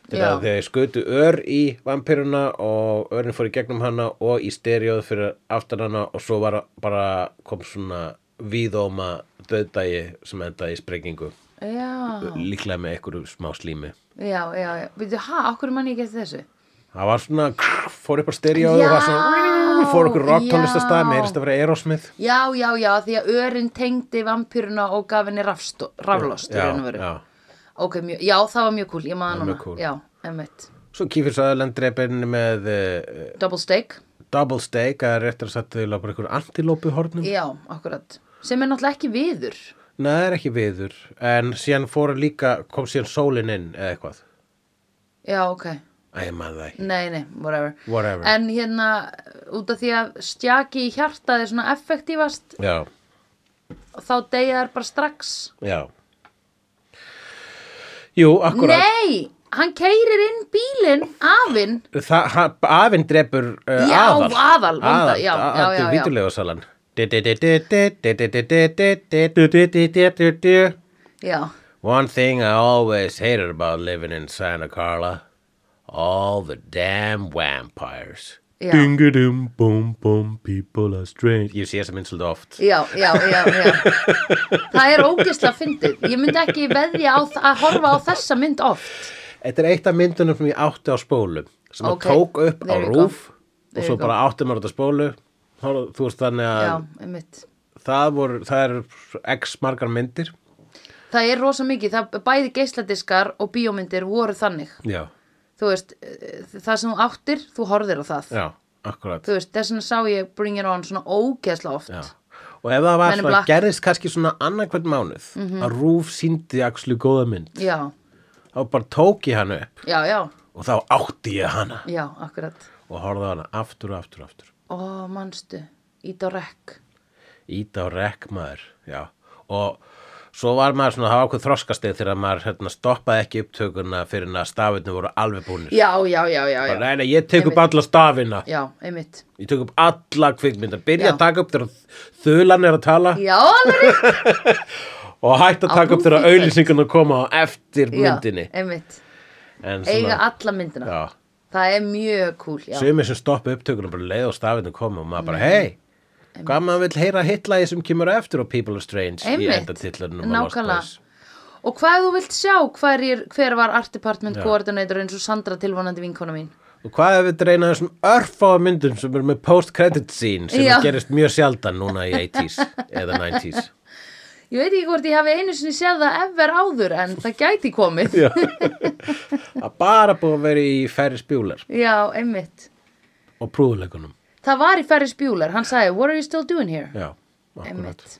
S2: Já.
S1: þegar þeir skutu ör í vampyruna og örin fór í gegnum hana og í stereoð fyrir aftan hana og svo var, bara kom svona víðóma döðdægi sem endaði í sprengingu
S2: já,
S1: líklega með einhverju smá slími
S2: já, já, já. Býtu, hæ, okkur mann ég geti þessu?
S1: það var svona, fór upp á stereoð og var svona,
S2: Já,
S1: fór okkur rock tónlistastæð
S2: já.
S1: með erist að vera Aerosmith
S2: Já, já, já, því að örin tengdi vampýruna og gaf henni rafstó- raflost í
S1: Já,
S2: raun og veru.
S1: já.
S2: Ok, mjög, já, það var mjög cool, ég maður
S1: var
S2: núna.
S1: mjög cool.
S2: Já, emmitt.
S1: Svo Kífur Söðurland drepinn með uh,
S2: Double steak,
S1: double steak að réttar að setja bara einhver antilópu hornum.
S2: já, akkurat. Sem er náttúrulega ekki viður.
S1: Nei, það er ekki viður. En síðan fór líka, kom síðan sólin inn eða eitthvað.
S2: Já, ok.
S1: Æ, maður það ekki.
S2: Nei, nei, whatever.
S1: Whatever.
S2: En hérna, út af því að stjaki í hjartað er svona effektífast,
S1: Já,
S2: þá deyja þær bara strax.
S1: já. Jú, akkurat.
S2: Nei, hann keirir inn bílinn, afinn.
S1: Það, ha- afinn drepur uh,
S2: Já,
S1: aðal.
S2: aðal, vonda, já, já, já,
S1: Þetta
S2: já.
S1: er vítulega salan. Du-du-du-du-du-du-du-du-du-du-du-du-du-du-du-du.
S2: Já,
S1: One thing I always hated about living in Santa Carla all the damn vampires.
S2: Já.
S1: Ding-a-dum, boom, boom, people are strange. Ég sé þess að minn svolítið oft.
S2: já, já, já, já. Það er ógeðslega fyndið. Ég myndi ekki veðja á, þ- að horfa á þessa mynd oft.
S1: Þetta er eitt af myndunum sem ég átti á spólu sem
S2: Ok,
S1: að tók upp á
S2: there you go.
S1: rúf og
S2: There
S1: svo
S2: you go.
S1: bara átti maður á þetta spólu. Horfðu- Þú veist þannig að
S2: Já, einmitt.
S1: það, voru, það eru x margar myndir.
S2: Það er rosa mikið, það, bæði geisladiskar og bíómyndir voru þannig.
S1: Já,
S2: Þú veist, eh, það sem þú áttir, þú horfir á það.
S1: já, akkurat.
S2: Þú veist, þess vegna sá ég Bring It On svona ógeðslega oft.
S1: Já. Og ef það var
S2: Men in
S1: svona,
S2: Black. Mhm.
S1: gerðist kannski svona annan hvern mánuð að rúf síndi axlu góða mynd
S2: Já,
S1: þá bara tók ég hann upp
S2: já, já,
S1: og þá átti ég hana
S2: já, akkurat.
S1: og horfði á hana aftur og aftur og aftur
S2: Ó, manstu, ít á rekk.
S1: Íta á rekk maður, já og svo var maður svona, það var okkur þroskastið þegar maður hérna, stoppaði ekki upptökuna fyrir en að stafirnir voru alveg búnir
S2: Já, já, já, já, já.
S1: bara, nei, nei, ég tek upp
S2: Einmitt.
S1: alla stafina
S2: Já, einmitt.
S1: ég tek upp alla kvikmynda byrja
S2: Já.
S1: að taka upp þegar þulan er að tala
S2: Já, alveg rétt.
S1: og hætt að
S2: Á
S1: taka upp þegar
S2: Blu-ray.
S1: auðlýsingarna koma á eftir myndinni
S2: Já, einmitt.
S1: en
S2: Eiga
S1: svona,
S2: alla myndina.
S1: já
S2: Það er mjög cool, já. Mm.
S1: Sumir sem stoppa upptökunum bara leið og stafinu koma og maður bara, hei, hvað maður vill heyra hitlagi sem kemur á eftir og People are Strange í
S2: Einmitt,
S1: endatillunum
S2: nákvæmlega. Og hvað ef þú vilt sjá hverjir, hver var Art Department
S1: Já.
S2: Coordinator eins og Sandra tilvonandi vinkona mín?
S1: Og hvað ef við dreina þessum örfáa myndum sem eru með post-credit scene sem
S2: Já.
S1: gerist mjög sjaldan núna í 80s eða 90s.
S2: Ég veit ekki hvort ég hafi einu sinni séð það ever áður en það gæti
S1: *laughs*
S2: komið.
S1: Já. Það er bara búið að vera í færri spjúlar
S2: Já, einmitt.
S1: og prúðuleikunum.
S2: Það var í Ferris Bueller, hann sagði, what are you still doing here?
S1: Já, akkurat.
S2: einmitt.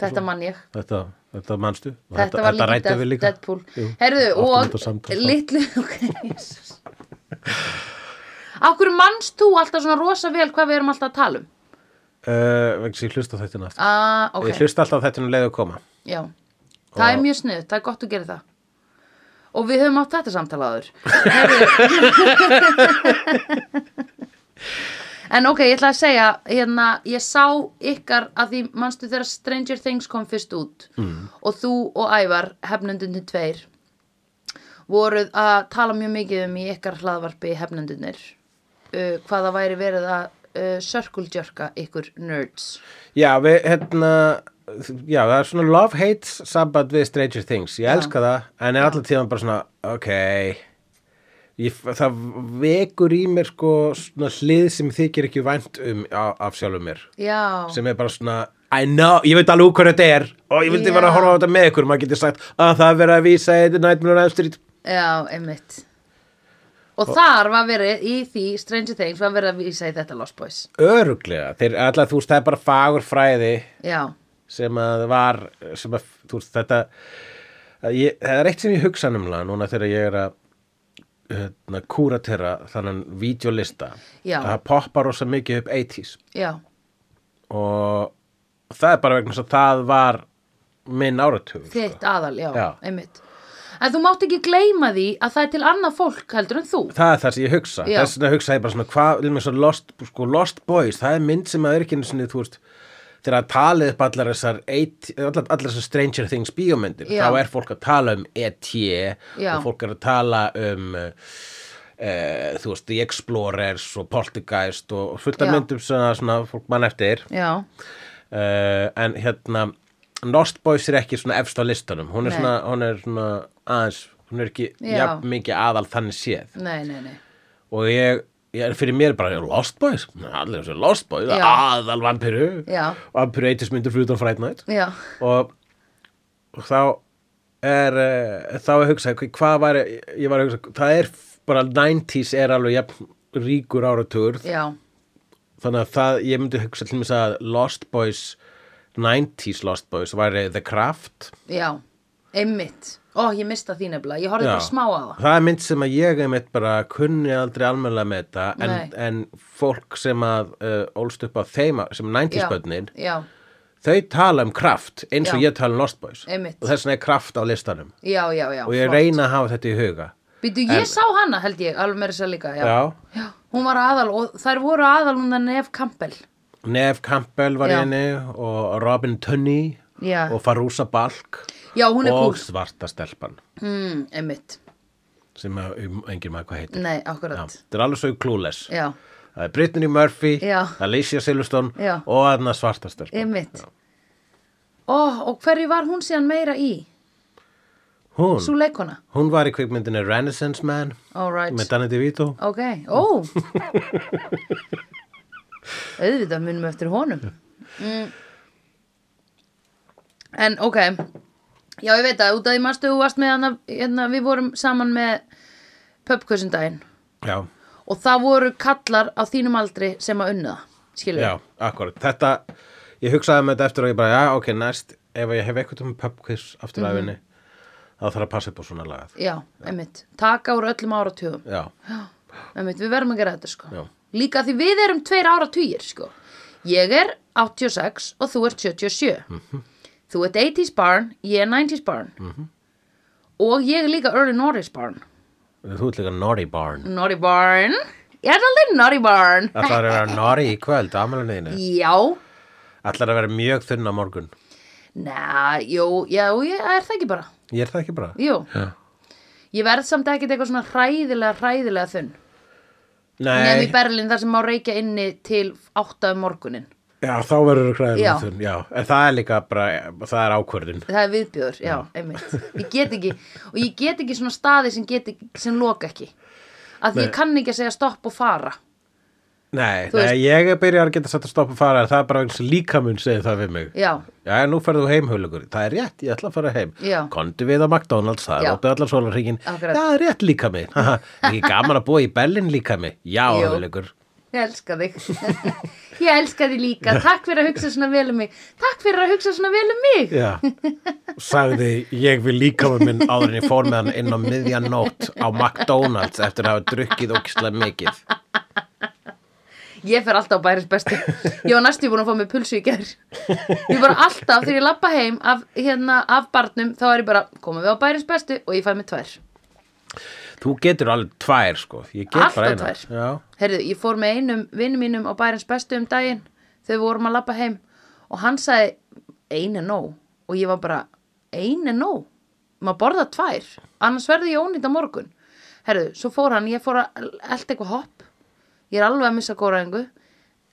S2: Þetta mann ég.
S1: Þetta, þetta manstu? Og
S2: Þetta, var
S1: þetta
S2: líka
S1: ræddum við
S2: Dead,
S1: líka.
S2: Deadpool.
S1: Jú,
S2: Herðu,
S1: áttum
S2: og
S1: þetta samtal þá.
S2: litlu, *laughs* ok, Jesus. Akkur manst þú alltaf svona rosa vel hvað við erum alltaf að tala um?
S1: Uh, vegna þess að ég hlusta á þættina aftur.
S2: Ah, ok.
S1: Ég hlusta alltaf á þættina um leið að koma.
S2: Já, það er mjög sniðut, það er gott að gera það Og við höfum átt þetta samtala áður En ok, ég ætla að segja hérna, ég sá ykkar að því manstu þegar Stranger Things kom fyrst út mm. og þú og Ævar hefnendunni tveir voruð að tala mjög mikið um í ykkar hlaðvarpi hefnendunir uh, hvað það væri verið að uh, circlejerka ykkur nerds
S1: Já, við, hérna, já, það er svona love-hate samband við Stranger Things. Ég elska það, en er alltaf tíðan bara svona, ok, ég, það vekur í mér sko svona hlið sem þykir ekki vænt um á, af sjálfum mér.
S2: Já,
S1: Sem er bara svona, I know, ég veit alveg hvað þetta er og ég vildi
S2: Já.
S1: vera að horfa á þetta með ykkur. Maður getur sagt að það er verið að vísa í The Nightmare on Elm Street.
S2: Já, einmitt Og þar var verið, í því Stranger Things var verið að vísa í þetta Lost Boys
S1: Öruglega, þeir alltaf, þú veist, það er bara fagur fræði
S2: Já,
S1: sem að var sem að, þú veist, þetta að ég, það er eitt sem ég hugsa numlega núna þegar ég er að hérna, kúratera þannan videolista
S2: Já.
S1: að það poppar rosa mikið upp 80s
S2: já,
S1: og það er bara vegna þess að það var minn áratug sko.
S2: þitt aðal, já,
S1: Já.
S2: einmitt en þú mátt ekki gleyma því að það er til annað fólk heldur en þú
S1: það er það sem ég hugsa
S2: Já.
S1: þess vegna hugsa ég bara svona hvað vil mér svo lost, sko, lost boys það er mynd sem að er ekki einu sinni þú veist þegar að tala upp allar þessar eight, allar, allar þessar Stranger Things bíómyndir
S2: Já.
S1: þá er fólk að tala um E.T. og fólk er að tala um uh, uh, þú veist, The Explorers og Poltergeist og fullt af
S2: Já.
S1: myndum svona, svona fólk mann eftir
S2: já,
S1: uh, en hérna Lost Boys er ekki svona efst á listanum hún er,
S2: Nei.
S1: svona, hún er svona aðeins hún er ekki
S2: Já.
S1: jafn mikið aðal þannig séð
S2: nei, nei, nei
S1: og ég, ég er fyrir mér bara Lost Boys, allir þessu Lost Boys
S2: Já.
S1: aðal vampiru
S2: Já.
S1: vampiru eitismyndur fyrir utan Fright Night
S2: já,
S1: og, og þá er eh, þá er hugsa hvað var, ég var að hugsa það er f- bara 90s er alveg jafn, ríkur áratugur
S2: já,
S1: þannig að það, ég myndi hugsa til mér að Lost Boys 90s Lost Boys væri The Craft
S2: já einmitt, ó, ég mista þín nefnilega ég horfði
S1: Já.
S2: bara smá á það
S1: það er mynd sem að ég einmitt bara kunni aldrei almennlega með þetta en,
S2: Nei.
S1: en fólk sem að uh, ólst upp á þeima sem 90s
S2: Já.
S1: börnin
S2: já,
S1: þau tala um kraft eins og
S2: Já.
S1: ég tala um Lost Boys
S2: Einmitt.
S1: og þess vegna er kraft á listanum
S2: já, já, já
S1: og ég
S2: flott.
S1: reyna að hafa þetta í huga
S2: Býtu, ég sá hana held ég, alveg meira sér líka, já.
S1: Já.
S2: já. Hún var aðal og þær voru aðal hún að nef Campbell.
S1: Neve Campbell var í
S2: Já.
S1: henni og Robin Tunney
S2: Já.
S1: og Farousa Balk
S2: Já, hún er
S1: og
S2: kúl.
S1: svarta stelpan
S2: Mm, einmitt.
S1: sem að- um, enginn maður hvað heitir
S2: Nei,
S1: Já,
S2: akkurat.
S1: þetta er alveg svo klúles
S2: Já,
S1: Það er Brittany Murphy,
S2: Já.
S1: Alicia Silverstone
S2: Já.
S1: og aðna svartastelpa
S2: einmitt. Ó, og hverju var hún síðan meira í?
S1: Hún,
S2: Sú leikona.
S1: hún var í kvikmyndinni Renaissance Man
S2: All right.
S1: með Danny DeVito
S2: Ok, Oh. ó. Auðvitað munum við eftir honum. Mm. En ok, já ég veit að út af því marstu þú varst með hana, hérna, við vorum saman með pöpkusundaginn.
S1: Já,
S2: og það voru kallar á þínum aldri sem að unna það, skilur
S1: já, akkurat Þetta, ég hugsaði með þetta eftir og ég bara, já, ok, næst ef ég hef eitthvað um pubquiz aftur
S2: Mhm.
S1: af henni þá þarf að passa upp á svona lagað
S2: já, einmitt, taka úr öllum áratugum
S1: Já,
S2: einmitt, við verðum að gera þetta sko
S1: Já.
S2: líka því við erum tveir áratugir sko ég er 86 og þú ert 77
S1: Mhm.
S2: þú ert 80s barn, ég er 90s barn og ég er líka early noughties barn
S1: þú ert líka Naughty Barn
S2: naughty barn, ég er aldrei naughty barn
S1: Ætlar að vera Naughty í kvöld, amalunniðinu
S2: já,
S1: Ætlar að vera mjög þunna morgun
S2: næ, jú, já, ég er það ekki bara
S1: Ég er það ekki bara
S2: jú,
S1: Já.
S2: ég verð samt ekkert eitthvað svona hræðilega, hræðilega þunn Nefn
S1: Nei,
S2: í Berlín þar sem má reykja inni til 8 um morgunin.
S1: já, þá verður hræðin
S2: Já.
S1: þunn Já, en það er líka bara, það er ákvörðin
S2: Það er viðbjöður, já, einmitt. Ég get ekki, og ég get ekki svona staði sem, get ekki, sem loka ekki. Að því ég
S1: Nei.
S2: kann ekki að segja stopp og fara.
S1: Nei,
S2: Þú
S1: nei ég er byrjar að geta satt að stoppa að fara en það er bara eins líkamun segir það við mig
S2: Já,
S1: Já, nú ferðu heim hulugur, það er rétt, ég ætla að fara heim
S2: Já.
S1: Kondu við á McDonalds, það
S2: Já.
S1: er opið allar sólarhringin
S2: Akkurat.
S1: Það er rétt líkami Haha, Ekki gaman að búa í Berlin líkami Já,
S2: Jú.
S1: hulugur
S2: ég elska þig. *laughs* ég elska þig líka. Takk fyrir að hugsa svona vel um mig. Takk fyrir að hugsa svona vel um mig.
S1: Já, sagði ég við líkama minn áður en ég fór með hann inn á miðjan nótt á McDonalds eftir að hafa drukkið ókislega mikið
S2: Ég fer alltaf á bæris bestu. Ég var næstu búin að fá mig pulsu í gerð. Ég bara alltaf, þegar ég lappa heim af, hérna, af barnum, þá er ég bara, komum við á bæris bestu og ég fæ mig tvær.
S1: Þú getur alveg tvær sko Ég get
S2: Alltaf
S1: bara eina
S2: tvær.
S1: Já,
S2: Herðu, ég fór með einum vinnum mínum á bærens bestu um daginn þegar við vorum að labba heim og hann sagði einu nóg og ég var bara einu nóg maður borða tvær, annars verði ég ónýtt á morgun Herðu, svo fór hann, ég fór að elda eitthvað hopp ég er alveg að missa góraðingu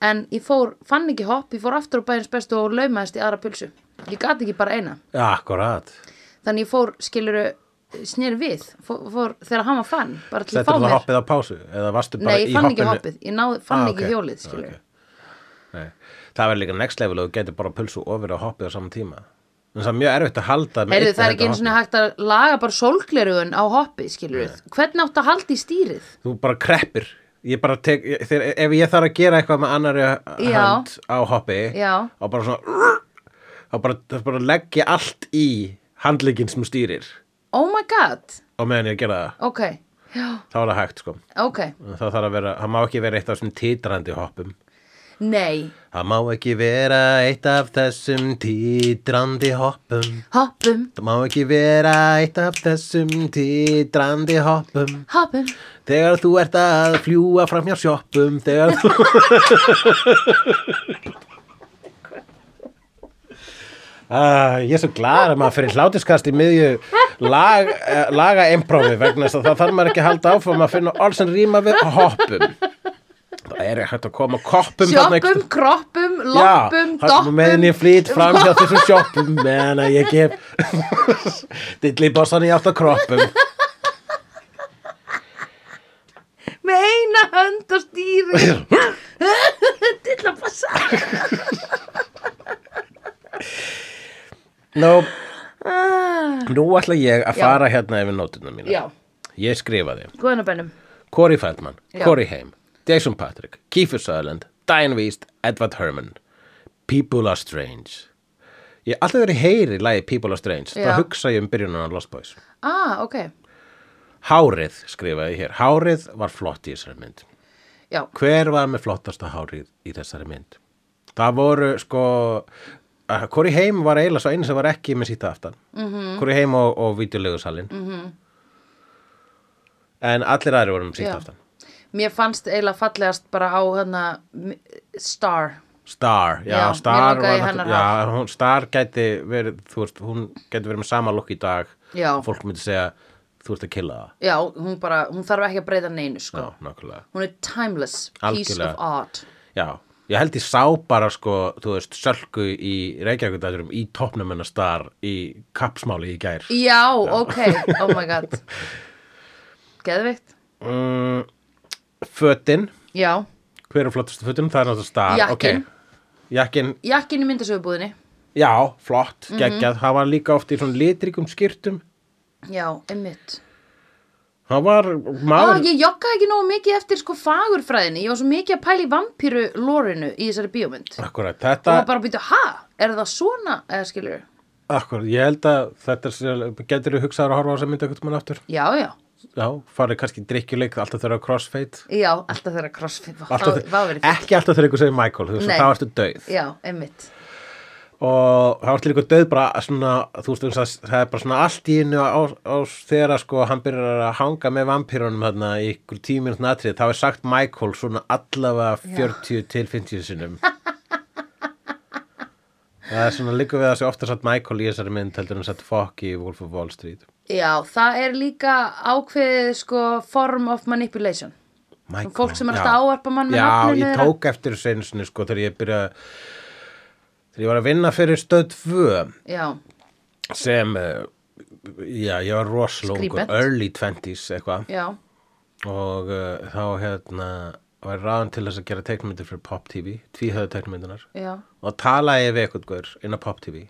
S2: en ég fór, fann ekki hopp, ég fór aftur á bærens bestu og laumaðist í aðra pulsu ég gat ekki bara eina
S1: akkurat
S2: þannig ég fór, skiluru, snýr við fór, fór, þegar hann var fann bara til að
S1: Settur
S2: fá
S1: þú
S2: mér
S1: hoppið á pásu eða varstu bara
S2: Nei, ég
S1: í
S2: fann ekki
S1: hoppinu
S2: hoppið, ég náð, fann
S1: Ah,
S2: ekki
S1: ok.
S2: hjólið, skilur
S1: Ah, ok. Nei. Það verður líka next level og þú getur bara pulsu ofir og hoppið á saman tíma en það er mjög erfitt að halda með
S2: Heyrðu,
S1: einni
S2: það er
S1: hendi
S2: ekki
S1: á
S2: einu svona
S1: hoppinu.
S2: hægt að laga bara sólglerugun á hoppið, skilur við. Hvernig áttu að halda í stýrið?
S1: Þú bara kreppir ég bara tek, ég, þegar, ef ég þarf að gera eitthvað með annari
S2: Já.
S1: hönd á hoppi
S2: Já.
S1: og bara svona og bara, þá bara leggja allt í handlegginn sem stýrir
S2: Oh my god,
S1: og meðan ég gera það,
S2: ok, já,
S1: þá er það hægt sko
S2: ok.
S1: En það þarf að vera, það má ekki vera eitt af svona titrandi hoppum
S2: Nei,
S1: Það má ekki vera eitt af þessum títrandi hoppum
S2: hoppum,
S1: Það má ekki vera eitt af þessum títrandi hoppum
S2: hoppum
S1: Þegar þú ert að fljúa fram hjá sjoppum Þegar þú *laughs* Uh, ég er svo glæður að maður fyrir hlátiskast í miðju lag, uh, laga imprófi vegna þess að það þarf maður ekki að halda áfram að finna orð sem rýma við hoppum það er hægt að koma koppum þarna einhvers-
S2: Sjoppum, kroppum, loppum,
S1: Já, hann
S2: doppum
S1: meðin ég flýt fram hjá þessum sjoppum meðan að ég gef dillibossan í átt að kroppum
S2: *laughs* Með eina hönd á stýri *laughs* Dilla passa
S1: Nú, nú ætla ég að fara hérna yfir nótuna mína
S2: Já,
S1: Ég skrifaði
S2: góðan að bennum
S1: Corey Feldman,
S2: Já.
S1: Corey Haim, Jason Patrick, Kiefer Sutherland, Diane Wiest, Edward Herman People are strange Ég alltaf verið heyri lagi People are strange
S2: Já.
S1: Það hugsa ég um byrjunan á Lost Boys
S2: Ah, ok,
S1: Hárið, skrifaði ég hér Hárið var flott í þessari mynd
S2: já,
S1: hver var með flottasta hárið í þessari mynd það voru sko Kori Heim var eiginlega svo einu sem var ekki með sýta aftan mm
S2: Mhm.
S1: Kori Heim og, og videolegusalinn mm en allir aðri voru með sýta
S2: Já.
S1: aftan
S2: mér fannst eiginlega fallegast bara á hana Star
S1: Star, já,
S2: Já,
S1: Star
S2: mig langaði í
S1: var
S2: hennar
S1: náttúrulega- já, hún, Star gæti verið þú veist, hún gæti verið með sama lukk í dag
S2: Já.
S1: og fólk myndi segja þú ert að killa það
S2: Já, hún bara, hún þarf ekki að breyta neinu sko
S1: já, nákvæmlega
S2: Hún er timeless, piece
S1: Algjörlega.
S2: of art
S1: Já, ég held ég sá bara sko, þú veist, sölku í Reykjavíkudæturum í toppnum hennar star í kappsmáli í gær.
S2: Já, ok, oh my
S1: *laughs*
S2: god Geðveikt
S1: Mm, fötin,
S2: Já,
S1: hver er flottastu fötin? Það er náttúrulega star.
S2: Jakkinn.
S1: ok. Jakkin,
S2: jakkin í myndasöfubúðinni
S1: já, flott,
S2: Mhm.
S1: geggjað. Það var líka oft í svona litrikum skýrtum.
S2: Já, einmitt
S1: Það var
S2: Ah,
S1: maður...
S2: ég joggaði ekki nógu mikið eftir sko fagurfræðinni, ég var svo mikið að pæla í vampíru lórinu í þessari bíómynd
S1: Akkurat,
S2: og
S1: þetta,
S2: var bara að býta, ha, er það svona Eh, eða skilur,
S1: akkurat, ég held að þetta sé- getur þú hugsaður að horfa á þess að mynda eitthvað mann aftur.
S2: já, já
S1: Já, farið kannski í drikkjuleik, alltaf þeirra crossfade.
S2: já, alltaf þeirra crossfit vá,
S1: Alltaf,
S2: þá- vá verið fínt.
S1: ekki alltaf þegar ykkur segir Michael, þú veist,
S2: Nei.
S1: þá ertu döið.
S2: já, einmitt,
S1: og það var til ykkur döð bara svona, þú veist, það, það er bara svona allt í innu á, á þegar að sko hann byrjar að hanga með vampírunum þarna í ykkur tíminn natrið, þá er sagt Michael svona allavega 40 til 50 sinnum það er svona líka við að sé ofta satt Michael í þessari mynd heldur en satt Fokk í Wolf of Wall Street
S2: já, það er líka ákveðið sko form of manipulation
S1: Michael,
S2: fólk sem er
S1: já.
S2: alltaf að ávarpa mann með
S1: já,
S2: nafninu
S1: ég
S2: þeirra.
S1: tók eftir þessu einu sinni sko þegar ég byrja þegar ég var að vinna fyrir stöð 2
S2: já,
S1: sem eh, já, ég var rosalóngur
S2: Skribent.
S1: early 20s eitthvað
S2: já,
S1: og uh, þá hérna var ráðan til þess að gera teiknmyndir fyrir Pop TV tvíhöðu teiknmyndunar
S2: já
S1: og talaði ég við eitthvað gaur inn á Pop TV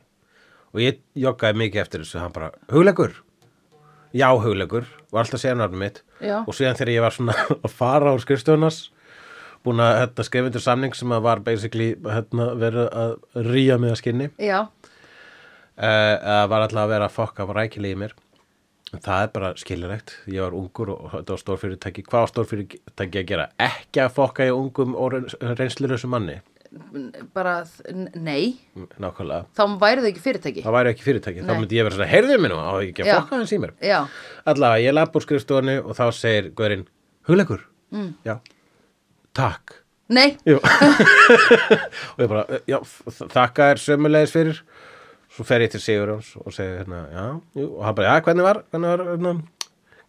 S1: og ég joggaði mikið eftir þessu hann bara, hugleikur já, hugleikur, var alltaf séðan orðum mitt
S2: Já.
S1: og síðan þegar ég var svona *laughs* að fara úr skrifstofunas búin að hérna, skrifundur samning sem að var basically hérna, verið að rýja mig að skinni
S2: já,
S1: Eh, Það var alltaf að vera að fokka var rækilega í mér En það er bara skilurlegt ég var ungur og þetta var stórfyrirtæki hvað var stórfyrirtæki að gera? ekki að fokka í ungum og reynslurössu manni
S2: N- bara, þ- n- nei
S1: nákvæmlega,
S2: þá væri þau ekki fyrirtæki
S1: það væri ekki fyrirtæki þá
S2: Nei.
S1: myndi ég vera svona, heyrðu mér nú á ég ekki að
S2: Já.
S1: fokka hans í mér
S2: já,
S1: allavega, ég lapp úr skrifstofanu og þá segir Guðurinn, hugleikur mm. já, takk
S2: nei,
S1: Jú. og ég bara, já, þ- þakka þér sömulegis fyrir svo fer ég til Sigurjóns og segi hérna, já, jú, og hann bara, já, hvernig var hvernig var, hérna,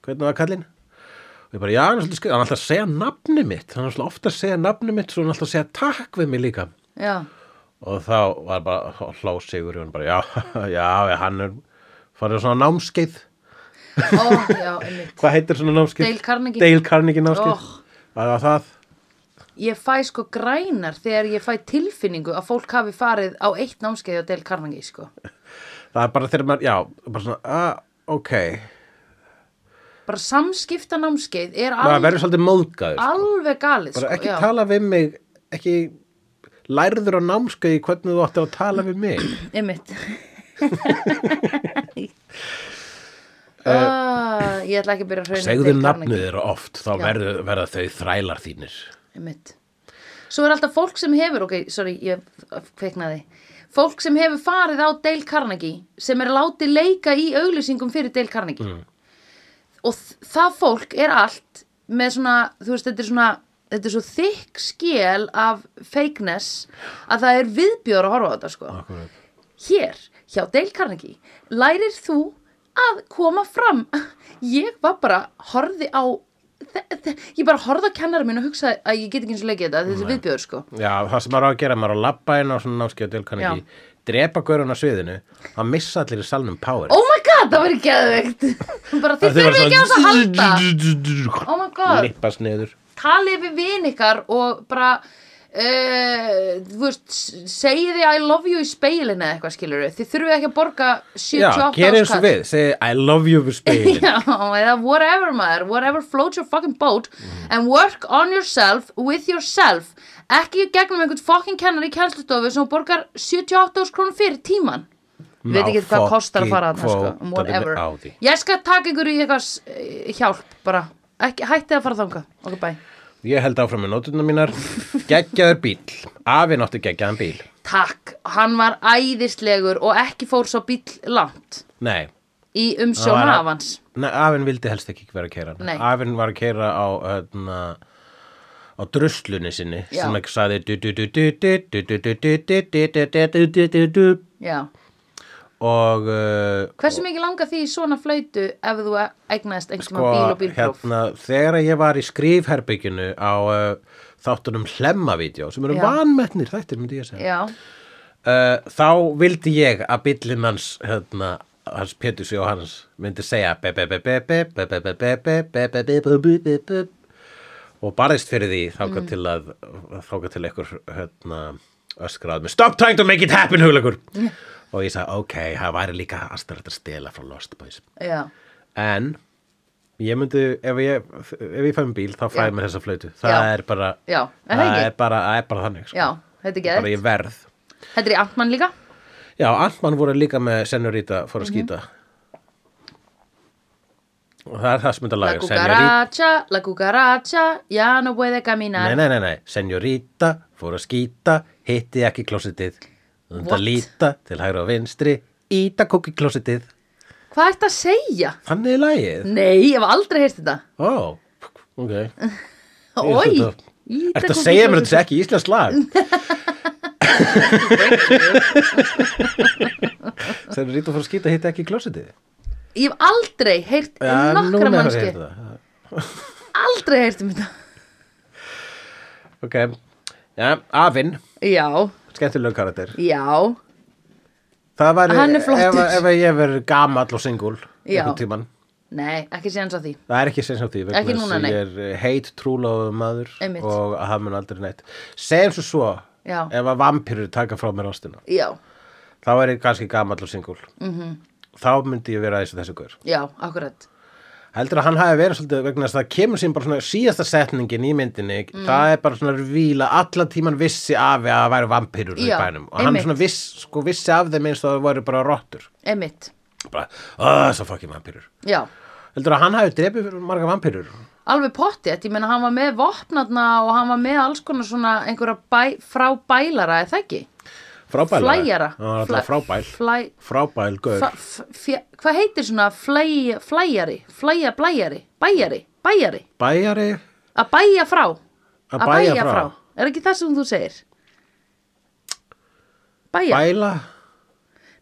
S1: hvernig var kallinn og ég bara, já, hann er svolítið skrið hann er alltaf að segja nafni mitt, hann er alltaf ofta að segja nafni mitt svo hann er alltaf að segja takk við mig líka
S2: já
S1: og þá var bara hló Sigurjón bara, já, *laughs* já, hann er farið á svona námskeið
S2: ó, já, einmitt
S1: hvað heitir svona námskeið?
S2: Dale Carnegie.
S1: Dale Carnegie námskeið
S2: Oh.
S1: það var það
S2: Ég fæ sko grænar þegar ég fæ tilfinningu að fólk hafi farið á eitt námskeið á Del Carnegie sko.
S1: það er bara þegar maður, já, bara svona, ah, ok
S2: Bara samskipta námskeið er
S1: maður
S2: alveg,
S1: verður svolítið móðgæður sko.
S2: alveg galið sko.
S1: bara ekki
S2: já.
S1: tala við mig ekki lærður á námskeiði hvernig þú átti að tala við mig *laughs*
S2: Einmitt.
S1: Eh,
S2: uh, ég ætla ekki að byrja að hrauna
S1: segðu nafnið þeirra oft þá
S2: Já.
S1: verður, verða þau þrælar þínir
S2: Einmitt. svo er alltaf fólk sem hefur ok, sorry, ég kveiknaði fólk sem hefur farið á Dale Carnegie sem er látið leika í auglýsingum fyrir Dale Carnegie og þ- það fólk er allt með svona, þú veist, þetta er svona þetta er svo þykk skél af fakeness að það er viðbjör að horfa á þetta sko
S1: Akkurat.
S2: hér hjá Dale Carnegie lærir þú að koma fram *laughs* ég var bara horfði á þe- þe- ég bara horfði á kennara mín og hugsaði að ég get ekki eins og leikið þetta þessi viðbjör sko
S1: Já, það sem maður á að gera, maður á að labba inn á svona námskeið til kann ekki, drepa gaurun á sviðinu, að missa allir í salnum power.
S2: oh my god það verið geðveikt *laughs* bara þið þurfið ekki á þess að halda
S1: halda.
S2: oh my god
S1: *laughs* Lippast niður.
S2: talið við vin ykkar og bara uh, þú veist s- segið þið I love you í speilinu eða eitthvað skilur þið þurfið ekki að borga
S1: Já,
S2: 78
S1: gera eins og
S2: áskall.
S1: við, segi I love you við speilin.
S2: *laughs* Já, eða whatever maður, whatever floats your fucking boat
S1: Mm.
S2: and work on yourself with yourself ekki í gegnum einhvern fucking kennar í kennslustofu sem borgar 78 ás krónum fyrir tíman Ég veit
S1: Má
S2: ekki hvað kostar að
S1: fucking
S2: fara þarna sko,
S1: kvótaðu
S2: whatever
S1: mig á því.
S2: ég skal taka ykkur í eitthvað s- eh, hjálp bara, ekki, hætti að fara þangað ok bye,
S1: Ég held áfram með nótuna mínar. Geggjaður bíl. Afinn átti geggjaðan bíl.
S2: takk hann var æðislegur og ekki fór svo bíll langt
S1: Nei,
S2: í umsjón
S1: Hann var-
S2: hafans
S1: Nei, afinn vildi helst ekki vera að keira
S2: Nei.
S1: Afinn var að keira á hérna, á druslunni sinni
S2: Já.
S1: sem ekki saði
S2: já
S1: og uh,
S2: Hversu mikið langar því í svona flöytu ef þú egnaðist einhvern
S1: sko,
S2: tíma bíl og bílpróf?
S1: hérna, þegar ég var í skrifherbygginu á uh, þáttunum hlemmavídeó sem eru
S2: Já.
S1: vanmetnir þættir myndi ég að segja
S2: Já,
S1: uh, þá vildi ég að bíllinn hans hérna, hans Péturs Jóhanns myndi segja be- be- be- be- be- be- be- be- be- be- be- be- be- bu- bu- bu- bu- og barðist fyrir því
S2: Mm.
S1: þáka til að þáka til einhver hérna, öskrað með stop trying to make it happen hugleikur og ég sagði ok, það væri líka aðstæðast að stela frá Lost Boys
S2: já,
S1: en ég myndi, ef ég, ef ég fæ mér bíl þá fæ
S2: Já.
S1: ég mér þessa flautu það
S2: Já.
S1: er bara
S2: Já, er það
S1: það
S2: ekki?
S1: er bara, það er bara þannig sko.
S2: já, þetta er
S1: bara
S2: geðið.
S1: ég verð
S2: Þetta er í Antmann líka?
S1: Já, Antmann voru líka með Senorita fór að
S2: Mhm.
S1: skýta og það er það sem þetta
S2: La
S1: lagur Senorita,
S2: cucaracha, la cucaracha, ya no puede caminar.
S1: nei, nei, nei, nei Senorita fór að skýta hitti ekki klósitið unda
S2: What?
S1: líta til hægra og vinstri íta kóki klósitið
S2: Hvað ert að segja?
S1: þannig er lagið,
S2: Nei, ég hef aldrei heyrst þetta.
S1: ó,
S2: *laughs*
S1: ok Ég
S2: Ói,
S1: ætla þetta- Ertu að segja mér að þetta sé ekki íslensk
S2: *laughs*
S1: lag? Senorita fór að skýta hitti ekki klósitið
S2: Ég hef aldrei heyrt
S1: Já,
S2: nokkra
S1: núna hefur ég
S2: mannski.
S1: heyrt það.
S2: Aldrei heyrt um þetta.
S1: Ok, já, afinn,
S2: Já,
S1: skemmtilega karakter.
S2: já,
S1: Það var,
S2: Hann er flottur.
S1: ef, ef ég verið gamall og singul,
S2: Já.
S1: einhvern tíman.
S2: nei, ekki séðan svo því.
S1: Það er ekki sem sem því, vegna
S2: Ekki
S1: þess
S2: núna,
S1: að
S2: nei.
S1: ég er eh, heit trúlóðu maður
S2: Einmitt.
S1: og að hafa mun aldrei neitt. Segjum svo svo,
S2: Já.
S1: ef að vampirur taka frá mér ástina,
S2: Já,
S1: þá er ég kannski gamall og singul. Mm
S2: Mhm.
S1: -hmm. Þá myndi ég vera þessu þessu gaur.
S2: já, akkurat.
S1: Heldur að hann hafi verið svolítið vegna þess að það kemur sín bara svona síðasta setningin í myndinni
S2: Mm.
S1: það er bara svona revíla, allan tíman vissi af að það væri vampirur í
S2: Já,
S1: bænum og hann
S2: einmitt.
S1: svona viss, sko, vissi af þeim eins og það væri bara rottur
S2: Emitt,
S1: bara, að svo fucking vampirur
S2: já.
S1: Heldur að hann hafi drepið fyrir marga vampirur
S2: alveg pottið, ég meina hann var með vopnarna og hann var með alls konar svona einhverja bæ, frá bælara eða það ekki?
S1: frábæl
S2: Flæjara.
S1: hann var alltaf frábæl
S2: Flæ,
S1: frábæl gaur
S2: fa, f, fjö, hvað heitir svona flæ, flæjari, flæja blæjari, bæjari, bæjari,
S1: bæjari
S2: að bæja frá,
S1: Að bægja frá.
S2: er ekki það sem þú segir? Bæja,
S1: bæla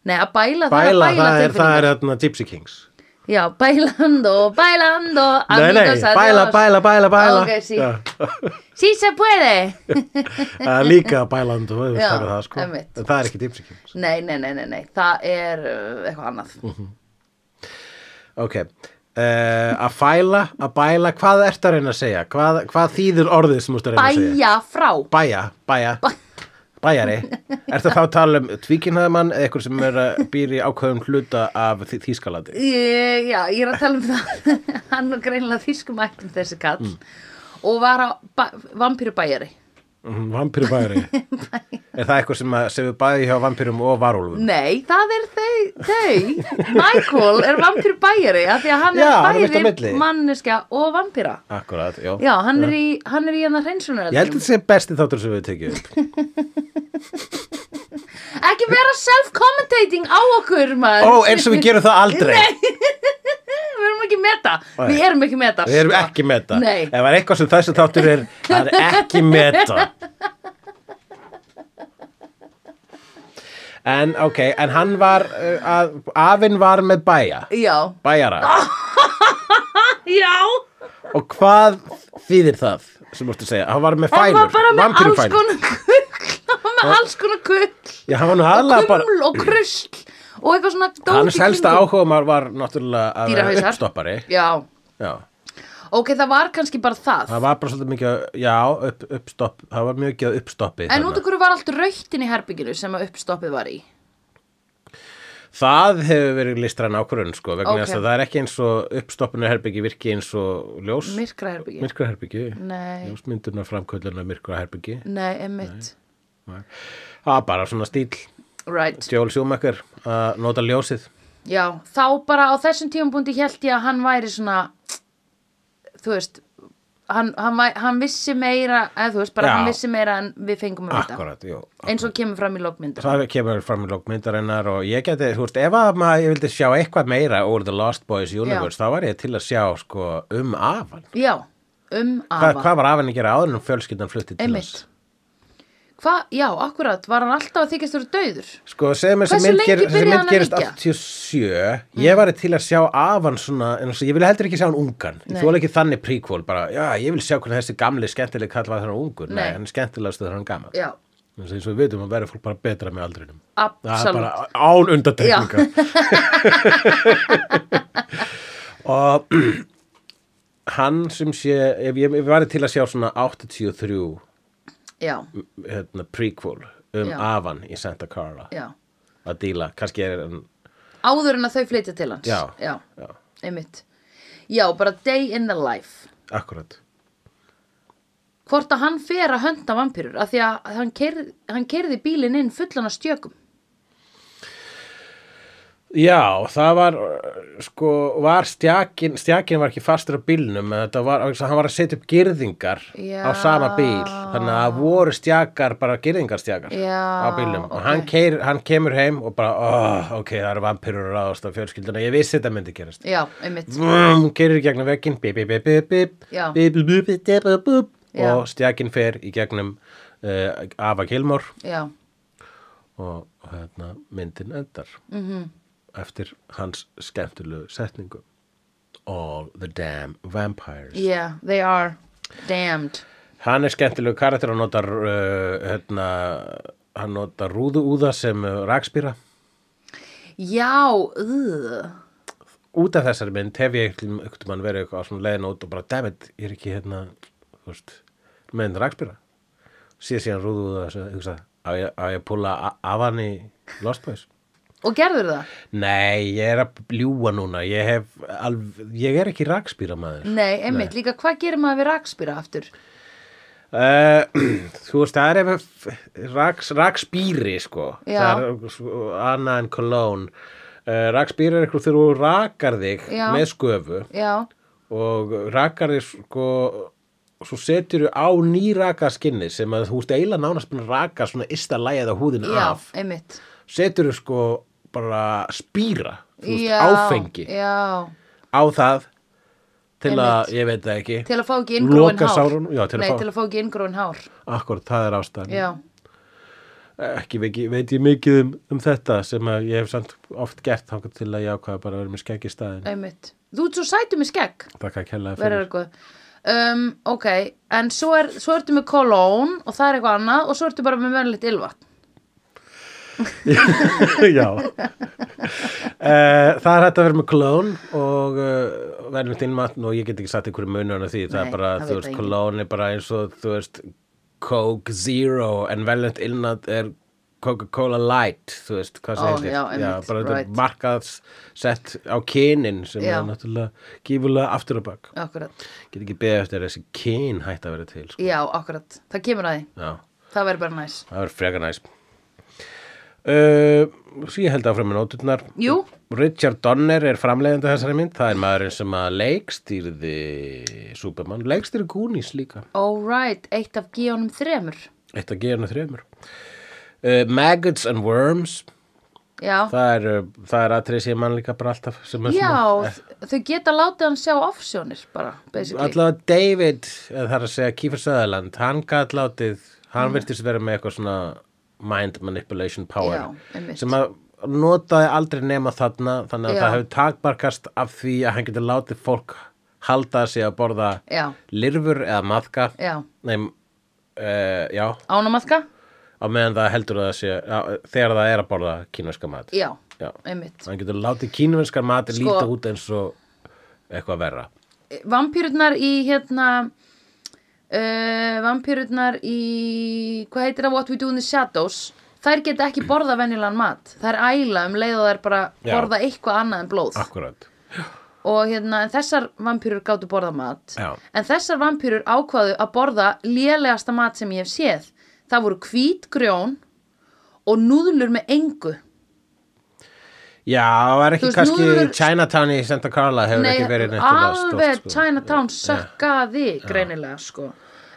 S2: nei að bæla það er
S1: bæla,
S2: að
S1: það
S2: bæla
S1: er, það
S2: tilfinningar.
S1: er þarna Gypsy Kings
S2: Já, bælando, bælando,
S1: Nei, nei,
S2: amigos,
S1: bæla,
S2: adiós.
S1: bæla, bæla, bæla
S2: Ok, sí.
S1: Já.
S2: Sí se puede.
S1: Það er líka bæland og
S2: Já,
S1: það er það sko
S2: einmitt.
S1: en það er ekki Gypsy Kings
S2: Nei, nei, nei, nei, nei, það er uh, eitthvað annað.
S1: Ok, uh, að fæla, að bæla, hvað ertu að reyna að segja? Hvað, hvað þýðir orðið sem þú ert að reyna að segja?
S2: Bæja frá.
S1: Bæja, bæja, bæjari. Ertu þá að tala um tvíkinnaðamann eða eitthvað sem er að býri ákveðum hluta af Þý- Þýskalandi?
S2: Ég, já, ég er að tala um það *laughs*
S1: Mm.
S2: hann var greinilega þýskum ættum þessi kall og var á vampíru bæjari
S1: Mhm,
S2: *laughs*
S1: Vampirubæri Er það eitthvað sem, að- sem við bæði hjá vampirum og varúlfum?
S2: Nei, það er þau, þau. Michael er vampir bæjari af því að hann
S1: Já, hann er
S2: er
S1: mitt á
S2: bæði
S1: milli.
S2: manneskja og vampira
S1: Akkurat, já
S2: Já, hann er í, hann er í hérna hreinsunar
S1: Ég held að þetta sé besti þáttur sem við tekjum upp.
S2: Ekki vera self-commentating á okkur maður
S1: Ó, eins og við gerum það aldrei
S2: Nei, *laughs* við erum ekki með það
S1: Nei.
S2: Við erum ekki með það
S1: Við erum ekki meta
S2: Nei.
S1: Ef það er eitthvað sem þessi þáttur er Það er ekki meta En ok, en hann var uh, að, Afinn var með bæja
S2: Já,
S1: Bæjara
S2: já
S1: Og hvað þýðir það sem vorstu að segja? Hann var með
S2: Hann
S1: fælur
S2: var bara með alls
S1: vampírufælur.
S2: konar *laughs* kull Hann var með alls konar kull
S1: Já, hann var nú
S2: Kuml
S1: aðlega bara
S2: og krusl Og eitthvað svona dót í
S1: Hans helsta
S2: kringum.
S1: áhuga maður var náttúrulega að vera
S2: Dýrahausar.
S1: uppstoppari
S2: Já,
S1: Já,
S2: ok, það var kannski bara það
S1: það var bara svolítið mikið að- Já, upp, uppstopp, það var mjög ekki að uppstoppi
S2: En
S1: þarna.
S2: út af hverju var allt rautin í herbygginu sem að uppstoppið var í?
S1: Það hefur verið listræn ákvörðun sko, vegna
S2: Ok.
S1: þess að það er ekki eins og uppstoppunarherbyggi virki eins og ljós
S2: Myrkra herbygginu?
S1: myrkraherbyggi,
S2: Nei,
S1: ljósmynduna framkvöldunar myrkraherbyggi
S2: nei, emmitt.
S1: það var bara svona stíl,
S2: Right.
S1: Joel Schumacher að nota ljósið
S2: Já, þá bara á þessum tímabundi held ég að hann væri svona, þú veist, hann, hann, væ- hann vissi meira, eða þú veist, bara
S1: Já.
S2: hann vissi meira en við fengum að vita.
S1: akkurat, jú
S2: Eins og kemur fram í lokmyndar.
S1: Það kemur fram í lókmyndarinnar og ég geti, þú veist, ef að maður, ég vildi sjá eitthvað meira úr The Lost Boys Universe, þá var ég til að sjá, sko, um afan.
S2: Já, um
S1: Hva,
S2: afa.
S1: hvað var afan að gera áður en fjölskyldan flutti til
S2: Einmitt. Hvað, já, akkurat, var hann alltaf að þykjast vera döður?
S1: Sko, segjum þessi
S2: Hversu
S1: mynd,
S2: lengi
S1: ger, þessi
S2: byrjaði hann
S1: mynd
S2: að Mm.
S1: gerist
S2: reykja?
S1: 87 Ég var til að sjá afan svona en svo, Ég vil heldur ekki sjá hann ungan Ég
S2: Nei.
S1: þóla ekki þannig prequel bara Já, ég vil sjá hvernig þessi gamli skemmtileg kall var þegar hann var ungur Nei,
S2: Nei.
S1: hann er skemmtilegast þegar hann er gamall
S2: Já,
S1: Þannig að eins og við vitum að verður fólk bara betra með aldrinum Það er
S2: absolutt.
S1: bara án undartekninga *laughs* Og *clears throat* hann sem sé Ef ég, ég var til að sjá svona 83
S2: Já,
S1: hérna, prequel um
S2: Já.
S1: afan í Santa Carla
S2: já.
S1: að díla, kannski er hann
S2: áður en að þau flytja til hans
S1: Já,
S2: já,
S1: já.
S2: einmitt já, bara day in the life
S1: Akkurat
S2: hvort að hann fer að hönda vampýrur af því að hann, keir, hann keirði bílinn inn fullan af stjökum
S1: Já, það var uh, sko, var stjakin stjakin var ekki fastur á bílnum en þetta var, hann var að setja upp girðingar
S2: Já.
S1: á sama bíl, þannig að það voru stjakar, bara girðingarstjakar
S2: Já,
S1: á bílnum
S2: ok.
S1: og hann, keir, hann kemur heim og bara, oh, ok, það eru vampirur að ráðast á fjölskylduna, ég vissi þetta myndi gerast
S2: já, einmitt
S1: Vum, keirir í gegnum vekkin bíp, bíp, bíp, bíp, bíp,
S2: Já.
S1: bíp, bíp, bíp, bíp, bíp, bíp, bíp,
S2: Já.
S1: og stjakin fer í gegnum uh, Ava Gilmore
S2: já,
S1: og og hérna myndin endar -hmm. eftir hans skemmtilegu setningu All the damn vampires
S2: yeah, they are damned
S1: Hann er skemmtilegu karakter hann notar uh, hérna, hann notar rúðuúða sem uh, rakspýra
S2: já, uh,
S1: út af þessari mynd hef ég ekkert mann verið eitthvað á svona leiðin út og bara dammit, ég er ekki hérna þú veist, mynd rakspýra síðan síðan rúðuúða þessu, hugsa, á ég, á ég að púla a- af hann í Lost Boys
S2: og gerður það
S1: Nei, ég er að ljúa núna Ég, hef, alv... ég er ekki rakspýra maður
S2: nei, einmitt, líka hvað gerir maður við rakspýra aftur
S1: Eh, *clears throat* Þú veist, það er ef raks, rakspýri sko
S2: Já.
S1: Það er svo- Anna en Cologne uh, Rakspýri er eitthvað þegar þú rakar þig
S2: Já.
S1: með sköfu
S2: já,
S1: og rakar þig sko svo setur þú á nýraka skinni sem að þú veist eiginlega nánast búin að raka svona ysta lægið á húðinu
S2: já,
S1: af
S2: einmitt
S1: setur þú sko bara spýra, þú veist,
S2: já,
S1: áfengi
S2: já,
S1: á það til
S2: Einmitt.
S1: að, ég veit það ekki
S2: til að fá ekki inngróin
S1: Loka
S2: hár
S1: sárunum, já, til að
S2: nei,
S1: fá-
S2: til að fá ekki inngróin hár
S1: akkur, það er ástæðan
S2: já,
S1: ekki veit, veit ég mikið um, um þetta sem að ég hef samt oft gert þangað til að ég ákvaða bara að vera með skegg í staðin
S2: einmitt þú ert svo sætum í skegg
S1: þakka að kella
S2: verður
S1: fyrir
S2: eitthvað um, ok, en svo, er, svo ertu með kolón og það er eitthvað annað og svo ertu bara með mönlegt ylvatn *laughs*
S1: já Eh, það er hægt að vera með klón og uh, verðum til matn og ég get ekki sagt einhverju munur hana því það
S2: Nei,
S1: er bara, þú
S2: það veit
S1: veist,
S2: það enginn.
S1: klón er bara eins og þú veist Coke Zero en veljönd innat er Coca-Cola Light þú veist hvað
S2: Ó,
S1: það heitir
S2: já, einmitt,
S1: bara
S2: right.
S1: þetta markað sett á kynin sem
S2: Já.
S1: er náttúrulega gífulega aftur á bak
S2: akkurat
S1: get ekki beðið eftir að þessi kyn hætt að vera til sko.
S2: Já, akkurat, það kemur að því
S1: já,
S2: Það verður bara næs
S1: það verður frekar næs uh, svo ég held áfram með nóturnar
S2: Jú,
S1: Richard Donner er framleiðandi þessari mynd það er maðurinn sem að leikstýrði Superman, leikstýrði Goonies líka
S2: all right, eitt af gíjónum þremur
S1: eitt að gera hann þremur uh, Maggots and Worms
S2: Já,
S1: það er, uh, það er atrið sem mann líka bara alltaf sem er
S2: já
S1: svona,
S2: þ- þau geta látið hann sjá ofsjónir bara, basically
S1: allavega David eða það er að segja Kífur Söðaland hann gat látið,
S2: Mm.
S1: hann virtist vera með eitthvað svona mind manipulation power
S2: Já, einmitt.
S1: sem að notaði aldrei nema þarna þannig að
S2: Já.
S1: það hefur takbarkast af því að hann getur látið fólk halda sig að borða
S2: Já.
S1: lirfur eða maðka
S2: Já,
S1: nei, uh, já,
S2: ánamaðka
S1: á meðan það heldur að það sé já, þegar það er að borða kínverska mat
S2: Já,
S1: Já.
S2: einmitt
S1: hann getur látið kínverskar mat
S2: Sko-
S1: líta út eins og eitthvað verra
S2: Vampýrurnar í hérna uh, Vampýrurnar í hvað heitir það What We Do in the Shadows Þær geta ekki borða venjulegan mat Þær æla um leið og þær bara
S1: Já. Ah.
S2: borða eitthvað annað en blóð
S1: akkurat
S2: og hérna, en þessar vampýrur gáttu borða mat
S1: Já.
S2: en þessar vampýrur ákvaðu að borða lélegasta mat sem ég hef séð það voru hvít grjón og núðlur með engu
S1: já, það er
S2: Þú
S1: ekki
S2: veist,
S1: kannski
S2: nú eru-
S1: Chinatown í Santa Carla hefur ekki verið neitt um
S2: alveg
S1: sko.
S2: Chinatown sökkaði greinilega sko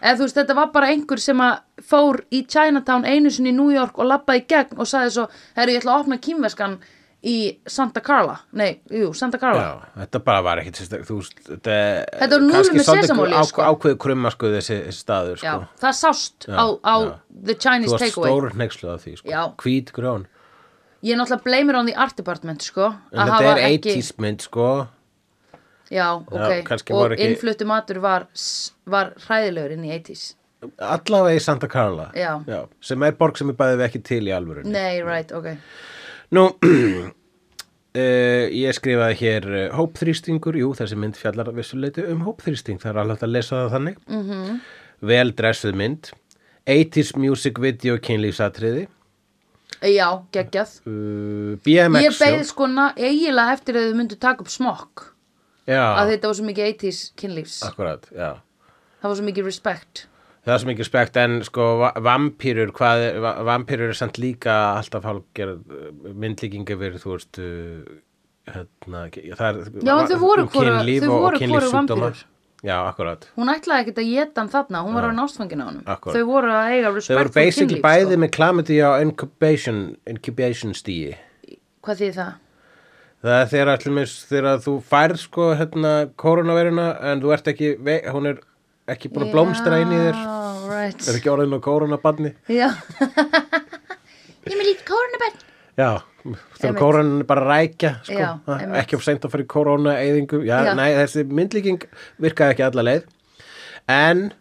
S2: eða þú veist þetta var bara einhver sem að fór í Chinatown einu sinni í New York og labbaði í gegn og sagði svo herru ég ætla að opna kýmveskan í Santa Carla nei, jú, Santa Carla
S1: Já, þetta bara var ekkit sérstak, þú veist, þetta
S2: Þetta var núðlur með sesamolíu, sko.
S1: Ákveðu krumma, sko, þessi staður, sko.
S2: Já, það sást
S1: Já,
S2: á, á
S1: já.
S2: The
S1: Þú
S2: Chinese
S1: varst
S2: Takeaway
S1: stór hneikslu af því, sko.
S2: Já.
S1: Hvít grjón.
S2: Ég er náttúrulega bleimir on the art department sko
S1: En þetta er 80s mynd, sko.
S2: Já, ok,
S1: kannski
S2: og
S1: voru ekki-
S2: innfluttu matur var, s- var hræðilegur inn í 80s
S1: Allavega í Santa Carla.
S2: Já.
S1: Sem er borg sem er bæðið við ekki til í alvörunni.
S2: Nei, right, ok
S1: Nú, *clears throat* uh, ég skrifaði hér uh, hópþrýstingur, jú, þessi mynd fjallar að vissuleiti um hópþrýsting, það er alveg að lesa það þannig. Mm
S2: Mhm.
S1: -hmm. Vel dressuð mynd, 80s music video kynlífsatriði,
S2: Já, geggjað
S1: uh, BMX
S2: Ég beið
S1: show.
S2: sko na- eiginlega eftir að þau myndu taka upp smokk
S1: Já,
S2: að þetta var svo mikið 80s kynlífs
S1: akkurat, já.
S2: Það var svo mikið respect
S1: Það er svo mikið spekt en sko va- vampírur, hvað, er- va- vampírur er samt líka alltaf hálfgerð uh, myndlíking yfir, þú veist, uh, hérna, ge- það er um
S2: Já, en þau voru hvoru-
S1: kynlíf
S2: þau
S1: og- og
S2: voru hvoru
S1: kynlífssjúkdóma.
S2: vampírur.
S1: Já, akkurat.
S2: Hún ætlaði ekkert að geta hann þarna, hún var á nástfangina á honum
S1: Akkúrat.
S2: Þau voru að eiga
S1: Þau
S2: respect
S1: voru
S2: for sko.
S1: basically
S2: kynlíf,
S1: bæði með klamiti á incubation, incubation stíi.
S2: sko. Hvað þýð það?
S1: Það er þegar allir með þegar þú færð sko hérna koronaveiruna en þú ert ekki, vei- hún er ekki búin að blómstra inn í þér.
S2: Já, right
S1: Er ekki orðin á koronabanni.
S2: Já *laughs* Ég er með lítið kórnabenn
S1: Já, þegar
S2: Einmitt.
S1: koronan er bara að rækja sko.
S2: Já,
S1: Ha,
S2: einmitt.
S1: ekki of seint að fara í koronaeyðingu. Já,
S2: Já.
S1: nei, þessi myndlíking virkaði ekki alla leið. En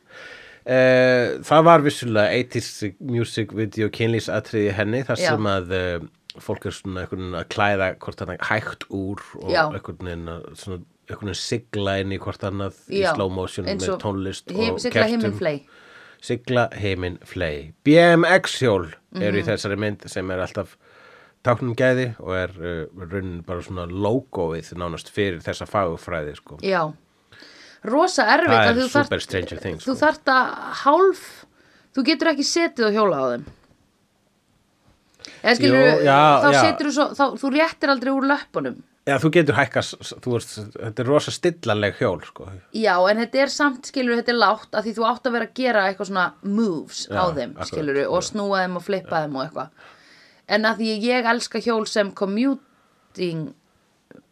S1: uh, það var vissulega 80s music video kynlýsatriði henni þar
S2: Já.
S1: sem að uh, fólk er svona einhvern veginn að klæða hvort hann hægt úr og
S2: Já.
S1: einhvern veginn að svona einhvern veginn sigla inn í hvort annað í
S2: Já,
S1: slow motion
S2: eins
S1: með
S2: og
S1: tónlist
S2: him-
S1: og
S2: sigla himinn fley.
S1: sigla heimin flei BMX hjól eru í þessari mynd sem er alltaf táknum gæði og er uh, raunin bara svona logoið nánast fyrir þessa fagufræði sko.
S2: Já Rosa erfitt
S1: það
S2: að
S1: er
S2: þú
S1: super
S2: þarft-
S1: stranger things
S2: Þú
S1: sko.
S2: þarft að hálf Þú getur ekki setið og hjóla á þeim Eða skilur
S1: Jú, já,
S2: þá
S1: já.
S2: setur þú svo, þá, þú réttir aldrei úr löppunum
S1: Já, þú getur hækka, s- s- þú veist, þetta er rosa stillanleg hjól sko.
S2: Já, en þetta er samt, skilur, þetta er lágt að því þú átt að vera að gera eitthvað svona moves
S1: Já,
S2: á þeim,
S1: akkurat,
S2: skilur, og snúa þeim og flippa þeim og eitthvað en að því ég elska hjól sem commuting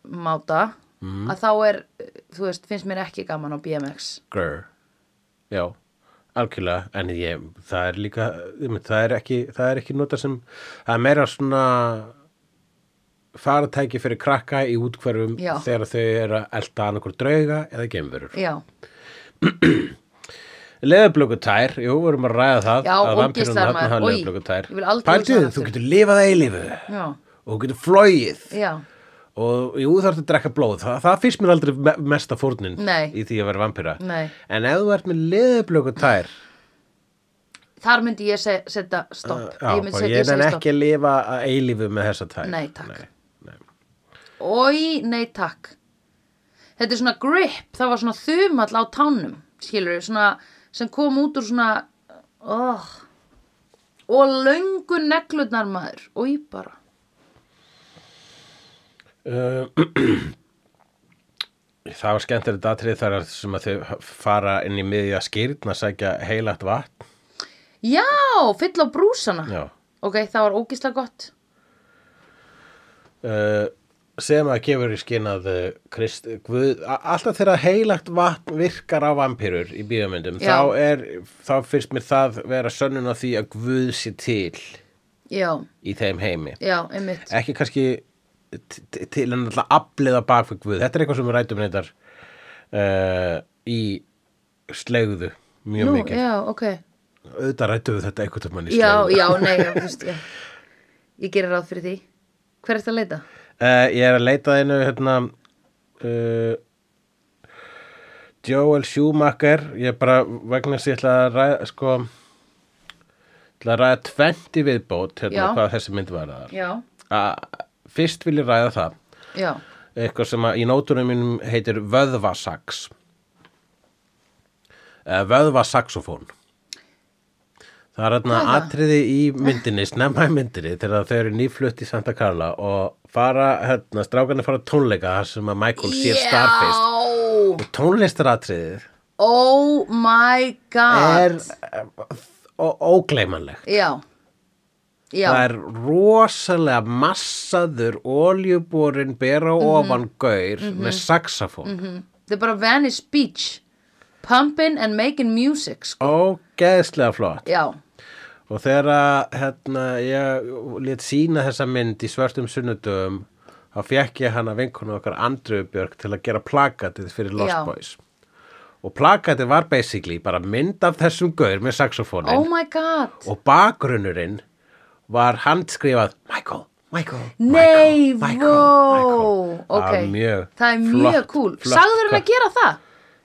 S2: máta,
S1: Mhm.
S2: að þá er þú veist, finnst mér ekki gaman á BMX
S1: Grr. Já, algjörlega, en ég, það er líka, ég mynd, það er ekki, það er ekki nota sem, það er meira svona faratæki fyrir krakka í útkverfum
S2: Já.
S1: þegar þau eru að elta annarkur drauga eða geimverur.
S2: Já,
S1: Leðublökutær, jú, við vorum að ræða það
S2: Já,
S1: að
S2: og
S1: vampírurnar
S2: geislar
S1: þarna
S2: maður.
S1: hafa
S2: Oj,
S1: leðurblökutær.
S2: ég vil aldrei
S1: Pældu
S2: hugsa
S1: því,
S2: það
S1: þú
S2: aftur.
S1: getur lifað að eilífu
S2: já,
S1: og þú getur flóið
S2: já
S1: og jú, þú ert að drekka blóð það, það finnst mér aldrei me mesta fórnin
S2: Nei.
S1: í því að vera vampíra
S2: Nei.
S1: en ef þú ert með leðublöku tær
S2: þar myndi ég se- setja stopp
S1: Uh, Já,
S2: ég myndi
S1: bara
S2: setja
S1: ég
S2: segi
S1: er
S2: stopp
S1: ekki að lifa að eilífu með þessa tæk
S2: Nei, takk.
S1: Nei, nei.
S2: Ói, nei takk Þetta er svona grip, það var svona þumall á tánum, skilur svona, sem kom út úr svona oh, og löngu neglutnar maður Ói bara
S1: Uh, *clears throat* Það var skemmtilegt atrið þar sem að þau fara inn í miðja skýrn að sækja heilagt vatn
S2: Já, fyll á brúsana
S1: Já.
S2: Ok, það var ógislega gott
S1: Uh, sem að gefur í skinn að uh, Krist, Guð, a- alltaf þegar heilagt vatn virkar á vampýrur í bíómyndum
S2: Já.
S1: þá, er, þá finnst mér það vera sönnun á því að Guð sé til
S2: Já,
S1: í þeim heimi
S2: já, einmitt
S1: ekki kannski t- t- til en alltaf afliða bak við Guð þetta er eitthvað sem við rætum reyndar uh, í slegðu mjög
S2: Nú,
S1: mikið
S2: já, ok
S1: auðvitað rættum við þetta einhvern tímann í
S2: Já,
S1: slegðu
S2: já, nei, já, þú veist, já Ég gerir ráð fyrir því Hver er þetta að leita?
S1: Eh, ég er að leita að einu hérna uh, Joel Schumacher ég er bara vegna þess að ég ætla að ræða sko ætla að ræða 20 viðbót hérna
S2: Já.
S1: hvað þessi mynd var að
S2: Já,
S1: fyrst vil ég ræða það
S2: já,
S1: eitthvað sem að í nótunum mínum heitir vöðvasax eða vöðvasaxofón það er þarna
S2: Hvað er það?
S1: atriði í myndinni snemma í myndinni þegar þau eru nýflutt í Santa Carla og fara, hérna, strákarnir fara á tónleika þar sem að Michael sér starfist
S2: Já
S1: og tónlistaratriðið
S2: Oh my god
S1: er eh, ó- ógleymanlegt
S2: Já Já,
S1: það er rosalega massaður oljuborin bera á ofan gaur með saxofón
S2: þetta er bara Venice Beach Pumpin' and making music sko.
S1: ógeðslega flott
S2: Já,
S1: og þegar að, hérna, ég lét sína þessa mynd í svörtum sunnudum þá fekk ég hana vinkonu okkar Andröfu Björk til að gera plakatið fyrir Lost
S2: Já.
S1: Boys og plakatið var basically bara mynd af þessum gaur með
S2: oh
S1: saxofónin
S2: my god
S1: og bakgrunnurinn var handskrifað Michael, Michael,
S2: Nei,
S1: Michael, Michael,
S2: vó
S1: Michael. það
S2: okay.
S1: var mjög
S2: Það er mjög
S1: flott-
S2: cool
S1: flott
S2: Sagður hann
S1: cut.
S2: að gera það?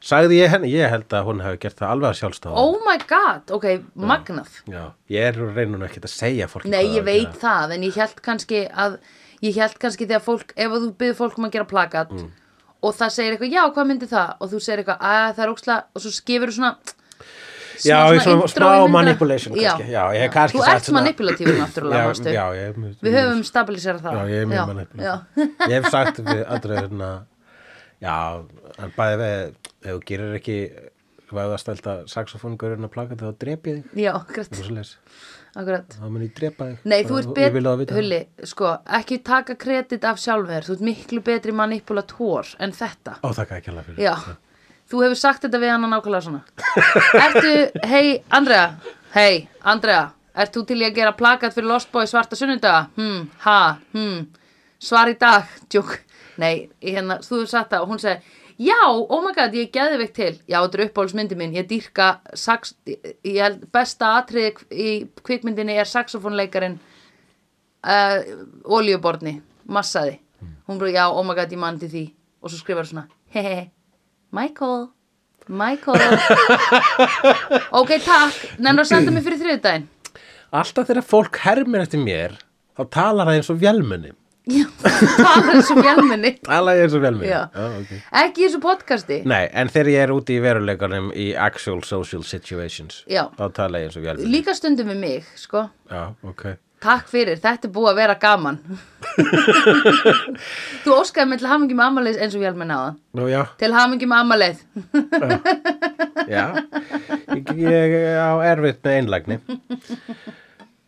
S1: sagði ég henni, ég held að hún hefði gert það alveg að sjálfstofa
S2: Oh my god, ok,
S1: Oh.
S2: magnað
S1: Já, ég er reynun ekki að segja fólki
S2: Nei,
S1: hvað það
S2: ég
S1: er að
S2: veit
S1: gera.
S2: það En ég held kannski að Ég held kannski þegar fólk Ef að þú byrður fólk um að gera plakat
S1: Mm.
S2: Og það segir eitthvað, já, hvað myndi það? Og þú segir eitthvað, að það er óksla Og svo skefur þú svona
S1: Já,
S2: smá
S1: í svona
S2: intro í
S1: smá
S2: myndina.
S1: manipulation kannski. Já, ég hef kannski
S2: Þú
S1: sagt
S2: ert
S1: svona-
S2: manipulatífur náttúrulega, mástu
S1: já, já, ég, mjög-
S2: Við höfum stabilisera það
S1: Já, ég er mjög
S2: já. *laughs*
S1: manipulation Ég hef sagt við andrið hérna Já, en bæði við ef þú gerir ekki væðastælda saxofóngurinn að plaka þá drep ég þig
S2: já, akkurat,
S1: Það er svoleiðis.
S2: akkurat
S1: Þá mun ég drepa þig
S2: Nei,
S1: Bara
S2: þú ert
S1: Ég vil að
S2: betri,
S1: vita
S2: Hulli, sko, ekki taka kredit af sjálfur Þú ert miklu betri manipulator en þetta
S1: Ó, þakka ekki alveg fyrir
S2: Já, þú hefur sagt þetta við hann nákvæmlega svona *laughs* Ertu, hei, Andrea Hei, Andrea, ert þú til í að gera plakat fyrir Lost Boy svarta sunnudaga? Hmm, ha, hmm Svar í dag, djók Nei, ég hérna, þú hefur sagt það og hún segi Já, oh my god, ég geði veikt til Já, þetta er uppáhaldsmyndi mín, ég dýrka sax, ég held besta atriði í kvikmyndinni er saxofónleikarin uh, olíuborni, massaði hún bara, já, oh my god, ég mann til því og svo skrifar svona, hehe Michael, Michael ok, takk nennur að senda mig fyrir þriðudaginn
S1: Alltaf þegar fólk hermir eftir mér þá talar það eins og vélmenni
S2: já, tala eins og vélmenni
S1: Talar ég eins og vélmenni
S2: Já.
S1: Já, ok
S2: ekki í þessu podcasti
S1: Nei, en þegar ég er úti í veruleikanum í actual social situations
S2: Já.
S1: þá tala ég eins og vélmenni
S2: líka stundum við mig, sko
S1: Já, ok
S2: Takk fyrir, þetta er búið að vera gaman Þú óskaði mig til hamingi með amalið eins og vélmenn á það
S1: Nú já,
S2: Til hamingi með amalið
S1: *laughs* já Ég, ég á erfitt með einlægni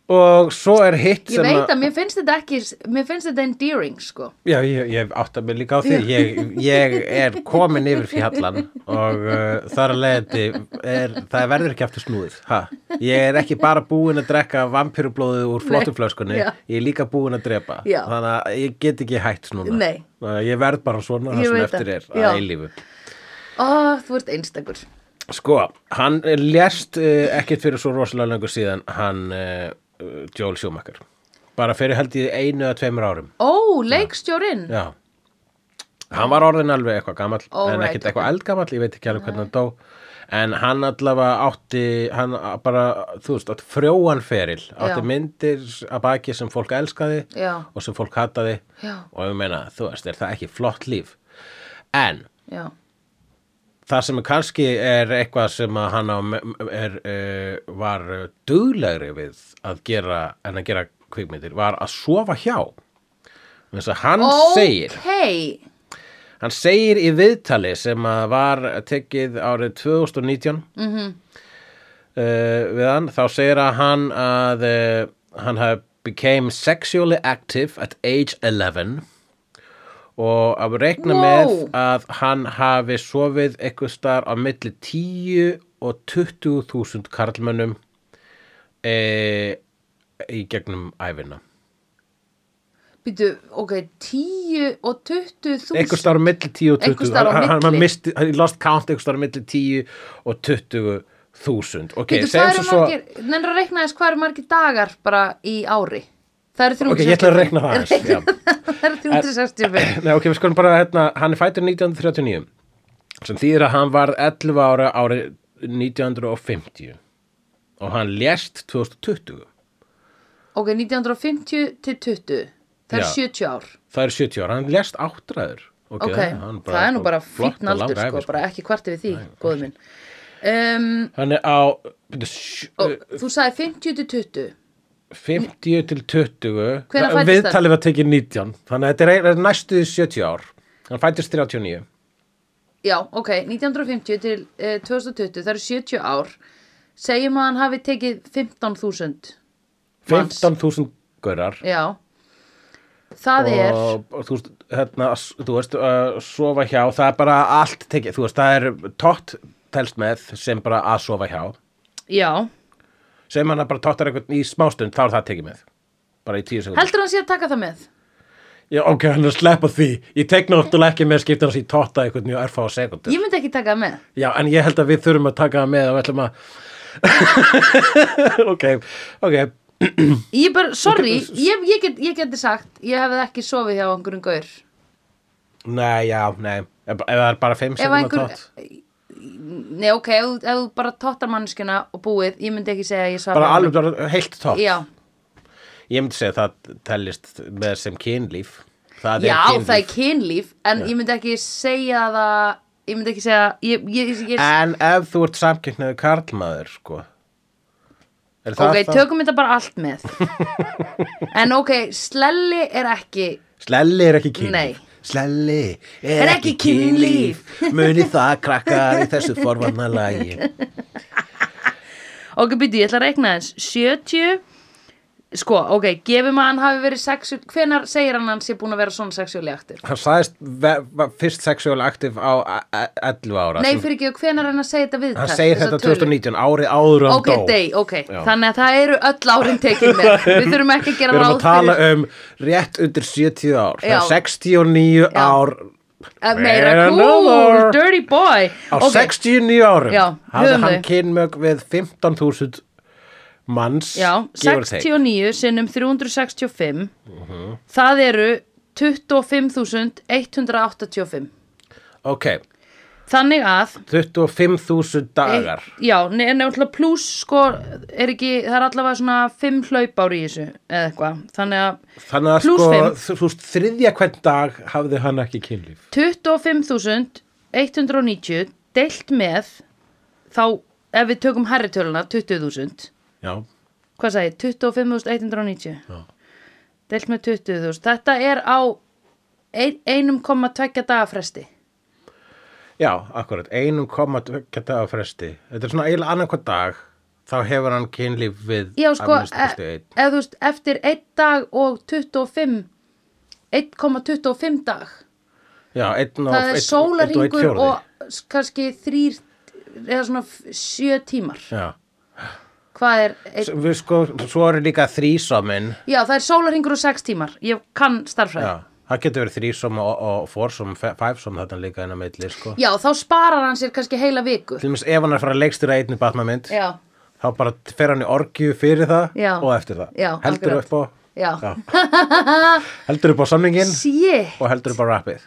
S1: Og svo er hitt
S2: Ég
S1: sem
S2: veit að mér finnst þetta ekki Mér finnst þetta endearing, sko
S1: Já, ég, ég átta mig líka á því ég, ég er komin yfir fjallan og uh, þar að leiðandi er, það verður ekki aftur snúið ha? Ég er ekki bara búin að drekka vampírublóðið úr flottuflöskunni
S2: Já.
S1: ég er líka búin að drepa
S2: Já.
S1: þannig að ég get ekki hætt núna
S2: Nei.
S1: Þannig að Ég verð bara svona
S2: Ég
S1: það sem
S2: veit
S1: eftir
S2: það.
S1: er
S2: Já.
S1: að eilífu
S2: Ó, þú ert einstakur
S1: Sko, hann lest uh, ekkert fyrir svo rosalega lengur síðan hann uh, Joel Schumacher bara fyrir held ég einu að tveimur árum
S2: Ó, leikstjórinn
S1: Já hann var orðin alveg eitthvað gamall en
S2: Alright,
S1: ekkert
S2: ok.
S1: eitthvað eldgamall, ég veit ekki alveg hvernig hann dó en hann allavega átti hann bara, þú veist, átti frjóan feril átti
S2: Já.
S1: myndir að baki sem fólk elskaði
S2: Já.
S1: og sem fólk hataði
S2: Já.
S1: og ég meina, þú veist, er það ekki flott líf en
S2: já,
S1: það sem er kannski er eitthvað sem að hann á, er, uh, var duglegri við að gera en að gera kvikmyndir var að sofa hjá þess að hann segir
S2: Ókei.
S1: Hann segir í viðtali sem að var tekið árið 2019 mm eh, við hann, þá segir að hann að uh, hann hafi became sexually active at age 11 og að reikna
S2: Wow.
S1: með að hann hafi sofið eitthvað star á milli 10 og 20.000 karlmönnum e, í gegnum æfina.
S2: býtu, ok, 10 og 20
S1: einhvers
S2: þúsund
S1: staðar á milli 10 og 20
S2: Einhvers staðar á
S1: Hann- hann, hann,
S2: milli.
S1: misti, hann lost count einhvers staðar á milli 10 og 20 þúsund ok,
S2: býtu, hvað
S1: segjum
S2: eru
S1: svo svo
S2: margir, nennir að reikna þess hvað eru margir dagar bara í ári það eru 360
S1: ok, ég ætla að reikna það aðeins já.
S2: *laughs* það eru 365
S1: *clears throat* Nei, ok, við skulum bara, hérna, hann er fættur 1939 sem þýðir að hann var 11 ára árið 1950 og hann lést 2020
S2: ok, 1950 til 20 það eru
S1: Já.
S2: 70 ár
S1: það er 70 ára, hann lést áttræður ok,
S2: ok,
S1: hann
S2: það er nú bara
S1: flott
S2: fíkn
S1: og
S2: aldur
S1: langur ævi,
S2: sko, bara ekki kvarti við því, góðu minn um,
S1: hann er á byrju, sj-
S2: og, þú sagði 50 til 20
S1: 50 til 20
S2: Hvenær
S1: Það-
S2: fæddist
S1: Viðtalið var tekið 19 Þannig að þetta er- er næstu 70 ár Hann fættist 39
S2: já, ok, 1950 til eh, 2020, það eru 70 ár segjum að hann hafi tekið 15.000 Manns.
S1: 15.000 gaurar
S2: já það er
S1: og, og þú veist, hérna, s- þú veist uh, sofa hjá, það er bara allt tekið Þú veist, það er tótt telst með sem bara að sofa hjá
S2: Já,
S1: sem hann bara tóttar einhvern í smástund þá er það tekið með bara í 10 sekund
S2: heldur hann sé að taka það með?
S1: Já, ok, hann er að sleppa því Ég tek náttúrulega ekki með skipta hans í tótta einhvern mjög erfá sekundu
S2: Ég myndi ekki taka það með
S1: Já, en ég held að við þurfum að taka það með og við ætlum að *laughs* Ok, ok
S2: Ég bara, sorry, ég, ég, get, ég geti sagt ég hefði ekki sofið hjá einhverjum gaur
S1: Nei, já, nei Ef ef það er bara 5
S2: Ef
S1: sekundar
S2: einhver-
S1: tótt
S2: Nei, ok, ef, þú- ef þú bara tóttar manneskjuna og búið, ég myndi ekki segja að ég svaf
S1: Bara
S2: hjá
S1: alveg bara heilt tótt
S2: honum. Já,
S1: Ég myndi segja að það tellist með sem kynlíf Það
S2: já
S1: er kynlíf
S2: það er kynlíf en ég myndi ekki segja það ég myndi ekki segja ég, ég, ég, ég,
S1: En ef þú ert samkynnaðu karlmaður, sko Er það
S2: Ok,
S1: þá?
S2: tökum þetta bara allt með
S1: *laughs*
S2: En ok, slelli er ekki
S1: Slelli er ekki
S2: Nei.
S1: kynlíf Slelli er,
S2: Er
S1: ekki
S2: ekki kynlíf.
S1: kynlíf Muni það krakkar í þessu forvarna lagi
S2: Ok, býtu, ég ætla að reikna þess 70 Sko, ok, gefum að hann hafi verið sexu Hvenær segir hann að hann sé búin að vera svona sexuáli aktur?
S1: Hann sagðist ve- var fyrst sexual aktiv á a- a- 11 ára
S2: Nei,
S1: sem-
S2: fyrir ekki, hvenær hann að segja þetta viðtæk?
S1: Hann segir þetta 2019, árið áður en hann
S2: Ok,
S1: dó
S2: dey, ok,
S1: Já.
S2: þannig að það eru öll árin tekin
S1: *laughs*
S2: með Við þurfum ekki að
S1: Við
S2: gera
S1: erum
S2: ráð
S1: að tala um rétt undir 70 ár Það
S2: Já.
S1: er 69
S2: Já.
S1: ár
S2: um Meira
S1: Another.
S2: cool, dirty boy
S1: Á
S2: Ok,
S1: 69 árum
S2: Já,
S1: hafði
S2: höfum
S1: hann
S2: þau.
S1: kynmök við 15.000 manns
S2: Já,
S1: give or take. Mhm.
S2: 69 sinnum 365 Það eru 25.185
S1: Ok,
S2: Þannig að
S1: 25.000 dagar
S2: Eitt- Já, ne- en náttúrulega pluss sko er ekki, það er allavega svona fimm hlaup ári í þessu eða eitthvað þannig að
S1: Þannig að
S2: Plús
S1: sko,
S2: fimm.
S1: þú veist, þriðja hvern dag hafði hann ekki kynlíf
S2: 25.190 deilt með þá ef við tökum herritöluna 20.000
S1: Já,
S2: hvað sagði, ég? 25.190
S1: Já.
S2: deilt með 20.000 þetta er á ein- 1,2 daga fresti
S1: já akkurat, 1,2 dagar fresti Þetta er svona eiginlega annarkvæð dag Þá hefur hann kynlíf við
S2: Já, sko,
S1: að minnsta
S2: e-
S1: kosti einn.
S2: ef þú veist, eftir 1 dag og 25 1,25 dag
S1: Já, einn og
S2: það er
S1: einn-
S2: sólarhingur
S1: einn
S2: og,
S1: einn fjórði.
S2: s- kannski þrýr eða svona f- sjö tímar
S1: Já.
S2: hvað er ein,
S1: S- Við sko, svo eru líka þrísominn
S2: já það er sólarhingur og sex tímar ég kann starffræði já.
S1: Já, það getur verið þrísom og, og fórsom, fæfsom þarna líka inn á milli sko.
S2: þá sparar hann sér kannski heila viku
S1: Til dæmis ef hann er að fara að leikstýra einni batmamynd
S2: já,
S1: þá bara fer hann í orgju fyrir það
S2: Já.
S1: og eftir það
S2: Já,
S1: heldur
S2: akkurat.
S1: upp á
S2: já,
S1: Já. heldur upp á samningin
S2: sí
S1: og heldur upp á rappið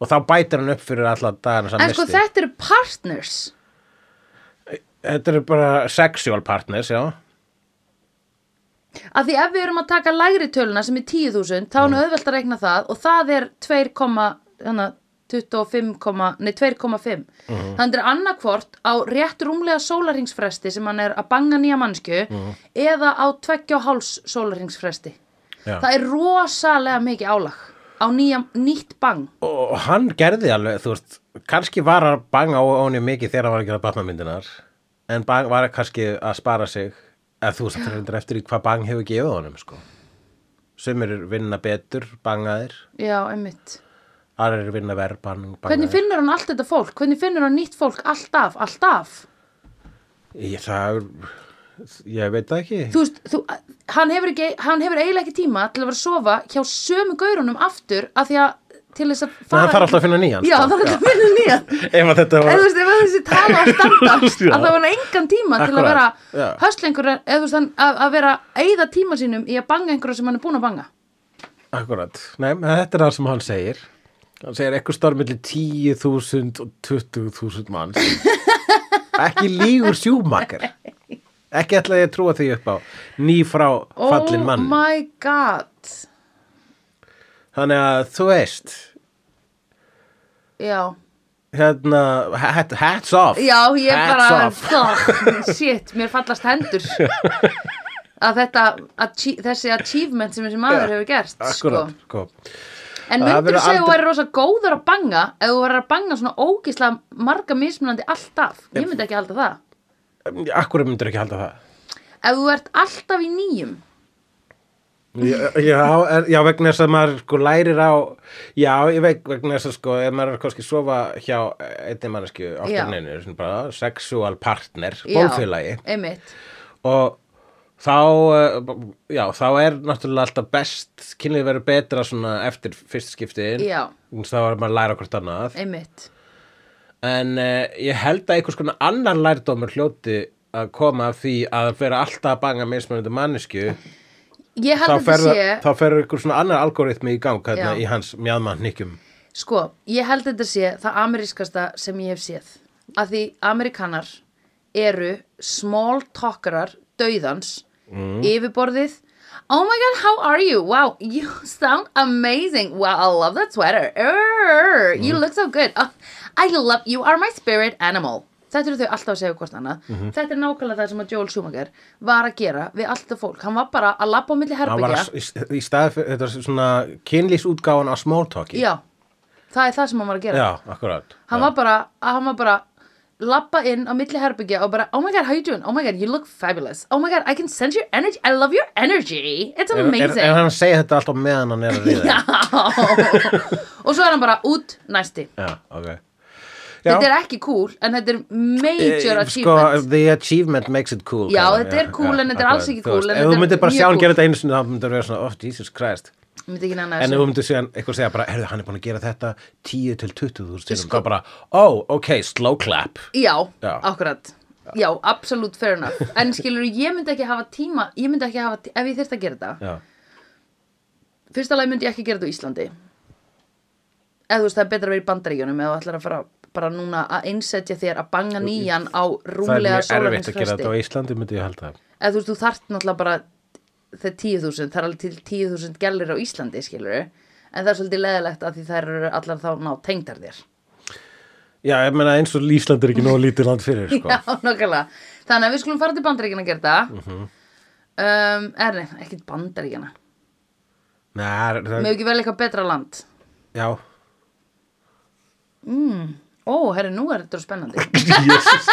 S1: og þá bætir hann upp fyrir alla dagana sem
S2: En sko
S1: missti.
S2: þetta eru partners
S1: Þetta eru bara sexual partners, já.
S2: Af því ef við erum að taka lægri töluna sem er 10.000 þá er nú auðvelt að reikna það og það er hérna, 2,25, nei 2,5
S1: Mhm.
S2: þannig er annarkvort á rétt rúmlega sólaringsfresti sem hann er að banga nýja mannsku
S1: Mhm.
S2: eða á 2,5 sólaringsfresti
S1: já.
S2: það er rosalega mikið álag á nýja, nýtt bang
S1: Og hann gerði alveg, þú veist, kannski var að banga á honum mikið þegar hann var að gera batnamyndinar, en bang var kannski að spara sig, eða þú veist, það er eftir í hvað bang hefur gefið honum, sko. Sumir eru vinna betur, bangaðir,
S2: já, einmitt
S1: aðrir eru vinna verð, bang,
S2: hvernig
S1: bangaðir.
S2: finnur hann allt þetta fólk, hvernig finnur hann nýtt fólk alltaf, alltaf
S1: Ég, það, ég veit það ekki.
S2: þú veist, þú, hann, hefur ekki, hann hefur eiginlega ekki tíma til að vera að sofa hjá sömu gaurunum aftur af því að til þess að fara
S1: hann þarf alltaf að finna nýjan,
S2: já,
S1: sko.
S2: það er alltaf að finna nýjan
S1: *laughs* Ef að þetta
S2: en
S1: var...
S2: þú veist, ef að þessi tala að
S1: *laughs* Já.
S2: standa að það var engan tíma til að vera
S1: Akkúrat, já.
S2: höstlengur eða þú veist, hann- að, að vera að eyða tíma sínum í að banga einhverja sem hann er búin að banga
S1: Akkurat, nei, en þetta er það sem hann segir Hann segir eitthvað starf millir 10.000 og 20.000 manns
S2: *laughs*
S1: Ekki lígur sjúmakar Ekki ætla ég að trúa því upp á ný frá fallin mann
S2: oh my god
S1: Þannig að þú veist
S2: já,
S1: hérna, hat, hats off
S2: já ég bara
S1: hats off. *laughs*
S2: fuck, shit, mér fallast hendur að þetta achie þessi achievement sem þessi maður hefur gert
S1: Akkurat,
S2: sko.
S1: sko.
S2: En
S1: Það
S2: myndir
S1: verður
S2: þú segja að þú
S1: aldrei-
S2: væri rosa góður að banga ef þú væri að banga svona ógislega marga mismunandi alltaf? Ég myndi ekki halda það.
S1: Akkur myndir ekki halda það
S2: Ef þú ert alltaf í nýjum.
S1: Já, já, er- já, vegna þess að maður sko lærir á Já, ég veit vegna þess að sko ef maður er kannski að sofa hjá einni mannesku
S2: Já.
S1: oftar neinu, svona bara sexual partner,
S2: Já,
S1: bólfélagi
S2: Einmitt.
S1: og þá eh, já, þá er náttúrulega alltaf best kynlið verður betra svona eftir fyrst skiptin
S2: Já.
S1: þá er maður að læra hvort annað
S2: Einmitt.
S1: en uh, ég held að einhvers konar annar lærdómur hljóti að koma af því að vera alltaf að banga mismunandi mannesku
S2: Ég held
S1: þá
S2: að þetta
S1: ferðu,
S2: sé,
S1: þá ferðu ykkur svona annar algoritmi í gang hérna,
S2: Já.
S1: í hans mjadmann nýkjum
S2: sko, ég held að þetta sé það amerískasta sem ég hef séð. Að því ameríkanar eru small talkerar dauðans
S1: Mm.
S2: yfirborðið Oh my god, how are you? Wow, you *laughs* sound amazing. Wow, I love that sweater. Err, You
S1: Mm.
S2: look so good. Oh, I love, you are my spirit animal. Þetta eru þau alltaf að segja hvort annað.
S1: Mhm.
S2: Þetta er nákvæmlega það sem að Joel Schumacher var að gera við alltaf fólk. Hann var bara að labba á milli
S1: hann var
S2: herbyggja.
S1: að, í, í staði fyrir, þetta er svona kynlýsútgáfan á smalltalki
S2: Já, það er það sem hann var að gera.
S1: já akkurat
S2: Hann var bara, að hann var bara lappa inn á milli herbyggja og bara Oh my god, how you doing? Oh my god, you look fabulous. Oh my god, I can sense your energy. I love your energy. It's
S1: er, er,
S2: amazing.
S1: er hann að segja þetta alltaf meðan hann er að ríða
S2: *laughs* Já. og svo er hann bara út næsti.
S1: já ok já,
S2: Þetta er ekki cool, en þetta er major
S1: eh,
S2: achievement.
S1: sko, the achievement makes it cool
S2: Já,
S1: kallar hann,
S2: þetta er cool, en þetta er
S1: akkurat,
S2: alls ekki
S1: þú veist,
S2: cool, en
S1: ef
S2: þetta
S1: þú
S2: er
S1: myndir bara
S2: mjög
S1: sjá hann
S2: cool.
S1: gera þetta einu sinni þá myndir vera svona, oh Jesus Christ
S2: Ég myndi ekki næna
S1: en ef
S2: þessu.
S1: þú myndir segja, eitthvað segja bara, heyrðu hann er búin að gera þetta 10 til 20 þúsund sinnum,
S2: sko-
S1: þá bara, oh, ok, slow clap
S2: Já,
S1: Já.
S2: akkurat. Já, absolutt fair enough. En skilur, ég myndi ekki hafa tíma, ég myndi ekki hafa, tí- ef ég þyrfti að gera þetta.
S1: já,
S2: Fyrsta lagi myndi ég ekki gera þetta á Íslandi. Eða þú veist, það er betra að vera í bandaríkjunum eða þú ætlar að fara bara núna að einsetja þér að banga nýjan á
S1: það er mjög
S2: rúmlega
S1: erfitt að gera
S2: sólarhengsfresti.
S1: þetta á Íslandi myndi ég halda
S2: eða þú veist, þú þart náttúrulega bara þegar tíu þúsund, það er alveg til tíu þúsund gælir á Íslandi, skilur en það er svolítið leðilegt að því þær eru allar þá ná tengdar þér
S1: Já, ég meina eins og Ísland er ekki nóg lítið land fyrir, sko.
S2: já, nokkulega, þannig að við skulum fara til bandaríkina að gera það
S1: Mhm.
S2: um, er nefn, ekki bandaríkina
S1: Nei, það er- það,
S2: með ekki vel eitthvað betra land
S1: já. *laughs*
S2: Mm. ó, herri, nú er þetta spennandi
S1: *laughs* Jesus.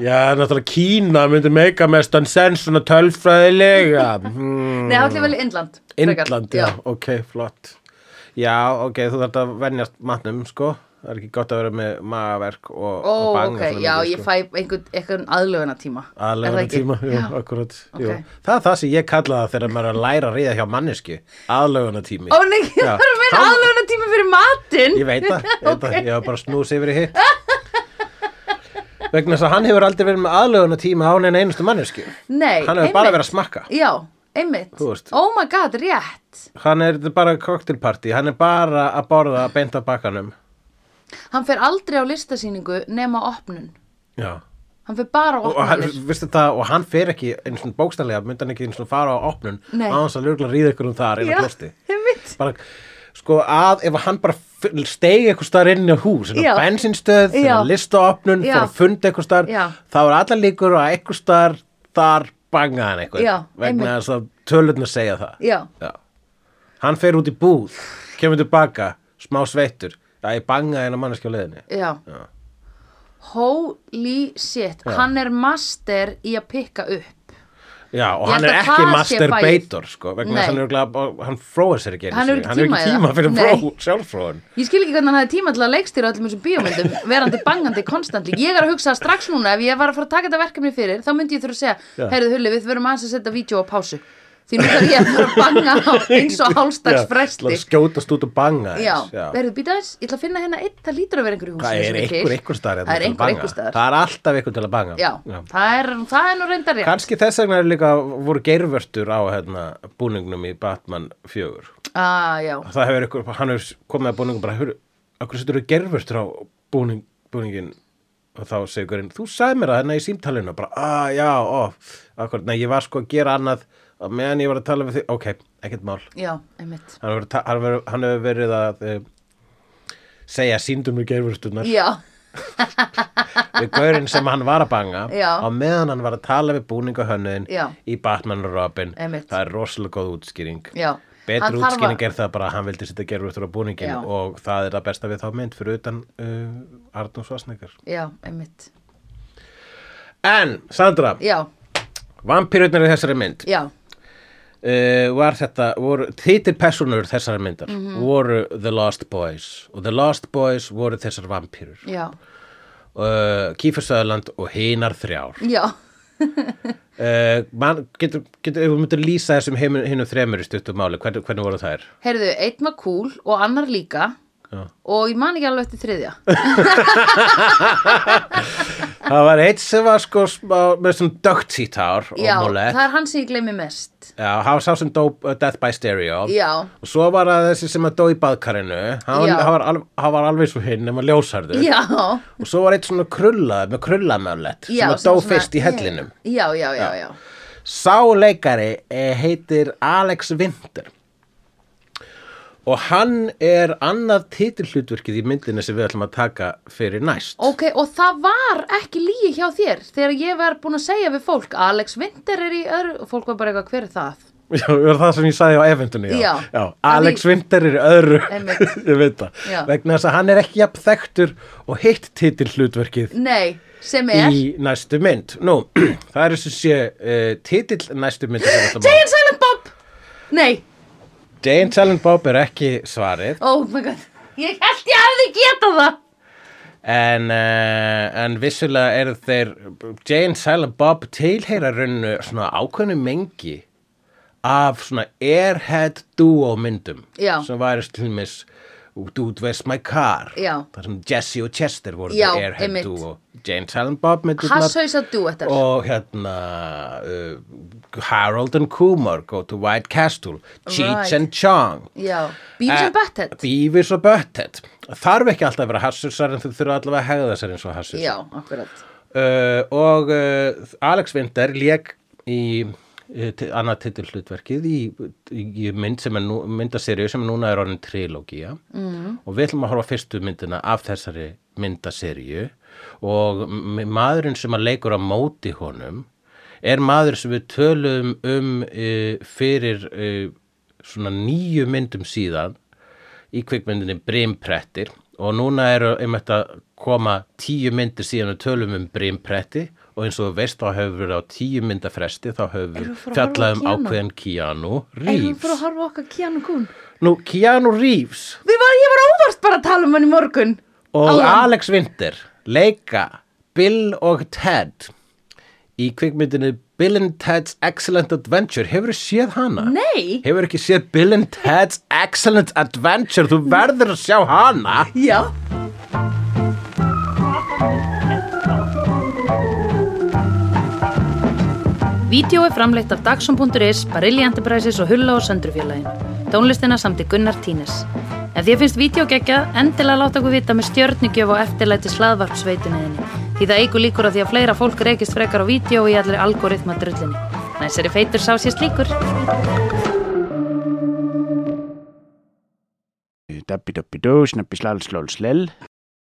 S1: Já, náttúrulega Kína myndi meika mestan senn svona tölfræðilega. Hmm,
S2: nei, allir vel í Indland frekar.
S1: Indland, já. ok, flott. Já, ok, þú þarf að venjast matnum, sko. Það er ekki gott að vera með magaverk og,
S2: ó,
S1: og banga.
S2: ok,
S1: svona
S2: já,
S1: mikið, sko.
S2: ég fæ einhvern, einhvern aðlöfuna tíma
S1: aðlega tíma, jú, akkurat jú.
S2: Ok.
S1: það er það sem ég kalla það þegar maður er að læra að ríða hjá mannesku aðlöguna tími
S2: ó, nei, *laughs* það er að meina aðlöfuna fyrir matinn
S1: ég veit það, ég, okay. ég var bara snús yfir í hitt vegna þess að hann hefur aldrei verið með aðlöguna tíma á neina einustu mannesku
S2: Nei,
S1: hann hefur bara
S2: einmitt.
S1: verið að smakka
S2: Já, einmitt
S1: Þú veist.
S2: oh my god, rétt
S1: Hann er þetta er bara cocktailparty, hann er bara að borða beint af bakkanum.
S2: hann fer aldrei á listasýningu nema á opnun
S1: Já.
S2: hann fer bara á
S1: Og hann,
S2: opnunir
S1: veistu það, og hann fer ekki einu svona bókstælega, myndi hann ekki einu svona fara á opnun
S2: Nei.
S1: á hans að lögulega ríða ykkur um þar inn á klosti.
S2: einmitt
S1: Bara, sko, að ef hann bara stegi eitthvað staðar inn á hús, inn
S2: Já.
S1: á bensinstöð, inn
S2: Já.
S1: á listaopnun,
S2: Já.
S1: fór að funda eitthvað staðar,
S2: Já.
S1: þá er allar líkur og eitthvað staðar þar bangaði hann eitthvað.
S2: Já, einmitt.
S1: Vegna þess að tölutna segja það.
S2: já,
S1: Já. Hann fer út í búð, kemur tilbaka, smá sveittur, það er bangaði hennar manneskja á leiðinni.
S2: já
S1: Já.
S2: holy shit
S1: Já.
S2: hann er master í að pikka upp
S1: Já, og
S2: Ég
S1: hann er
S2: held að
S1: ekki
S2: það sé
S1: masturbator, sko, vegna þess að
S2: Nei.
S1: hann er örugglega- hann fróar sér ekki einu
S2: Hann hefur
S1: sinni.
S2: ekki
S1: hann er
S2: tíma
S1: ekki
S2: í
S1: tíma
S2: það.
S1: fyrir
S2: Nei.
S1: fró, sjálffróðan.
S2: Ég skil ekki hvernig hann hafði tíma til að leikstýra öllum þessum
S1: *laughs*
S2: bíómyndum, verandi bangandi konstantli. Ég er að hugsa strax núna, ef ég var að fara að taka þetta verkefni fyrir, þá myndi ég þurfa að segja,
S1: Já.
S2: heyrðu Hulli, við verum aðeins að setja vídeo á pásu. Því nú þarf ég að fara að banga á eins og hálfstags fresti.
S1: Skjótast út og banga
S2: Já,
S1: eins,
S2: verður býta aðeins, ég ætla að finna hérna einn, það lítur að vera einhverju húsi.
S1: Það er einhver einhver staðar hérna
S2: Það er
S1: til að
S2: einhver
S1: banga.
S2: einhver staðar.
S1: Það er alltaf einhver til að banga.
S2: Já, það er, það er nú reyndar rétt.
S1: Kanski þess vegna er líka voru geirvörtur á hérna, búningnum í Batman 4.
S2: Ah, já,
S1: Það hefur einhver, hann hefur komið að búningum bara, hörru, akkur setur þú geirvörtur á búning, búningin og þá segir hverjum, þú sagði mér það hérna í símtalinu og bara, að já, ó, akkur, nei, ég var sko að gera annað og meðan ég var að tala við þig, ok, ekkert mál.
S2: já, einmitt.
S1: Hann hefur, ta- hann hefur, hann hefur verið að e, segja síndum við geirvörstunar
S2: Já,
S1: við gaurinn sem hann var að banga
S2: Já.
S1: á meðan hann var að tala við búningahönnuðin
S2: Já.
S1: í Batman og Robin
S2: Einmitt.
S1: það er rosalega góð útskýring
S2: já. Hann
S1: betri
S2: þarf að-
S1: útskýring er það bara að hann vildi setja gerfurtur á búningin
S2: Já.
S1: og það er það besta við þá mynd fyrir utan uh, Arnús Vassnegar
S2: Já, einmitt.
S1: en Sandra,
S2: Já,
S1: vampýrutnar í þessari mynd
S2: já,
S1: uh, var þetta, voru þýttir personur þessari myndar
S2: Mhm.
S1: voru The Lost Boys og The Lost Boys voru þessar vampýrur
S2: já,
S1: uh, Kífur Söðurland og hinar þrjár
S2: já.
S1: Uh, man, getur, getur, ef við myndum lýsa þessum hinnum þremur í stuttum máli, hvernig, hvernig voru þær?
S2: Heyrðu, einn var cool og annar líka
S1: Já.
S2: og ég man ekki alveg eftir þriðja.
S1: Það var eitt sem var sko smá, með svona dögt sítt hár og
S2: Já,
S1: múlett.
S2: það er hann sem ég gleymi mest.
S1: Já, hann var sá sem dó uh, Death by Stereo.
S2: Já.
S1: Og svo var það þessi sem að dó í baðkarinu. Hann, var-
S2: Já.
S1: hann, var, alv- hann var alveg svo hinn nema ljósarður.
S2: Já,
S1: Og svo var eitt svona krullað með krullamöflett
S2: já.
S1: sem að dó fyrst í hellinum.
S2: Já, já, já, já.
S1: Sá leikari eh, heitir Alex Winter og hann er annað titilhlutverkið í myndinni sem við ætlum að taka fyrir næst.
S2: Ok, og það var ekki líi hjá þér þegar ég var búin að segja við fólk Alex Winter er í öðru og fólk var bara eitthvað hver er það?
S1: *laughs* Já, það var það sem ég sagði á eventunni, já.
S2: Já.
S1: Alex
S2: Því-
S1: Winter er í öðru,
S2: Einmitt.
S1: *laughs* ég veit það,
S2: Já.
S1: vegna þess að hann er ekki jafn þekktur og hitt titilhlutverkið
S2: Nei, sem er
S1: í næstu mynd. Nú, *clears throat* það er þessi sé uh, titill næstu mynd.
S2: Jay and Silent Bob! Nei,
S1: Jay and Silent Bob er ekki svarið.
S2: oh my god, ég held ég hefði getað það
S1: En, uh, en vissulega eru þeir, Jane, Silent Bob tilheyra rauninu svona ákveðnu mengi af svona airhead duo myndum
S2: Já.
S1: sem væri stilmis Dude Where's My Car
S2: Já.
S1: þar sem Jesse og Chester voru
S2: Já,
S1: the airhead
S2: einmitt.
S1: duo Jane, Silent Bob myndirnar
S2: Hasshaus að dú þetta
S1: og hérna uh, Harold and Kumar Go to White Castle Cheech
S2: Right.
S1: and Chong
S2: Já, Beavis and
S1: Eh,
S2: Butthead
S1: Beavis og Butthead þarf ekki alltaf að vera hassusar en þau þurfa allavega að hegða sér eins og hassus
S2: Já, akkurat
S1: uh, og uh, Alex Winter lék í uh, ti- annað titilhlutverkið í, í mynd sem er nú, myndaserju sem núna er orðin trilógía mm. og við ætlum að horfa á fyrstu myndina af þessari myndaserju og m- maðurinn sem að leikur á móti honum er maður sem við töluðum um uh, fyrir uh, svona nýju myndum síðan í kvikmyndinni Brimprettir og núna eru einmitt að koma tíu myndir síðan við tölum um Brimpretti og eins og þú veist þá hefur verið á tíu mynda fresti þá hefur
S2: Erum við að fara að
S1: fjallað
S2: horfa á
S1: um
S2: Keanu?
S1: ákveðin Keanu
S2: Erum við
S1: Reeves.
S2: fyrir að horfa á okkar Keanu Kuhn?
S1: Nú, Keanu Reeves
S2: Við var, ég var óvart bara að tala um hann í morgun
S1: og
S2: Áðan.
S1: Alex Winter leika Bill og Ted í kvikmyndinni Bill and Ted's Excellent Adventure. Hefur þú séð hana?
S2: Nei,
S1: Hefur ekki séð Bill and Ted's Excellent Adventure? Þú verður að sjá hana.
S2: já
S3: Vídeó er framleitt af Dagsum.is, Barilli Enterprises og Hulla og Söndrufjörlægin. Tónlistina samt í Gunnar Tínes. Ef því að finnst vídeo geggjað, endilega láta okkur vita með stjörnugjöf og eftirlæti slaðvarpsveitunniðinni. Því það eigur líkur að því að fleira fólk reykist frekar á vídeo í allir algoritma drullinni. Næsari feitur sá sést líkur.
S1: øh,
S4: Dabbi dabbi dó, snabbi slal slól slell